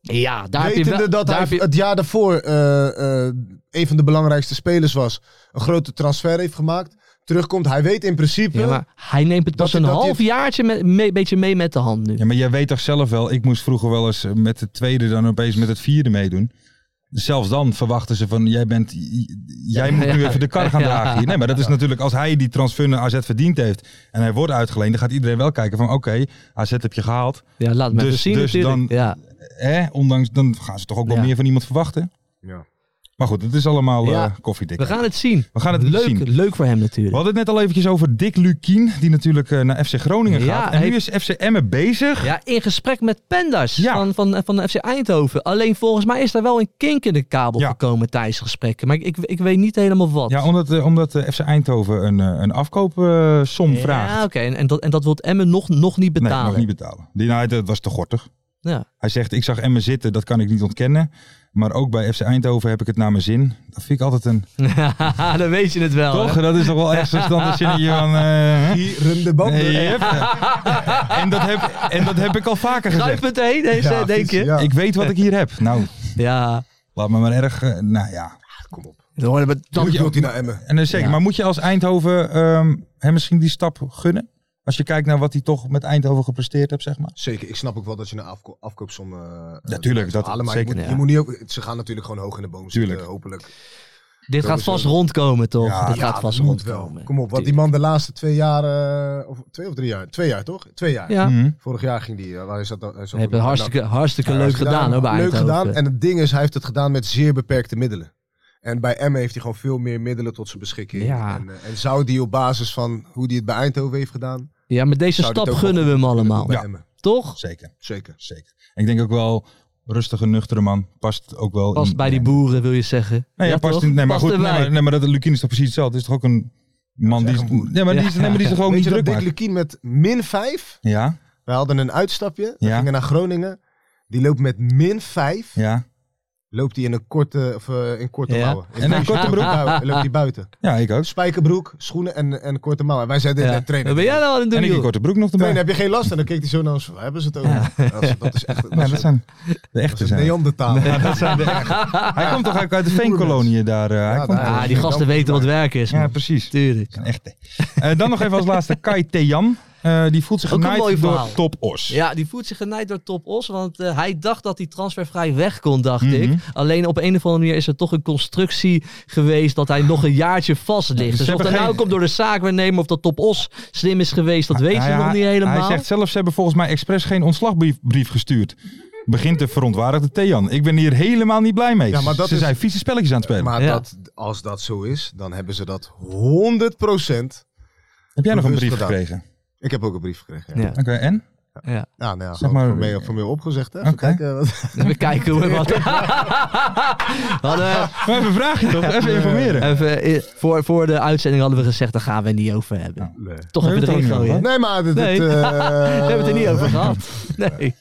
S7: Ja, daar heb je
S8: Wetende
S7: wel-
S8: dat
S7: daar
S8: hij
S7: heb je-
S8: het jaar daarvoor eh, eh, een van de belangrijkste spelers was. Een grote transfer heeft gemaakt. Terugkomt. Hij weet in principe...
S7: Ja, maar hij neemt het pas
S8: Dat-
S7: een
S8: dat-
S7: half jaartje met, mee- beetje mee met de hand nu.
S6: Ja, maar jij weet toch zelf wel, ik moest vroeger wel eens eh, met het tweede dan opeens met het vierde meedoen. Dus Zelfs dan verwachten ze van, jij, bent, j- j- jij moet nu
S7: Ja.
S6: even de kar gaan
S7: Ja.
S6: dragen hier. Nee, maar dat is natuurlijk, als hij die transfer naar AZ verdiend heeft en hij wordt uitgeleend, dan gaat iedereen wel kijken van, oké, AZ heb je gehaald.
S7: Ja, laat me
S6: Dus-
S7: even zien
S6: dus
S7: natuurlijk.
S6: dan-
S7: ja.
S6: Hè? Ondanks, dan gaan ze toch ook wel
S7: Ja.
S6: meer van iemand verwachten.
S8: Ja.
S6: Maar goed, het is allemaal eh
S7: Ja.
S6: koffiedik.
S7: We gaan het zien.
S6: We gaan het
S7: leuk,
S6: zien.
S7: leuk voor hem natuurlijk.
S6: We hadden het net al eventjes over Dick Lukien, die natuurlijk eh, naar FC Groningen
S7: Ja,
S6: gaat. En nu
S7: hij-
S6: is FC Emmen bezig.
S7: Ja, in gesprek met Pendas
S6: Ja.
S7: van, van, van de FC Eindhoven. Alleen volgens mij is daar wel een kink in de kabel
S6: Ja.
S7: gekomen tijdens gesprekken. Maar ik, ik, ik weet niet helemaal wat.
S6: Ja, omdat, eh, omdat eh, FC Eindhoven een, eh, een afkoopsom
S7: Ja,
S6: vraagt.
S7: oké. En, en, dat, en dat wil Emmen nog, nog niet betalen.
S6: Nee, nog niet betalen. Die, nou, dat was te gortig.
S7: ja.
S6: Hij zegt, ik zag Emmen zitten, dat kan ik niet ontkennen. Maar ook bij FC Eindhoven heb ik het naar mijn zin. Dat vind ik altijd een...
S7: dan weet je het wel. Oh, hè?
S6: Toch? Dat is toch wel echt zo'n standaard zinnetje van... eh, hè?
S8: Hier de banden.
S6: Nee, yep. en, dat heb, en dat heb ik al vaker gezegd.
S7: Grijp het heen, deze,
S8: Ja,
S7: denk je?
S8: vies, ja.
S6: Ik weet wat ik hier heb. Nou,
S7: Ja.
S6: laat me maar erg... eh, nou ja.
S7: Dan horen we
S8: Dan
S7: dat-
S8: wilt hij naar Emmen.
S6: En, eh, zeker.
S7: Ja.
S6: Maar moet je als Eindhoven ehm, hem misschien die stap gunnen? Als je kijkt naar wat hij toch met Eindhoven gepresteerd hebt, zeg maar.
S8: Zeker, ik snap ook wel dat je een afko afkoopsom... eh,
S6: Ja, tuurlijk, dat-
S8: halen, maar
S6: zeker,
S8: je moet,
S7: ja.
S8: je moet niet ook, ze gaan natuurlijk gewoon hoog in de boom zitten,
S6: Tuurlijk.
S8: hopelijk.
S7: Dit gaat
S8: Sowieso.
S7: vast rondkomen, toch?
S6: Ja,
S7: dit
S8: Ja,
S7: gaat vast
S8: dat moet
S7: rondkomen.
S8: wel. Kom op, want die man de laatste twee jaar... eh, of twee of drie jaar? Twee jaar, toch? Twee jaar.
S7: Ja.
S6: Mhm.
S8: Vorig jaar ging die... eh, waar is dat, dan- hij zat
S7: Hij heeft
S8: ook-
S7: het hartstikke, hartstikke leuk
S8: Hartstikke
S7: gedaan, hoor, bij
S8: Leuk
S7: Eindhoven.
S8: gedaan. En het ding is, hij heeft het gedaan met zeer beperkte middelen. En bij Emmen heeft hij gewoon veel meer middelen tot zijn beschikking.
S7: Ja.
S8: En, eh, en zou die op basis van hoe hij het bij Eindhoven heeft gedaan...
S7: Ja, met deze
S8: Zou dit
S7: stap
S8: ook wel
S7: gunnen we hem allemaal.
S8: bij
S6: Ja.
S8: Emmen.
S7: Toch?
S6: Zeker,
S8: Zeker.
S6: zeker. En ik denk ook wel, rustige, nuchtere man. Past ook wel...
S7: Past
S6: in-
S7: bij die
S6: in-
S7: boeren, wil je zeggen.
S6: Nee, ja, past
S7: toch?
S6: in, nee maar
S7: Past
S6: goed, nee,
S7: erbij.
S6: maar, nee, maar dat Lukien is toch precies hetzelfde. Het is toch ook een man die... Nee, maar die is,
S7: Ja.
S6: nee, maar die is er gewoon
S8: Weet
S6: niet
S8: je
S6: druk
S8: dat Dick
S6: maakt.
S8: Lukien met min 5...
S6: Ja,
S8: We hadden een uitstapje. We
S6: Ja.
S8: gingen naar Groningen. Die loopt met min 5.
S6: ja.
S8: Loopt hij in een korte, of, eh, in korte
S7: Ja.
S8: mouwen. In
S6: En een korte broek.
S8: bui- loopt hij buiten.
S6: Ja, ik ook.
S8: Spijkerbroek, schoenen en, en korte mouwen. En wij zeiden
S7: Ja.
S8: ja. trainen.
S7: Wat ben jij nou aan het
S6: En
S7: doen,
S6: ik een
S7: joh?
S6: korte broek nog erbij.
S8: Trainen heb je geen last. En dan keek hij zo naar ons. Waar hebben ze het over? Dat, is, dat is echt dat
S6: Ja,
S8: is
S6: dat
S8: een,
S6: zijn de
S8: dat
S6: echte
S8: is een
S6: zijn.
S8: Neandertaler.
S6: Ja, dat zijn de echte. Hij komt toch ook uit de veenkoloniën daar. eh, hij
S8: Ja,
S6: komt
S8: daar.
S7: Ah,
S6: daar.
S7: die gasten weten wat werk is,
S6: Ja,
S7: man.
S6: precies.
S7: Tuurlijk.
S6: Een echte. Eh, dan nog even als laatste Kai Tejan. Eh, die voelt zich
S7: Ook een mooi
S6: genaaid
S7: verhaal.
S6: door Top Os.
S7: Ja, die voelt zich genaaid door Top Os, want eh, hij dacht dat hij transfervrij weg kon, dacht
S6: Mhm.
S7: ik. Alleen op een of andere manier is er toch een constructie geweest dat hij nog een jaartje vast
S6: Ja,
S7: ligt.
S6: ze
S7: Dus of
S6: hebben
S7: dat nou
S6: geen-
S7: komt door de zaakwaarnemer of dat Top Os slim is geweest, dat weet
S6: Hij-
S7: je nog
S6: hij-
S7: niet helemaal.
S6: Hij zegt zelf, ze hebben volgens mij expres geen ontslagbrief brief gestuurd. Begint de verontwaardigde Thean. Ik ben hier helemaal niet blij mee.
S8: Ja, maar dat
S6: ze
S8: is-
S6: zijn vieze spelletjes aan het spelen.
S8: Maar
S7: Ja.
S8: dat, als dat zo is, dan hebben ze dat 100%.
S6: Heb jij nog een brief
S8: Bewust gedaan.
S6: gekregen?
S8: Ik heb ook een brief gekregen. Ja.
S7: Ja.
S6: Oké, en?
S7: Ja.
S8: Ja, nou ja,
S6: Zeg
S8: zeg
S6: maar-
S8: maar, formeel, formeel opgezegd. Hè? Even
S6: Oké.
S8: kijken wat-
S7: We kijken hoe we wat. Hadden we-
S6: We hebben een vraagje toch? Even informeren.
S7: even, eh, voor, voor de uitzending hadden we gezegd, daar gaan we het niet over hebben.
S8: Nee.
S7: Toch
S6: We
S7: even
S6: hebben
S7: erin
S6: het er niet
S7: gooien.
S8: Nee, maar dit,
S7: Nee.
S8: dit, eh,
S7: We hebben het er niet over gehad. Nee.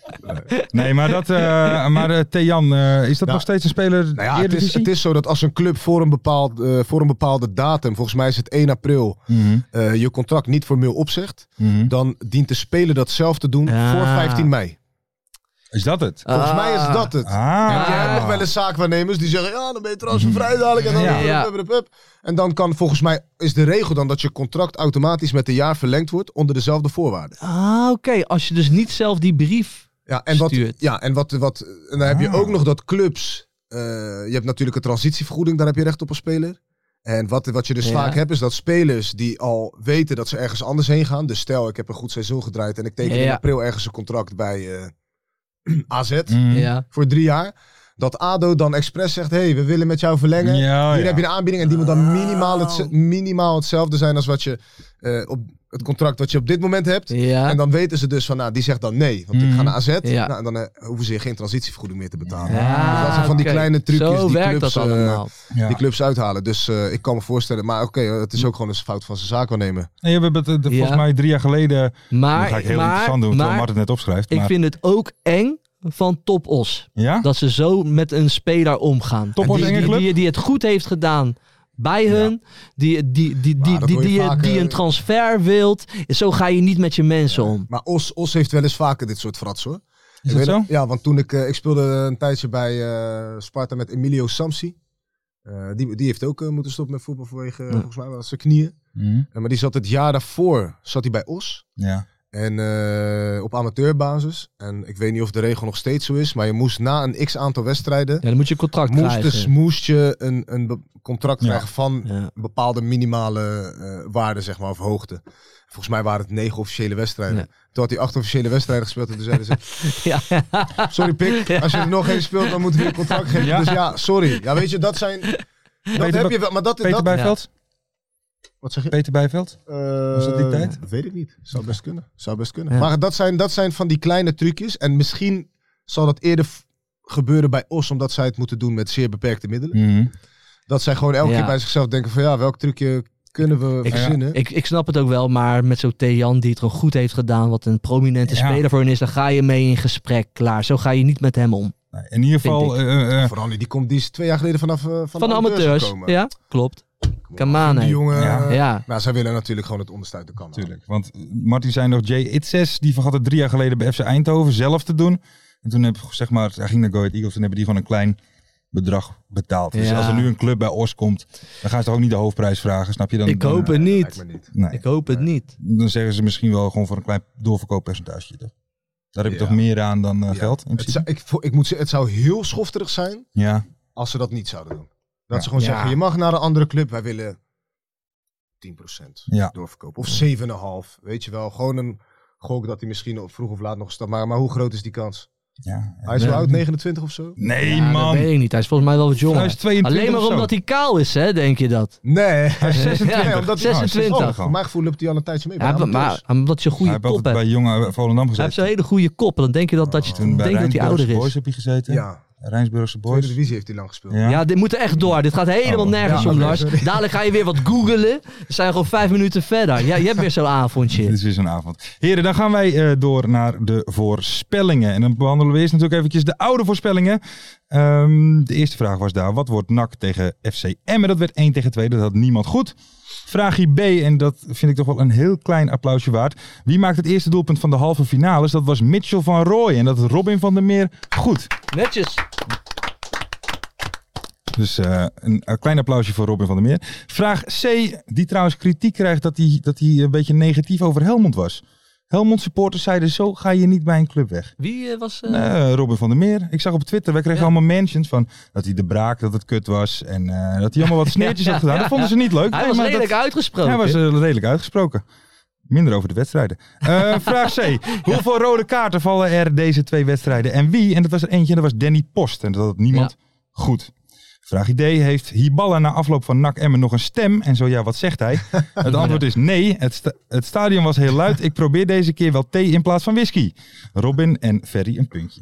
S6: Nee, maar, dat, eh, maar eh, Thean, eh, is dat
S8: Ja.
S6: nog steeds een speler
S8: Nou ja, het is,
S6: Eredivisie?
S8: het is zo dat als een club voor een, bepaald, eh, voor een bepaalde datum, volgens mij is het 1 april,
S6: Mhm,
S8: eh, je contract niet formeel opzegt,
S6: mhm.
S8: dan dient de speler dat zelf te doen
S7: Ah.
S8: voor 15 mei.
S6: Is dat het?
S8: Volgens mij is dat het.
S6: Ah.
S8: Je hebt nog wel eens zaakwaarnemers die zeggen, ja, dan ben je transfervrij dadelijk. En dan,
S7: Ja, ja.
S8: hup, hup, hup, hup. en dan kan volgens mij, is de regel dan dat je contract automatisch met een jaar verlengd wordt onder dezelfde voorwaarden.
S7: Ah, oké. Als je dus niet zelf die brief...
S8: Ja, en, wat,
S7: Stuurt.
S8: ja, en, wat, wat, en dan heb je
S6: Ah.
S8: ook nog dat clubs. eh, je hebt natuurlijk een transitievergoeding, daar heb je recht op als speler. En wat, wat je dus
S7: Ja.
S8: vaak hebt, is dat spelers die al weten dat ze ergens anders heen gaan. Dus stel, ik heb een goed seizoen gedraaid en ik teken in
S7: Ja.
S8: april ergens een contract bij eh, AZ
S6: Mhm.
S7: Ja.
S8: voor drie jaar. Dat ADO dan expres zegt, hey, we willen met jou verlengen.
S6: Ja,
S8: Hier
S6: ja.
S8: heb je een aanbieding en die moet dan minimaal, het, minimaal hetzelfde zijn als wat je, eh, op het contract wat je op dit moment hebt.
S7: Ja.
S8: En dan weten ze dus van, nou, die zegt dan nee. Want ik
S6: Mhm.
S8: ga naar AZ.
S7: Ja.
S8: Nou, en dan eh, hoeven ze geen transitievergoeding meer te betalen.
S7: Ja,
S8: Dus dat zijn van die
S7: Ah, oké.
S8: kleine trucjes
S7: Zo
S8: die
S7: werkt
S8: clubs,
S7: dat
S8: eh,
S7: allemaal.
S6: Ja.
S8: Die clubs uithalen. Dus eh, ik kan me voorstellen. Maar oké, eh, het is ook gewoon een fout van zijn zaakwaarnemer.
S6: Nee, we hebben het eh, volgens
S7: Ja.
S6: mij drie jaar geleden... dat
S7: Maar,
S6: ga ik heel
S7: maar,
S6: interessant doen, terwijl
S7: maar
S6: Martin het net opschrijft.
S7: ik
S6: maar-
S7: vind het ook eng van Topos.
S6: Ja?
S7: Dat ze zo met een speler omgaan.
S6: Topos
S7: die, die,
S6: Engenclub?
S7: die, die het goed heeft gedaan bij hun. Die, die, die,
S8: Maar
S7: die,
S8: dat
S7: die,
S8: hoor je
S7: die,
S8: vaak,
S7: die
S8: eh.
S7: een transfer wilt. Zo ga je niet met je mensen om.
S8: Maar Os, Os heeft wel eens vaker dit soort frats hoor.
S6: Is
S8: Ik
S6: dat
S8: weet
S6: zo?
S8: het- Ja, want toen ik, eh, ik speelde een tijdje bij eh, Sparta met Emilio Samsi. Eh, die, die heeft ook eh, moeten stoppen met voetbal vanwege, eh, volgens mij, wel zijn knieën.
S6: Hm.
S8: Eh, maar die zat het jaar daarvoor zat hij bij Os.
S6: Ja.
S8: En eh, op amateurbasis. En ik weet niet of de regel nog steeds zo is. Maar je moest na een x aantal wedstrijden.
S7: Ja, dan moet je een contract
S8: Moest,
S7: krijgen.
S8: dus, moest je een, een be- contract
S6: Ja.
S8: krijgen van
S7: Ja.
S8: een bepaalde minimale eh waarde, zeg maar, of hoogte. Volgens mij waren het negen officiële wedstrijden.
S7: Ja.
S8: Toen had hij acht officiële wedstrijden gespeeld. En toen zeiden ze:
S7: Ja.
S8: Sorry, Pik, als je er nog één speelt, dan moeten we je een contract geven.
S6: Ja.
S8: Dus ja, sorry. Ja, weet je, dat zijn. Dat
S6: Peter,
S8: heb
S6: Be-
S8: je wel. Maar dat,
S6: Peter Eh,
S8: dat
S6: Bijveld?
S8: wat zeg je?
S6: Peter Bijveld?
S8: Was
S6: dat die tijd?
S8: Weet ik niet. Zou best kunnen. Zou best kunnen.
S7: Ja.
S8: Maar dat zijn, dat zijn van die kleine trucjes. En misschien zal dat eerder f- gebeuren bij Os, omdat zij het moeten doen met zeer beperkte middelen.
S6: Hm.
S8: Dat zij gewoon elke
S7: Ja.
S8: keer bij zichzelf denken van ja, welk trucje kunnen we
S7: Ik-
S8: verzinnen?
S7: Ik, ik snap het ook wel, maar met zo'n Thean die het gewoon goed heeft gedaan, wat een prominente
S6: Ja.
S7: speler voor hen is, dan ga je mee in gesprek, klaar. Zo ga je niet met hem om.
S6: Nou, In ieder geval, eh, eh, eh,
S8: Vooral die, die komt die is twee jaar geleden vanaf eh, van,
S7: Van de amateurs.
S8: gekomen.
S7: Ja, klopt.
S8: Die
S7: Kamane.
S8: jongen.
S6: Ja.
S8: eh,
S7: Ja.
S8: Nou, zij willen natuurlijk gewoon het onderste uit de kan. halen.
S6: natuurlijk. Want eh, Martin zei nog, Jay Itzes, die vergat het drie jaar geleden bij FC Eindhoven zelf te doen. En toen heb, zeg maar, hij ging naar Go Ahead Eagles en hebben die gewoon een klein bedrag betaald. Dus
S7: Ja.
S6: als er nu een club bij Os komt, dan gaan ze toch ook niet de hoofdprijs vragen, snap je? Dan,
S7: Ik hoop het
S8: Lijkt
S7: niet.
S8: me niet.
S6: Nee.
S7: Ik hoop het niet.
S6: dan zeggen ze misschien wel gewoon voor een klein doorverkooppercentage. Toch? Daar heb je
S8: Ja.
S6: toch meer aan dan eh,
S8: Ja.
S6: geld? In
S8: Het
S6: principe?
S8: zou, ik, vo- ik moet zeggen, het zou heel schofterig zijn
S6: ja.
S8: als ze dat niet zouden doen. Dat
S6: Ja.
S8: ze gewoon
S6: Ja.
S8: zeggen, je mag naar een andere club, wij willen 10%
S6: Ja.
S8: doorverkopen. Of 7,5, weet je wel. Gewoon een gok dat hij misschien op vroeg of laat nog stapt. Maar, maar hoe groot is die kans?
S6: ja.
S8: Hij is wel
S6: Nee.
S8: oud, 29 of zo?
S6: Nee,
S7: Ja,
S6: man.
S7: Dat weet ik niet. Hij is volgens mij wel wat
S6: Hij
S7: jonger.
S6: is 22
S7: Alleen maar
S6: of zo.
S7: omdat hij kaal is, hè, denk je dat?
S8: Nee. Hij is
S7: 26.
S8: hij-
S7: 26.
S8: Oh, voor mijn gevoel loopt hij al een tijdje mee. bij
S7: Ja, maar,
S8: amateurs.
S7: maar omdat je een
S6: Hij
S7: goede
S6: heeft
S7: kop
S6: altijd
S7: hebt.
S6: bij Jonge Volendam
S7: Hij heeft
S6: gezeten.
S7: zo'n hele goede kop. En dan denk je dat, dat, je,
S6: Toen bij
S7: denkt dat hij ouder
S6: Rijnsburgse Boys
S7: is.
S6: heb je gezeten.
S8: Ja,
S6: Rijnsburgse
S8: tweede
S6: Boys.
S8: divisie heeft hij lang gespeeld.
S6: Ja.
S7: Ja, dit moet er echt door. Dit gaat helemaal
S6: Oh.
S7: nergens
S8: Ja,
S7: om,
S8: oké,
S7: Lars.
S8: sorry.
S7: Dadelijk ga je weer wat googelen. We zijn gewoon vijf minuten verder. Ja, je hebt weer zo'n avondje.
S6: Dit is weer zo'n avond. Heren, dan gaan wij eh, door naar de voorspellingen. En dan behandelen we eerst natuurlijk eventjes de oude voorspellingen. Ehm, de eerste vraag was daar, wat wordt NAC tegen FC Emmen? Dat werd 1 tegen 2, dat had niemand goed. Vraagje B, en dat vind ik toch wel een heel klein applausje waard. Wie maakt het eerste doelpunt van de halve finales? Dat was Mitchell van Rooij en dat is Robin van der Meer. Goed,
S7: Netjes.
S6: dus eh, een, een klein applausje voor Robin van der Meer. Vraag C, die trouwens kritiek krijgt dat hij dat hij een beetje negatief over Helmond was. Helmond supporters zeiden, zo ga je niet bij een club weg.
S7: Wie eh, was... eh,
S6: Eh, Robin van der Meer. Ik zag op Twitter, wij kregen
S7: Ja.
S6: allemaal mentions van dat hij de braak, dat het kut was. En eh, dat hij allemaal wat sneertjes had gedaan. Dat vonden ze niet leuk.
S7: Hij
S6: Nee,
S7: was
S6: maar
S7: redelijk
S6: dat-
S7: uitgesproken.
S6: Hij was eh, redelijk uitgesproken. Minder over de wedstrijden. Eh, vraag C. Hoeveel rode kaarten vallen er deze twee wedstrijden? En wie? En dat was er eentje, en dat was Danny Post. En dat had niemand goed. Vraag D. Heeft Hiballa na afloop van NAC Emmen nog een stem? En zo ja, wat zegt hij? Het antwoord is nee. Het, sta- het stadion was heel luid. Ik probeer deze keer wel thee in plaats van whisky. Robin en Ferry een puntje.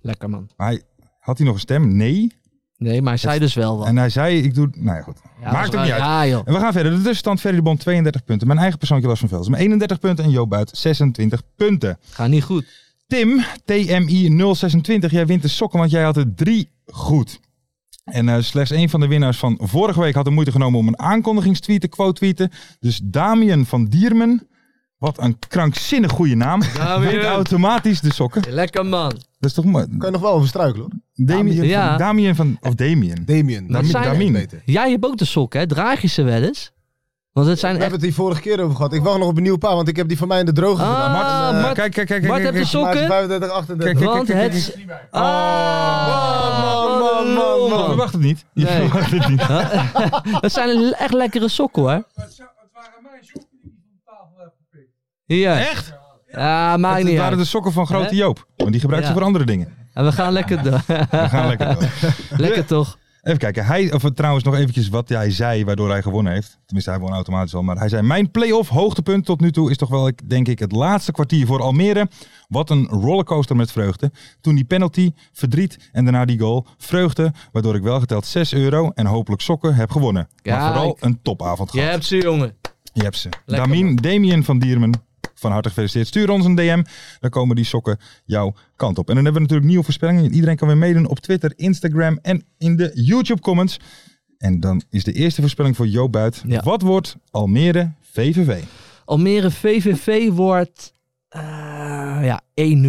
S7: Lekker man.
S6: Maar hij, had hij nog een stem? Nee.
S7: Nee, maar hij zei dus wel wat.
S6: En hij zei, ik doe... Nou ja, goed.
S7: Ja,
S6: Maakt
S7: was-
S6: hem niet uit.
S7: Ja, joh.
S6: En we gaan verder. De tussenstand Ferry de Bond 32 punten. Mijn eigen persoontje Lars van Velsen met 31 punten. En Joop Buit 26 punten.
S7: Ga niet goed.
S6: Tim, TMI 026. Jij wint de sokken, want jij had er drie goed. En eh, slechts één van de winnaars van vorige week had de moeite genomen om een aankondigingstweet te quote-tweeten. Dus Damian van Diermen. Wat een krankzinnig goede naam.
S7: Damian.
S6: Wint automatisch de sokken.
S7: Lekker man.
S6: Dat is toch mooi.
S8: Kan je nog wel over struikelen hoor.
S6: Damien,
S7: Ja.
S6: van, Damian van... Of Damien.
S8: Damien.
S7: Dat zijn-
S8: Damien. beter.
S7: Jij hebt ook de sok, hè? Draag je ze wel eens? Want het zijn
S8: We
S7: echt...
S8: hebben het hier vorige keer over gehad. Ik wacht nog op een nieuw paar, want ik heb die van mij in de droge
S7: Ah,
S8: gedaan.
S7: Mart-
S8: eh,
S7: Mart-
S6: Kijk, kijk, kijk.
S7: Bart,
S6: kijk,
S7: heb je
S6: kijk.
S7: sokken?
S8: maart 35, 38.
S6: Kijk,
S7: Want
S6: kijk, kijk,
S7: het... Ah,
S8: man,
S7: wat een
S8: man, man,
S7: lul.
S6: Je verwacht het niet. Je
S7: Nee.
S6: verwacht het niet.
S7: Dat zijn le- echt lekkere sokken, hoor.
S9: Maar het, zou- het waren mijn sokken die ik van tafel heb gepikt.
S7: Hier.
S6: Echt?
S7: Ja, maakt
S6: Het
S7: niet
S6: waren
S7: uit.
S6: dus- de sokken van Grote
S7: Hè?
S6: Joop. Want die gebruikt
S7: Ja.
S6: ze voor andere dingen.
S7: En we gaan lekker door.
S6: We gaan lekker door.
S7: lekker toch?
S6: Even kijken. Hij, of trouwens nog eventjes wat hij zei waardoor hij gewonnen heeft. Tenminste, hij won automatisch al. Maar hij zei, mijn play-off hoogtepunt tot nu toe is toch wel, ik- denk ik, het laatste kwartier voor Almere. Wat een rollercoaster met vreugde. Toen die penalty, verdriet en daarna die goal. Vreugde, waardoor ik wel geteld 6 euro en hopelijk sokken heb gewonnen. Maar
S7: Kijk.
S6: vooral een topavond
S7: Je
S6: gehad.
S7: hebt ze, jongen.
S6: Je hebt ze.
S7: Lekker,
S6: Damien, Damien van Diermen. Van harte gefeliciteerd. Stuur ons een DM. Dan komen die sokken jouw kant op. En dan hebben we natuurlijk nieuwe voorspellingen. Iedereen kan weer meedoen op Twitter, Instagram en in de YouTube comments. En dan is de eerste voorspelling voor Jo Buit.
S7: Ja.
S6: Wat wordt Almere VVV?
S7: Almere VVV wordt eh, ja, 1-0.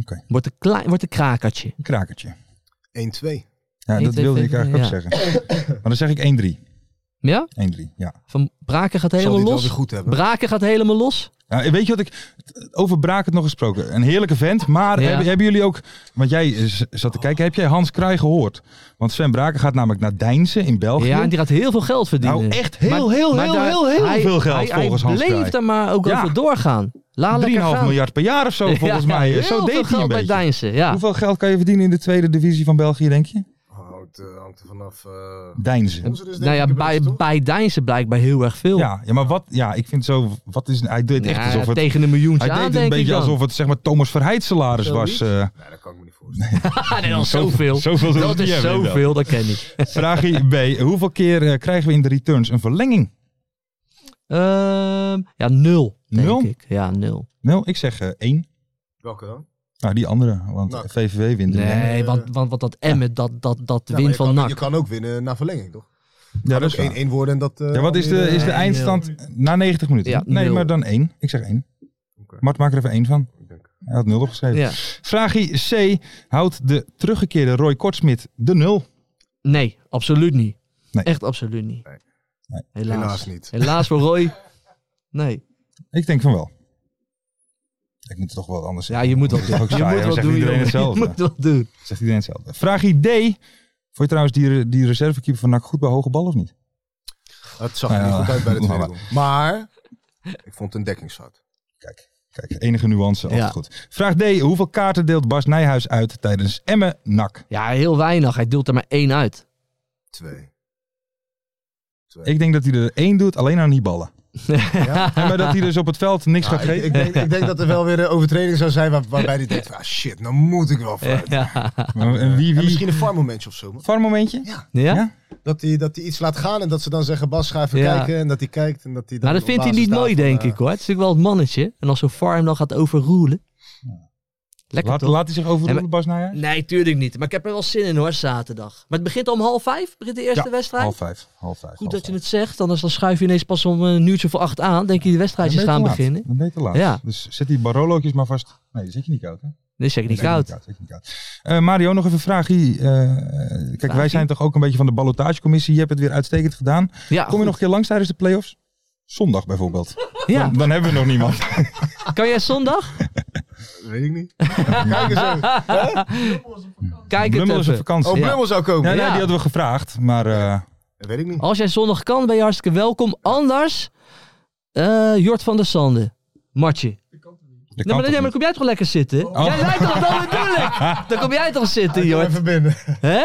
S6: Oké.
S7: Wordt, een klein, wordt een krakertje.
S6: Een krakertje.
S8: 1-2.
S6: Ja,
S7: 1, 2,
S6: dat wilde ik
S7: 5,
S6: eigenlijk ook zeggen. Maar dan zeg ik 1-3.
S7: Ja?
S6: 1-3, ja.
S7: Van Braken gaat
S8: Zal
S7: helemaal
S8: die het
S7: los.
S8: wel weer goed hebben.
S7: Braken gaat helemaal los.
S6: Ja, weet je wat ik over Braak het nog gesproken? Een heerlijke vent, maar
S7: Ja.
S6: hebben, hebben jullie ook, want jij eh, z- zat te kijken, heb jij Hans Kraai gehoord? Want Sven Braken gaat namelijk naar Deinzen in België.
S7: Ja, en die gaat heel veel geld verdienen.
S6: Nou, echt heel, heel, heel,
S7: daar-
S6: heel, heel veel geld
S7: hij,
S6: volgens
S7: hij
S6: Hans Kraai.
S7: bleef er maar ook
S6: Ja.
S7: over doorgaan. Laat lekker
S6: 3,5
S7: gaan.
S6: miljard per jaar of zo, volgens
S7: Ja,
S6: mij.
S7: heel
S6: Zo
S7: veel
S6: deed hij
S7: geld
S6: een
S7: bij
S6: beetje.
S7: Deinzen, ja.
S6: Hoeveel geld kan je verdienen in de tweede divisie van België, denk je?
S8: Oh, het eh, hangt er vanaf. eh,
S6: Deinzen.
S8: hoe ze dus
S7: Nou ja,
S8: denken,
S7: bij,
S8: toch?
S7: bij Deinzen blijkbaar heel erg veel.
S6: Ja, ja, maar wat, ja, ik vind zo, wat is, hij deed echt
S7: Ja,
S6: alsof het,
S7: tegen een miljoentje
S6: hij
S7: aan,
S6: deed het een
S7: denk ik
S6: beetje
S7: dan.
S6: alsof het, zeg maar, Thomas Verheid salaris was. eh.
S8: Nee, dat kan ik me niet voorstellen.
S7: Ah, nee, dat is zoveel.
S6: Zoveel zullen
S7: Dat
S6: we niet
S7: is
S6: hebben, inderdaad.
S7: zoveel, dat ken ik.
S6: Vraagje B. Hoeveel keer eh, krijgen we in de returns een verlenging?
S7: Ehm, ja, nul, denk
S6: Nul?
S7: ik. Ja, nul.
S6: Nou, ik zeg eh, één.
S8: Welke dan?
S6: Nou, die andere, want
S8: Nou,
S6: VVV wint. hem.
S7: Nee, want, want, want dat Emmet, dat, dat, dat
S8: Ja, maar
S7: wint
S8: je
S7: van
S8: kan,
S7: NAC.
S8: Je kan ook winnen na verlenging, toch?
S6: Ja, dat is waar.
S8: 1-1 worden en dat... eh,
S6: Ja, wat is de,
S8: Almere-
S6: is de
S7: Nee,
S6: eindstand na 90 minuten?
S7: Ja,
S6: nee,
S7: nul.
S6: maar dan één. Ik zeg één.
S8: Oké.
S6: Mart, maak er even één van.
S8: Ik denk-
S6: Hij had nul opgeschreven.
S7: Ja.
S6: Vraagje C. Houdt de teruggekeerde Roy Kortsmit de nul?
S7: Nee, absoluut niet.
S6: Nee.
S7: Echt absoluut niet.
S8: Nee.
S6: Nee.
S7: Helaas.
S8: Helaas niet.
S7: Helaas voor Roy. Nee.
S6: Ik denk van wel. Ik moet het toch wel anders
S7: Ja, je moet dat
S6: Dat
S7: doen.
S6: is ook
S7: Je
S6: saai,
S7: moet
S6: hè?
S7: dat
S6: Zegt
S7: doen.
S6: iedereen
S7: jongen.
S6: hetzelfde.
S7: Je moet dat doen.
S6: Zegt iedereen hetzelfde. Vraagje D. Vond je trouwens die, die reservekeeper van NAC goed bij hoge bal of niet?
S8: Het zag er
S6: Nou ja,
S8: niet goed uit bij de
S6: maar-
S8: tweede goal. Maar ik vond het een dekkingsfout.
S6: Kijk, kijk enige nuance, altijd
S7: Ja.
S6: goed. Vraag D. Hoeveel kaarten deelt Bas Nijhuis uit tijdens Emmen NAC?
S7: Ja, heel weinig. Hij deelt er maar één uit.
S8: Twee. Twee.
S6: Ik denk dat hij er één doet, alleen aan die ballen. En maar dat hij dus op het veld niks
S8: Ja,
S6: gaat geven.
S8: ik, ik denk, ik denk dat er wel weer een overtreding zou zijn waar- waarbij hij denkt, van, ah, shit, nou moet ik wel vooruit.
S7: Ja.
S6: Maar, eh, wie,
S8: En
S6: wie?
S8: misschien een farmmomentje of zo. man.
S6: Voor een momentje?
S7: ja? Nou,
S6: Ja?
S8: Dat hij, dat hij iets laat gaan en dat ze dan zeggen, Bas, ga even
S7: Ja.
S8: kijken. En dat hij kijkt en dat hij dan
S7: Maar dat
S8: op
S7: vindt hij
S8: basis
S7: niet mooi,
S8: daarvan,
S7: denk
S8: eh,
S7: ik hoor. Het is natuurlijk wel het mannetje. En als zo'n farm dan gaat overroelen. Lekker
S6: Laat,
S7: toch?
S6: laat hij zich
S7: En
S6: overroelen,
S7: we-
S6: Bas Nijhuis?
S7: Nee, tuurlijk niet. Maar ik heb er wel zin in hoor, zaterdag. Maar het begint om half vijf, begint de eerste
S6: Ja,
S7: wedstrijd.
S6: Half vijf. Half vijf
S7: Goed
S6: half
S7: dat je
S6: vijf.
S7: het zegt, anders dan schuif je ineens pas om een uurtje voor acht aan. Denk je die wedstrijdjes
S6: Dan ben je te
S7: gaan
S6: laat.
S7: beginnen?
S6: Dan ben je te laat.
S7: Ja.
S6: Dus zet die barolootjes maar vast. Nee, die zit je niet koud, hè?
S7: Nee, zeker niet
S6: Zet je
S7: koud.
S6: zet je niet koud. Eh, Mario, nog even een vraagje. Eh, kijk, wij zijn toch ook een beetje van de ballotagecommissie. Je hebt het weer uitstekend gedaan.
S7: Ja,
S6: Kom je nog een keer langs tijdens de play-offs? Zondag bijvoorbeeld.
S7: ja.
S6: Dan hebben we nog niemand.
S7: kan jij zondag?
S8: Weet ik niet. Kijk eens even.
S7: Kijk het
S6: Brummel is op
S7: even.
S6: vakantie.
S8: Oh,
S7: Ja.
S8: Brummel zou komen.
S6: Ja, nee,
S7: Ja.
S6: die hadden we gevraagd. Maar eh,
S8: Weet ik niet.
S7: Als jij zondag kan, ben je hartstikke welkom. Anders, eh, Jort van der Sande. Martje.
S6: dat
S7: Nee,
S6: kan
S7: maar, nee, maar dan
S6: toch niet? Oh.
S7: kom jij toch lekker zitten? Jij lijkt toch dat bedoel ik? Dan kom jij toch zitten,
S8: Kom
S7: Jort.
S8: even binnen.
S7: Hè?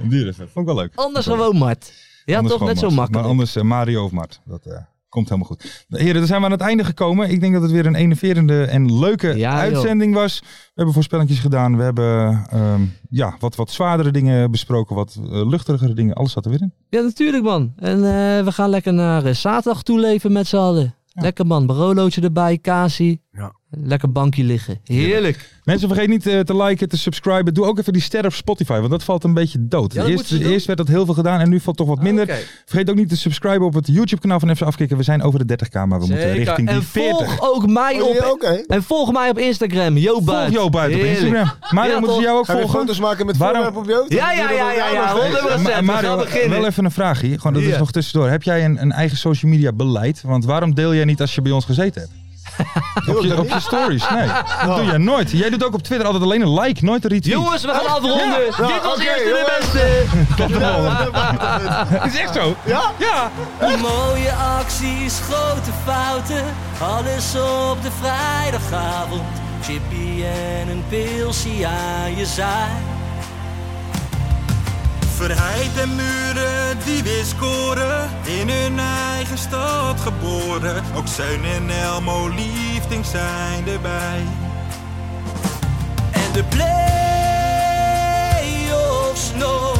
S6: Een duur even. Vond ik wel leuk.
S7: Anders
S6: Vond ik wel
S7: gewoon Mart. Ja,
S6: Anders
S7: toch?
S6: gewoon
S7: Net zo
S6: Mart.
S7: makkelijk.
S6: Maar anders eh, Mario of Mart. Dat eh, komt helemaal goed. Heren, dan zijn we aan het einde gekomen. Ik denk dat het weer een enerverende en leuke
S7: Ja, joh.
S6: uitzending was. We hebben voorspellingjes gedaan. We hebben ehm, ja, wat, wat zwaardere dingen besproken. Wat eh, luchtigere dingen. Alles zat er weer in.
S7: Ja, natuurlijk man. En eh, we gaan lekker naar eh, zaterdag toeleven met z'n allen. Lekker man, barolootje erbij, Kasi.
S8: Ja.
S7: Lekker bankje liggen. Heerlijk.
S6: Mensen, vergeet niet eh, te liken, te subscriben. Doe ook even die ster op Spotify, want dat valt een beetje dood.
S7: dat
S6: eerst,
S7: moeten ze doen. Ah,
S6: eerst werd dat heel veel gedaan en nu valt toch wat minder.
S7: Oké.
S6: Vergeet ook niet te subscriben op het YouTube-kanaal van FC Afkikken. We zijn over de 30k, maar we moeten
S7: Zeker.
S6: richting die
S7: En
S6: 40.
S7: volg ook mij
S8: Oh,
S7: op...
S8: ja, Oké.
S7: En volg mij op Instagram, Jo
S6: Volg
S7: Buit.
S6: Jo buiten op
S7: Heerlijk.
S6: Instagram. Mario,
S7: Ja,
S6: moeten ze
S7: toch?
S6: jou ook
S8: Ga je
S6: volgen?
S8: foto's maken met
S6: Waarom-
S8: voorwerp op je auto?
S7: Ja, ja, ja, ja, ja, 100%.
S6: Maar-
S7: We
S6: Mario,
S7: gaan beginnen.
S6: wel even een vraagje. Gewoon, dat is
S7: Ja.
S6: nog tussendoor. Heb jij een, een eigen social media beleid? Want waarom deel jij niet als je bij ons gezeten hebt?
S7: Oh,
S6: op, je, op je stories, nee. Dat doe jij nooit. Jij doet ook op Twitter altijd alleen een like, nooit een retweet.
S7: Jongens, we gaan afronden. Dit was
S8: oké,
S7: eerst de
S8: jongens.
S7: beste.
S6: Dat is echt zo.
S8: Ja?
S6: Ja.
S4: Mooie acties, grote fouten, alles op de vrijdagavond. Chippy en een pilsie aan je zaai.
S5: Verheid en muren die weer scoren, in hun eigen stad geboren. Ook Zijn en Elmo liefding zijn erbij.
S4: En de
S5: oh,
S4: play-offs nog.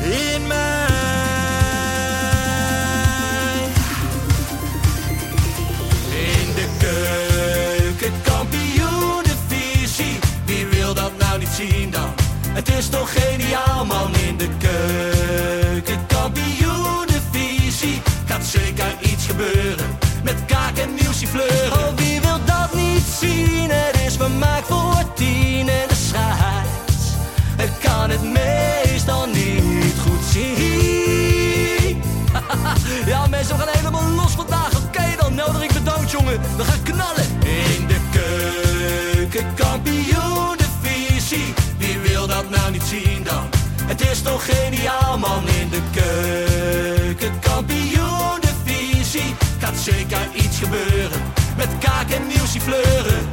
S5: In mij.
S7: nou zien dan. Het is toch geniaal man in de keuken. Kampioenenvisie. Gaat zeker iets gebeuren. Met kaak en nieuwsje fleuren. Oh wie wil dat niet zien? Het is vermaakt voor tien en de scheids. Ik kan het meestal niet goed zien. Ja, mensen, we gaan helemaal los vandaag. Oké dan, Nelderik bedankt, jongen. We gaan knallen. In de keuken, kampioen, de visie. Wie wil dat nou niet zien dan? Het is toch geniaal, man. In de keuken, kampioen, de visie. Gaat zeker iets gebeuren. Met kaak en nieuwsie fleuren.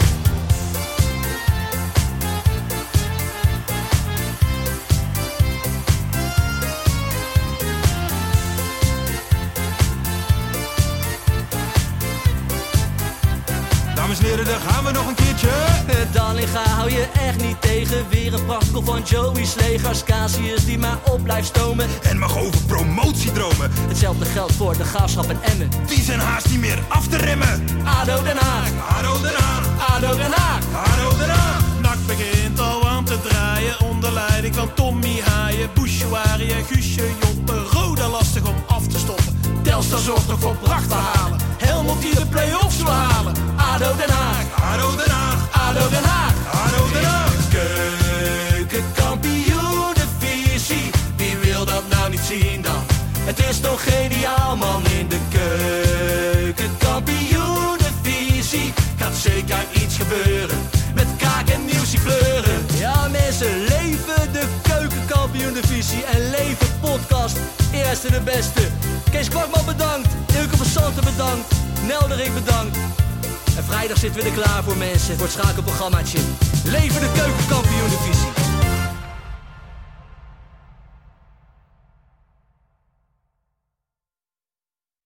S5: Dames en heren, daar gaan we nog een keertje.
S7: Eh, Dallinga hou je echt niet tegen. Weer een prachtkel van Joey's legers. Casius die maar op blijft stomen.
S5: En mag over promotiedromen.
S7: Hetzelfde geldt voor de gaafschap en Emmen.
S5: Die zijn haast niet meer af te remmen.
S7: ADO Den Haag,
S5: Haro eraan,
S7: ADO Den Haag.
S5: haro eraan.
S11: Nak begint al aan te draaien onder leiding van Tommy Haaien, Bouchouari en Guusje Joppen. Roda lastig om af te stoppen.
S7: Telstar zorgt nog voor pracht te halen. Helmond die de play-offs wil halen. ADO Den Haag,
S5: Haro eraan,
S7: ADO Den Haag.
S5: haro eraan.
S7: Keukenkampioenenvisie, wie wil dat nou niet zien dan? Het is toch geniaal man in de keukenkampioenenvisie. Gaat zeker iets gebeuren, met kaak en nieuwsie fleuren. Ja mensen, leven de keukenkampioenenvisie en leven podcast. Eerste de beste. Kees Kwakman bedankt, Ilke van Santen bedankt, Nelderik bedankt. En vrijdag zitten we er klaar voor mensen, voor het schakelprogrammaatje. Leven de keuken!